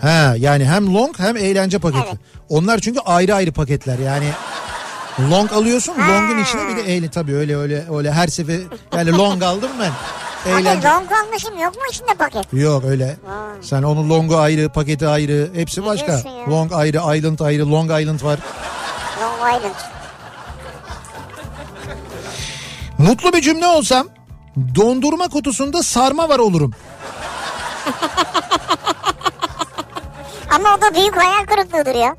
S1: Ha yani hem long hem eğlence paketi.
S2: Evet.
S1: Onlar çünkü ayrı ayrı paketler yani. Long alıyorsun,
S2: Ha.
S1: long'un içine bir de eğlence tabii öyle öyle öyle her sefer yani long aldım ben.
S2: Abi
S1: Eğlence.
S2: long almışım yok mu içinde paket?
S1: Yok öyle.
S2: Vay.
S1: Sen onun longu ayrı, paketi ayrı, hepsi başka.
S2: diyorsun ya?
S1: Long ayrı, island ayrı, long island var.
S2: Long Island.
S1: Mutlu bir cümle olsam dondurma kutusunda sarma var olurum.
S2: Ama o da büyük hayal kırıklığıdır ya.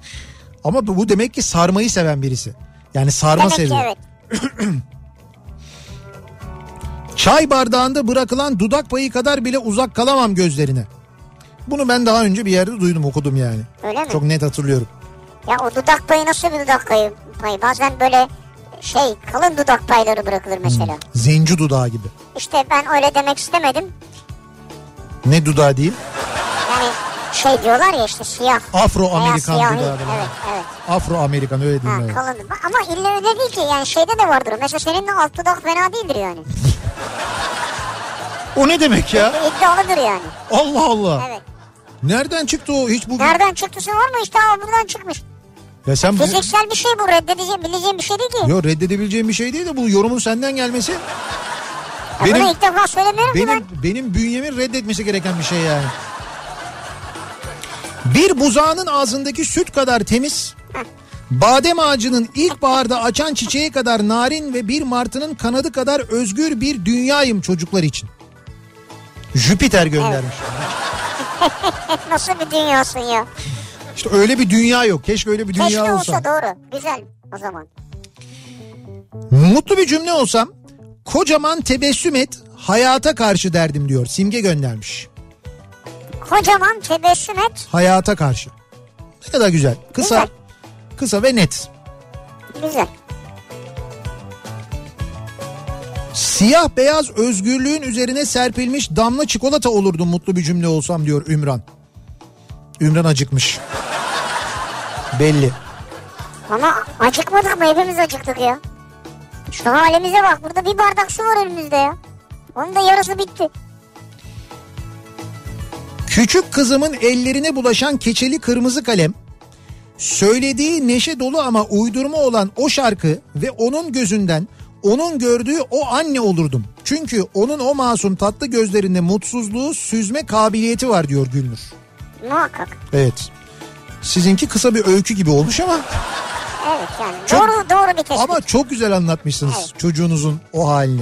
S1: Ama bu bu demek ki sarmayı seven birisi. Yani sarma
S2: Demek ki
S1: seviyor.
S2: evet.
S1: Çay bardağında bırakılan dudak payı kadar bile uzak kalamam gözlerine. Bunu ben daha önce bir yerde duydum okudum yani.
S2: Öyle mi?
S1: Çok net hatırlıyorum.
S2: Ya o dudak payı nasıl bir dudak payı? payı? Bazen böyle şey kalın dudak payları bırakılır mesela.
S1: Hmm. Zenci dudağı gibi.
S2: İşte ben öyle demek istemedim.
S1: Ne dudağı değil?
S2: Yani şey diyorlar ya işte siyah.
S1: Afro-Amerikan
S2: Veya siyahi.
S1: dudağı.
S2: Evet evet.
S1: Afro-Amerikan öyle
S2: Ha,
S1: diyeyim. yani.
S2: kalın. Ama illa öyle değil ki yani şeyde de vardır. Mesela senin de alt dudak fena değildir yani.
S1: O ne demek ya?
S2: İddialıdır yani.
S1: Allah Allah.
S2: Evet.
S1: Nereden çıktı o hiç bu?
S2: Nereden çıktıysa var mı işte aa, buradan çıkmış.
S1: Ya sen bu...
S2: Fiziksel bir şey bu reddedebileceğim bir şey değil ki.
S1: Yo reddedebileceğim bir şey değil de bu yorumun senden gelmesi
S2: Ya
S1: benim-
S2: bunu ilk defa söylemiyorum ki ben.
S1: benim benim bünyemin reddetmesi gereken bir şey yani. Bir buzağının ağzındaki süt kadar temiz, badem ağacının ilkbaharda açan çiçeği kadar narin ve bir martının kanadı kadar özgür bir dünyayım çocuklar için. Jüpiter göndermiş.
S2: Nasıl bir dünyasın ya.
S1: İşte öyle bir dünya yok. Keşke öyle bir dünya
S2: Keşke olsa.
S1: olsa.
S2: doğru. Güzel o zaman.
S1: Mutlu bir cümle olsam kocaman tebessüm et hayata karşı derdim diyor. Simge göndermiş.
S2: Kocaman tebessüm et.
S1: Hayata karşı. Ne kadar güzel. Kısa
S2: Güzel.
S1: kısa ve net.
S2: Güzel.
S1: Siyah beyaz özgürlüğün üzerine serpilmiş damla çikolata olurdum mutlu bir cümle olsam diyor Ümran. Ümran acıkmış. Belli.
S2: Ama acıkmadık mı? Hepimiz acıktık ya. Şu halimize bak. Burada bir bardak su var önümüzde ya. Onun da yarısı bitti.
S1: Küçük kızımın ellerine bulaşan keçeli kırmızı kalem, söylediği neşe dolu ama uydurma olan o şarkı ve onun gözünden onun gördüğü o anne olurdum. Çünkü onun o masum tatlı gözlerinde mutsuzluğu süzme kabiliyeti var diyor Gülnur.
S2: Muhakkak.
S1: Evet. Sizinki kısa bir öykü gibi olmuş ama
S2: Evet yani.
S1: Çok-
S2: Doğru doğru bir tespit.
S1: ama çok güzel anlatmışsınız
S2: Evet.
S1: çocuğunuzun o halini.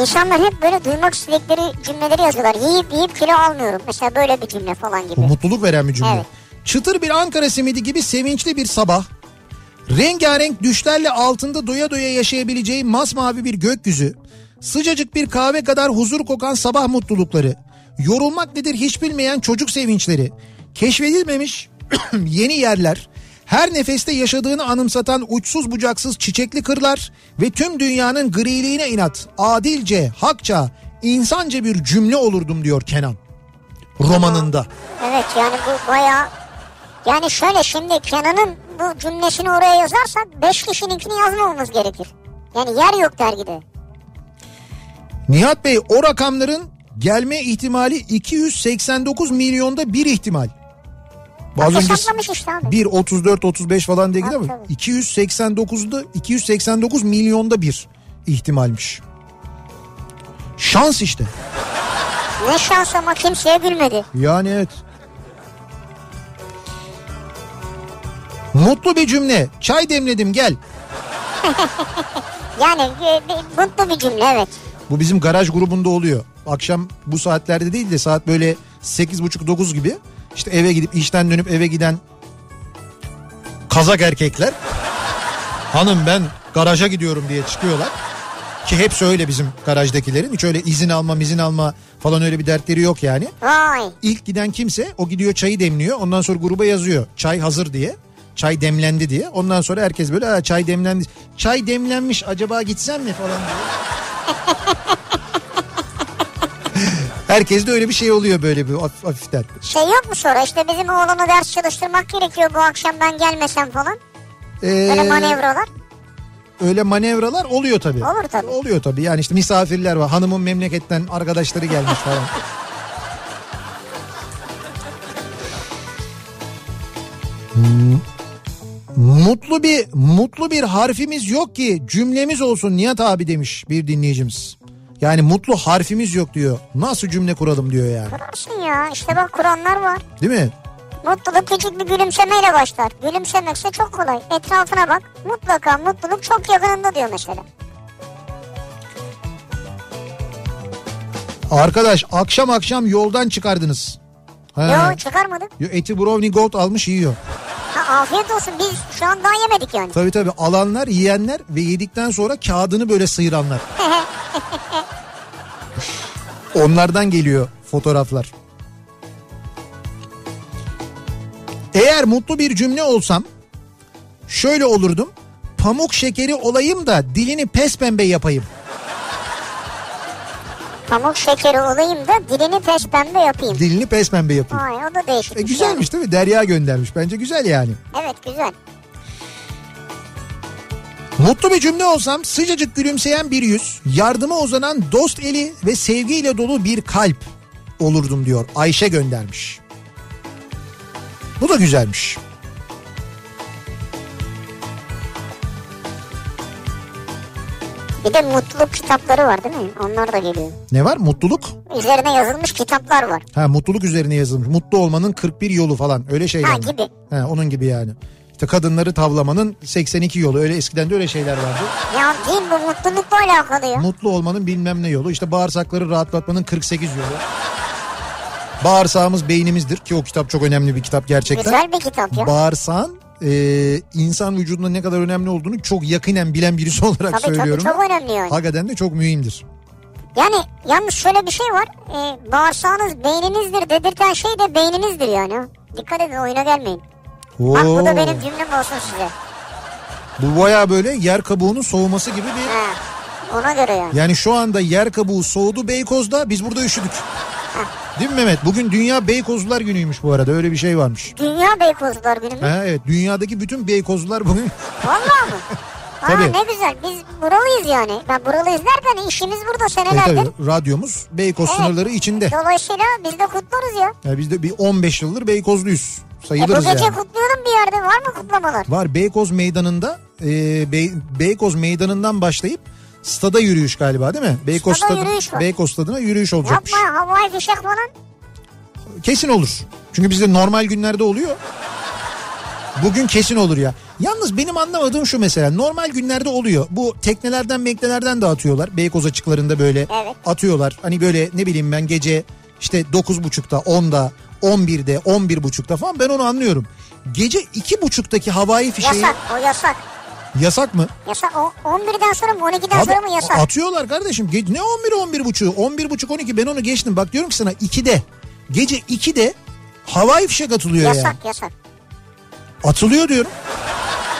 S2: İnsanlar hep böyle duymak istedikleri cümleleri yazıyorlar. Yiyip yiyip kilo almıyorum. Mesela böyle bir cümle falan
S1: Bu
S2: gibi.
S1: mutluluk veren bir cümle.
S2: Evet.
S1: Çıtır bir Ankara simidi gibi sevinçli bir sabah. Rengarenk düşlerle altında doya doya yaşayabileceği masmavi bir gökyüzü. Sıcacık bir kahve kadar huzur kokan sabah mutlulukları. Yorulmak nedir hiç bilmeyen çocuk sevinçleri. Keşfedilmemiş yeni yerler. Her nefeste yaşadığını anımsatan uçsuz bucaksız çiçekli kırlar ve tüm dünyanın griliğine inat, adilce, hakça, insanca bir cümle olurdum diyor Kenan. Romanında.
S2: Evet yani bu bayağı... Yani şöyle şimdi Kenan'ın bu cümlesini oraya yazarsak 5 kişininkini yazmamamız gerekir. Yani yer yok dergide.
S1: Nihat Bey o rakamların gelme ihtimali 289 milyonda bir ihtimal. Az önce
S2: Hesaplamış işte abi.
S1: 1 34 35 falan diye gidiyor ama
S2: Tabii.
S1: 289'da 289 milyonda bir ihtimalmiş. Şans işte.
S2: Ne şans ama kimseye gülmedi.
S1: Yani evet. Mutlu bir cümle. Çay demledim gel.
S2: Yani e, bir- mutlu bir cümle evet.
S1: Bu bizim garaj grubunda oluyor. Akşam bu saatlerde değil de saat böyle 8.30-9 gibi işte eve gidip işten dönüp eve giden kazak erkekler hanım ben garaja gidiyorum diye çıkıyorlar. Ki hepsi öyle bizim garajdakilerin. Hiç öyle izin alma izin alma falan öyle bir dertleri yok yani.
S2: Vay.
S1: İlk giden kimse o gidiyor çayı demliyor. Ondan sonra gruba yazıyor çay hazır diye. Çay demlendi diye. Ondan sonra herkes böyle "Aa, çay demlendi. Çay demlenmiş acaba gitsem mi falan diye. herkes de öyle bir şey oluyor böyle bir hafif- hafiften.
S2: Şey yok mu sonra işte bizim oğlunu ders çalıştırmak gerekiyor bu akşam ben gelmesem falan.
S1: Ee,
S2: Böyle manevralar.
S1: öyle manevralar oluyor tabii.
S2: Olur tabii.
S1: Oluyor tabii. Yani işte misafirler var. Hanımın memleketten arkadaşları gelmiş falan. Hmm. Mutlu bir mutlu bir harfimiz yok ki cümlemiz olsun Nihat abi demiş bir dinleyicimiz. Yani mutlu harfimiz yok diyor. Nasıl cümle kuralım diyor yani.
S2: Kurarsın ya işte bak Kur'anlar var.
S1: Değil mi?
S2: Mutluluk küçük bir gülümsemeyle başlar. Gülümsemekse çok kolay. Etrafına bak. Mutlaka mutluluk çok yakınında diyor mesela.
S1: Arkadaş akşam akşam yoldan çıkardınız. Ha.
S2: Yo çıkarmadık.
S1: Yo, eti brownie gold almış yiyor.
S2: Ha, afiyet olsun biz şu an daha yemedik yani.
S1: Tabii tabii alanlar yiyenler ve yedikten sonra kağıdını böyle sıyıranlar. Onlardan geliyor fotoğraflar. Eğer mutlu bir cümle olsam şöyle olurdum. Pamuk şekeri olayım da dilini pes pembe yapayım.
S2: Pamuk şekeri olayım da dilini pes pembe yapayım.
S1: Dilini pes pembe yapayım.
S2: Ay o da değişik.
S1: E
S2: bir şey.
S1: güzelmiş değil mi? Derya göndermiş. Bence güzel yani.
S2: Evet güzel.
S1: Mutlu bir cümle olsam sıcacık gülümseyen bir yüz, yardıma uzanan dost eli ve sevgiyle dolu bir kalp olurdum diyor. Ayşe göndermiş. Bu da güzelmiş.
S2: Bir de mutluluk kitapları var değil mi? Onlar da geliyor.
S1: Ne var? Mutluluk.
S2: Üzerine yazılmış kitaplar var.
S1: Ha mutluluk üzerine yazılmış. Mutlu olmanın 41 yolu falan öyle şeyler.
S2: Ha,
S1: mi?
S2: gibi.
S1: Ha, onun gibi yani. İşte kadınları tavlamanın 82 yolu öyle eskiden de öyle şeyler vardı.
S2: Ya değil bu mutlulukla alakalı ya.
S1: Mutlu olmanın bilmem ne yolu. İşte bağırsakları rahatlatmanın 48 yolu. Bağırsağımız beynimizdir ki o kitap çok önemli bir kitap gerçekten.
S2: Güzel bir kitap ya.
S1: bağırsağın e, insan vücudunda ne kadar önemli olduğunu çok yakinen bilen birisi olarak
S2: Tabii tabii
S1: söylüyorum.
S2: çok önemli yani.
S1: Hakikaten de çok mühimdir.
S2: Yani yalnız şöyle bir şey var. Ee, bağırsağınız beyninizdir dedirten şey de beyninizdir yani. Dikkat edin oyuna gelmeyin. Bak bu da
S1: Oo,
S2: benim cümlem olsun size.
S1: bu baya böyle yer kabuğunun soğuması gibi bir...
S2: He, ona göre yani.
S1: Yani şu anda yer kabuğu soğudu Beykoz'da biz burada üşüdük. Değil mi Mehmet? Bugün Dünya Beykozlular günüymüş bu arada öyle bir şey varmış.
S2: Dünya Beykozlar günü mü?
S1: Ha, evet dünyadaki bütün Beykozlular bugün...
S2: Valla mı? Aa,
S1: Tabii.
S2: ne güzel biz buralıyız yani. Ben buralıyız derken işimiz burada
S1: Evet,
S2: senelerdir.
S1: E, tabii, radyomuz Beykoz
S2: Evet.
S1: sınırları içinde.
S2: Dolayısıyla biz de kutlarız ya.
S1: Yani biz de bir 15 yıldır Beykozluyuz.
S2: E, bu
S1: Sayılırız
S2: gece
S1: yani.
S2: kutlayalım bir yerde var mı kutlamalar?
S1: Var Beykoz Meydanı'nda e, Bey- Beykoz Meydanı'ndan başlayıp stada yürüyüş galiba değil mi? Beykoz
S2: Stada
S1: stadı-
S2: yürüyüş var.
S1: Beykoz stadına yürüyüş olacakmış.
S2: Yapma havai fişek falan.
S1: Kesin olur. Çünkü bizde normal günlerde oluyor. Bugün kesin olur ya. Yalnız benim anlamadığım şu mesela normal günlerde oluyor. Bu teknelerden meknelerden dağıtıyorlar. Beykoz açıklarında böyle
S2: Evet.
S1: atıyorlar. Hani böyle ne bileyim ben gece işte 9.30'da 10'da 11'de 11.30'da falan ben onu anlıyorum. Gece 2.30'daki havai fişeği
S2: Yasak o yasak.
S1: yasak mı?
S2: Yasak o 11'den sonra mı 12'den
S1: Abi,
S2: sonra mı yasak?
S1: Atıyorlar kardeşim. Ge- Ne 11 11 buçuğu? 11 buçuk 12 ben onu geçtim. Bak diyorum ki sana 2'de. Gece 2'de havai fişek atılıyor yani.
S2: Yasak yasak.
S1: Atılıyor diyorum.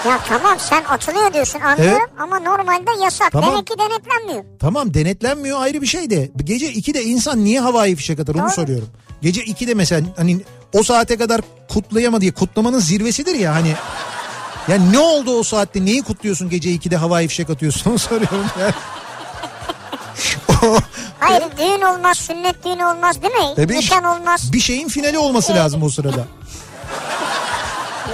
S2: Ya tamam sen atılıyor diyorsun anlıyorum ama normalde yasak.
S1: Tamam.
S2: Demek ki denetlenmiyor.
S1: Tamam denetlenmiyor ayrı bir şey de. Gece 2'de insan niye havai fişek atar onu
S2: Doğru.
S1: soruyorum. Gece 2'de mesela hani o saate kadar kutlayamadı diye kutlamanın zirvesidir ya hani. Ya ne oldu o saatte? Neyi kutluyorsun gece 2'de havai fişek atıyorsun? Onu soruyorum ya.
S2: Hayır düğün olmaz, sünnet düğünü olmaz değil mi?
S1: Tabii.
S2: Nişan olmaz.
S1: E- bir şeyin finali olması lazım o sırada.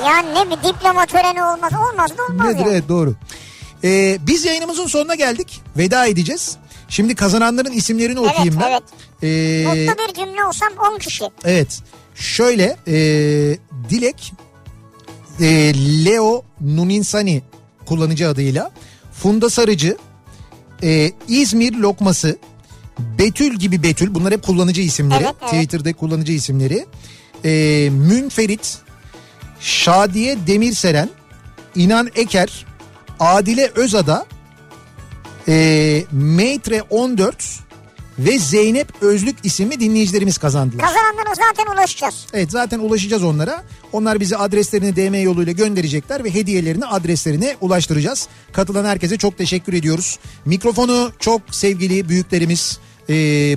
S2: Yani ne bir diploma töreni olmaz. Olmaz da olmaz
S1: Nedir?
S2: yani.
S1: Evet doğru. Ee, biz yayınımızın sonuna geldik. Veda edeceğiz. Şimdi kazananların isimlerini
S2: Evet,
S1: okuyayım ben.
S2: evet.
S1: Ee,
S2: Mutlu bir cümle olsam 10 kişi.
S1: evet. Şöyle ee, Dilek ee, Leo Nuninsani kullanıcı adıyla Funda Sarıcı ee, İzmir Lokması Betül gibi Betül bunlar hep kullanıcı isimleri.
S2: Evet, evet.
S1: Twitter'da kullanıcı isimleri. Ee, Münferit Şadiye Demirseren, İnan Eker, Adile Özada, e, Maitre 14 ve Zeynep Özlük isimli dinleyicilerimiz kazandılar.
S2: Kazananlara zaten ulaşacağız.
S1: Evet zaten ulaşacağız onlara. Onlar bize adreslerini DM yoluyla gönderecekler ve hediyelerini adreslerine ulaştıracağız. Katılan herkese çok teşekkür ediyoruz. Mikrofonu çok sevgili büyüklerimiz e,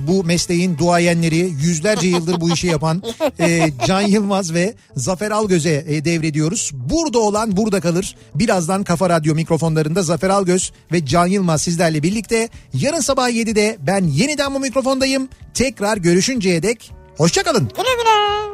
S1: bu mesleğin duayenleri yüzlerce yıldır bu işi yapan e, Can Yılmaz ve Zafer Algöz'e e, devrediyoruz. Burada olan burada kalır. Birazdan Kafa Radyo mikrofonlarında Zafer Algöz ve Can Yılmaz sizlerle birlikte. Yarın sabah 7'de ben yeniden bu mikrofondayım. Tekrar görüşünceye dek hoşçakalın.
S2: Güle güle.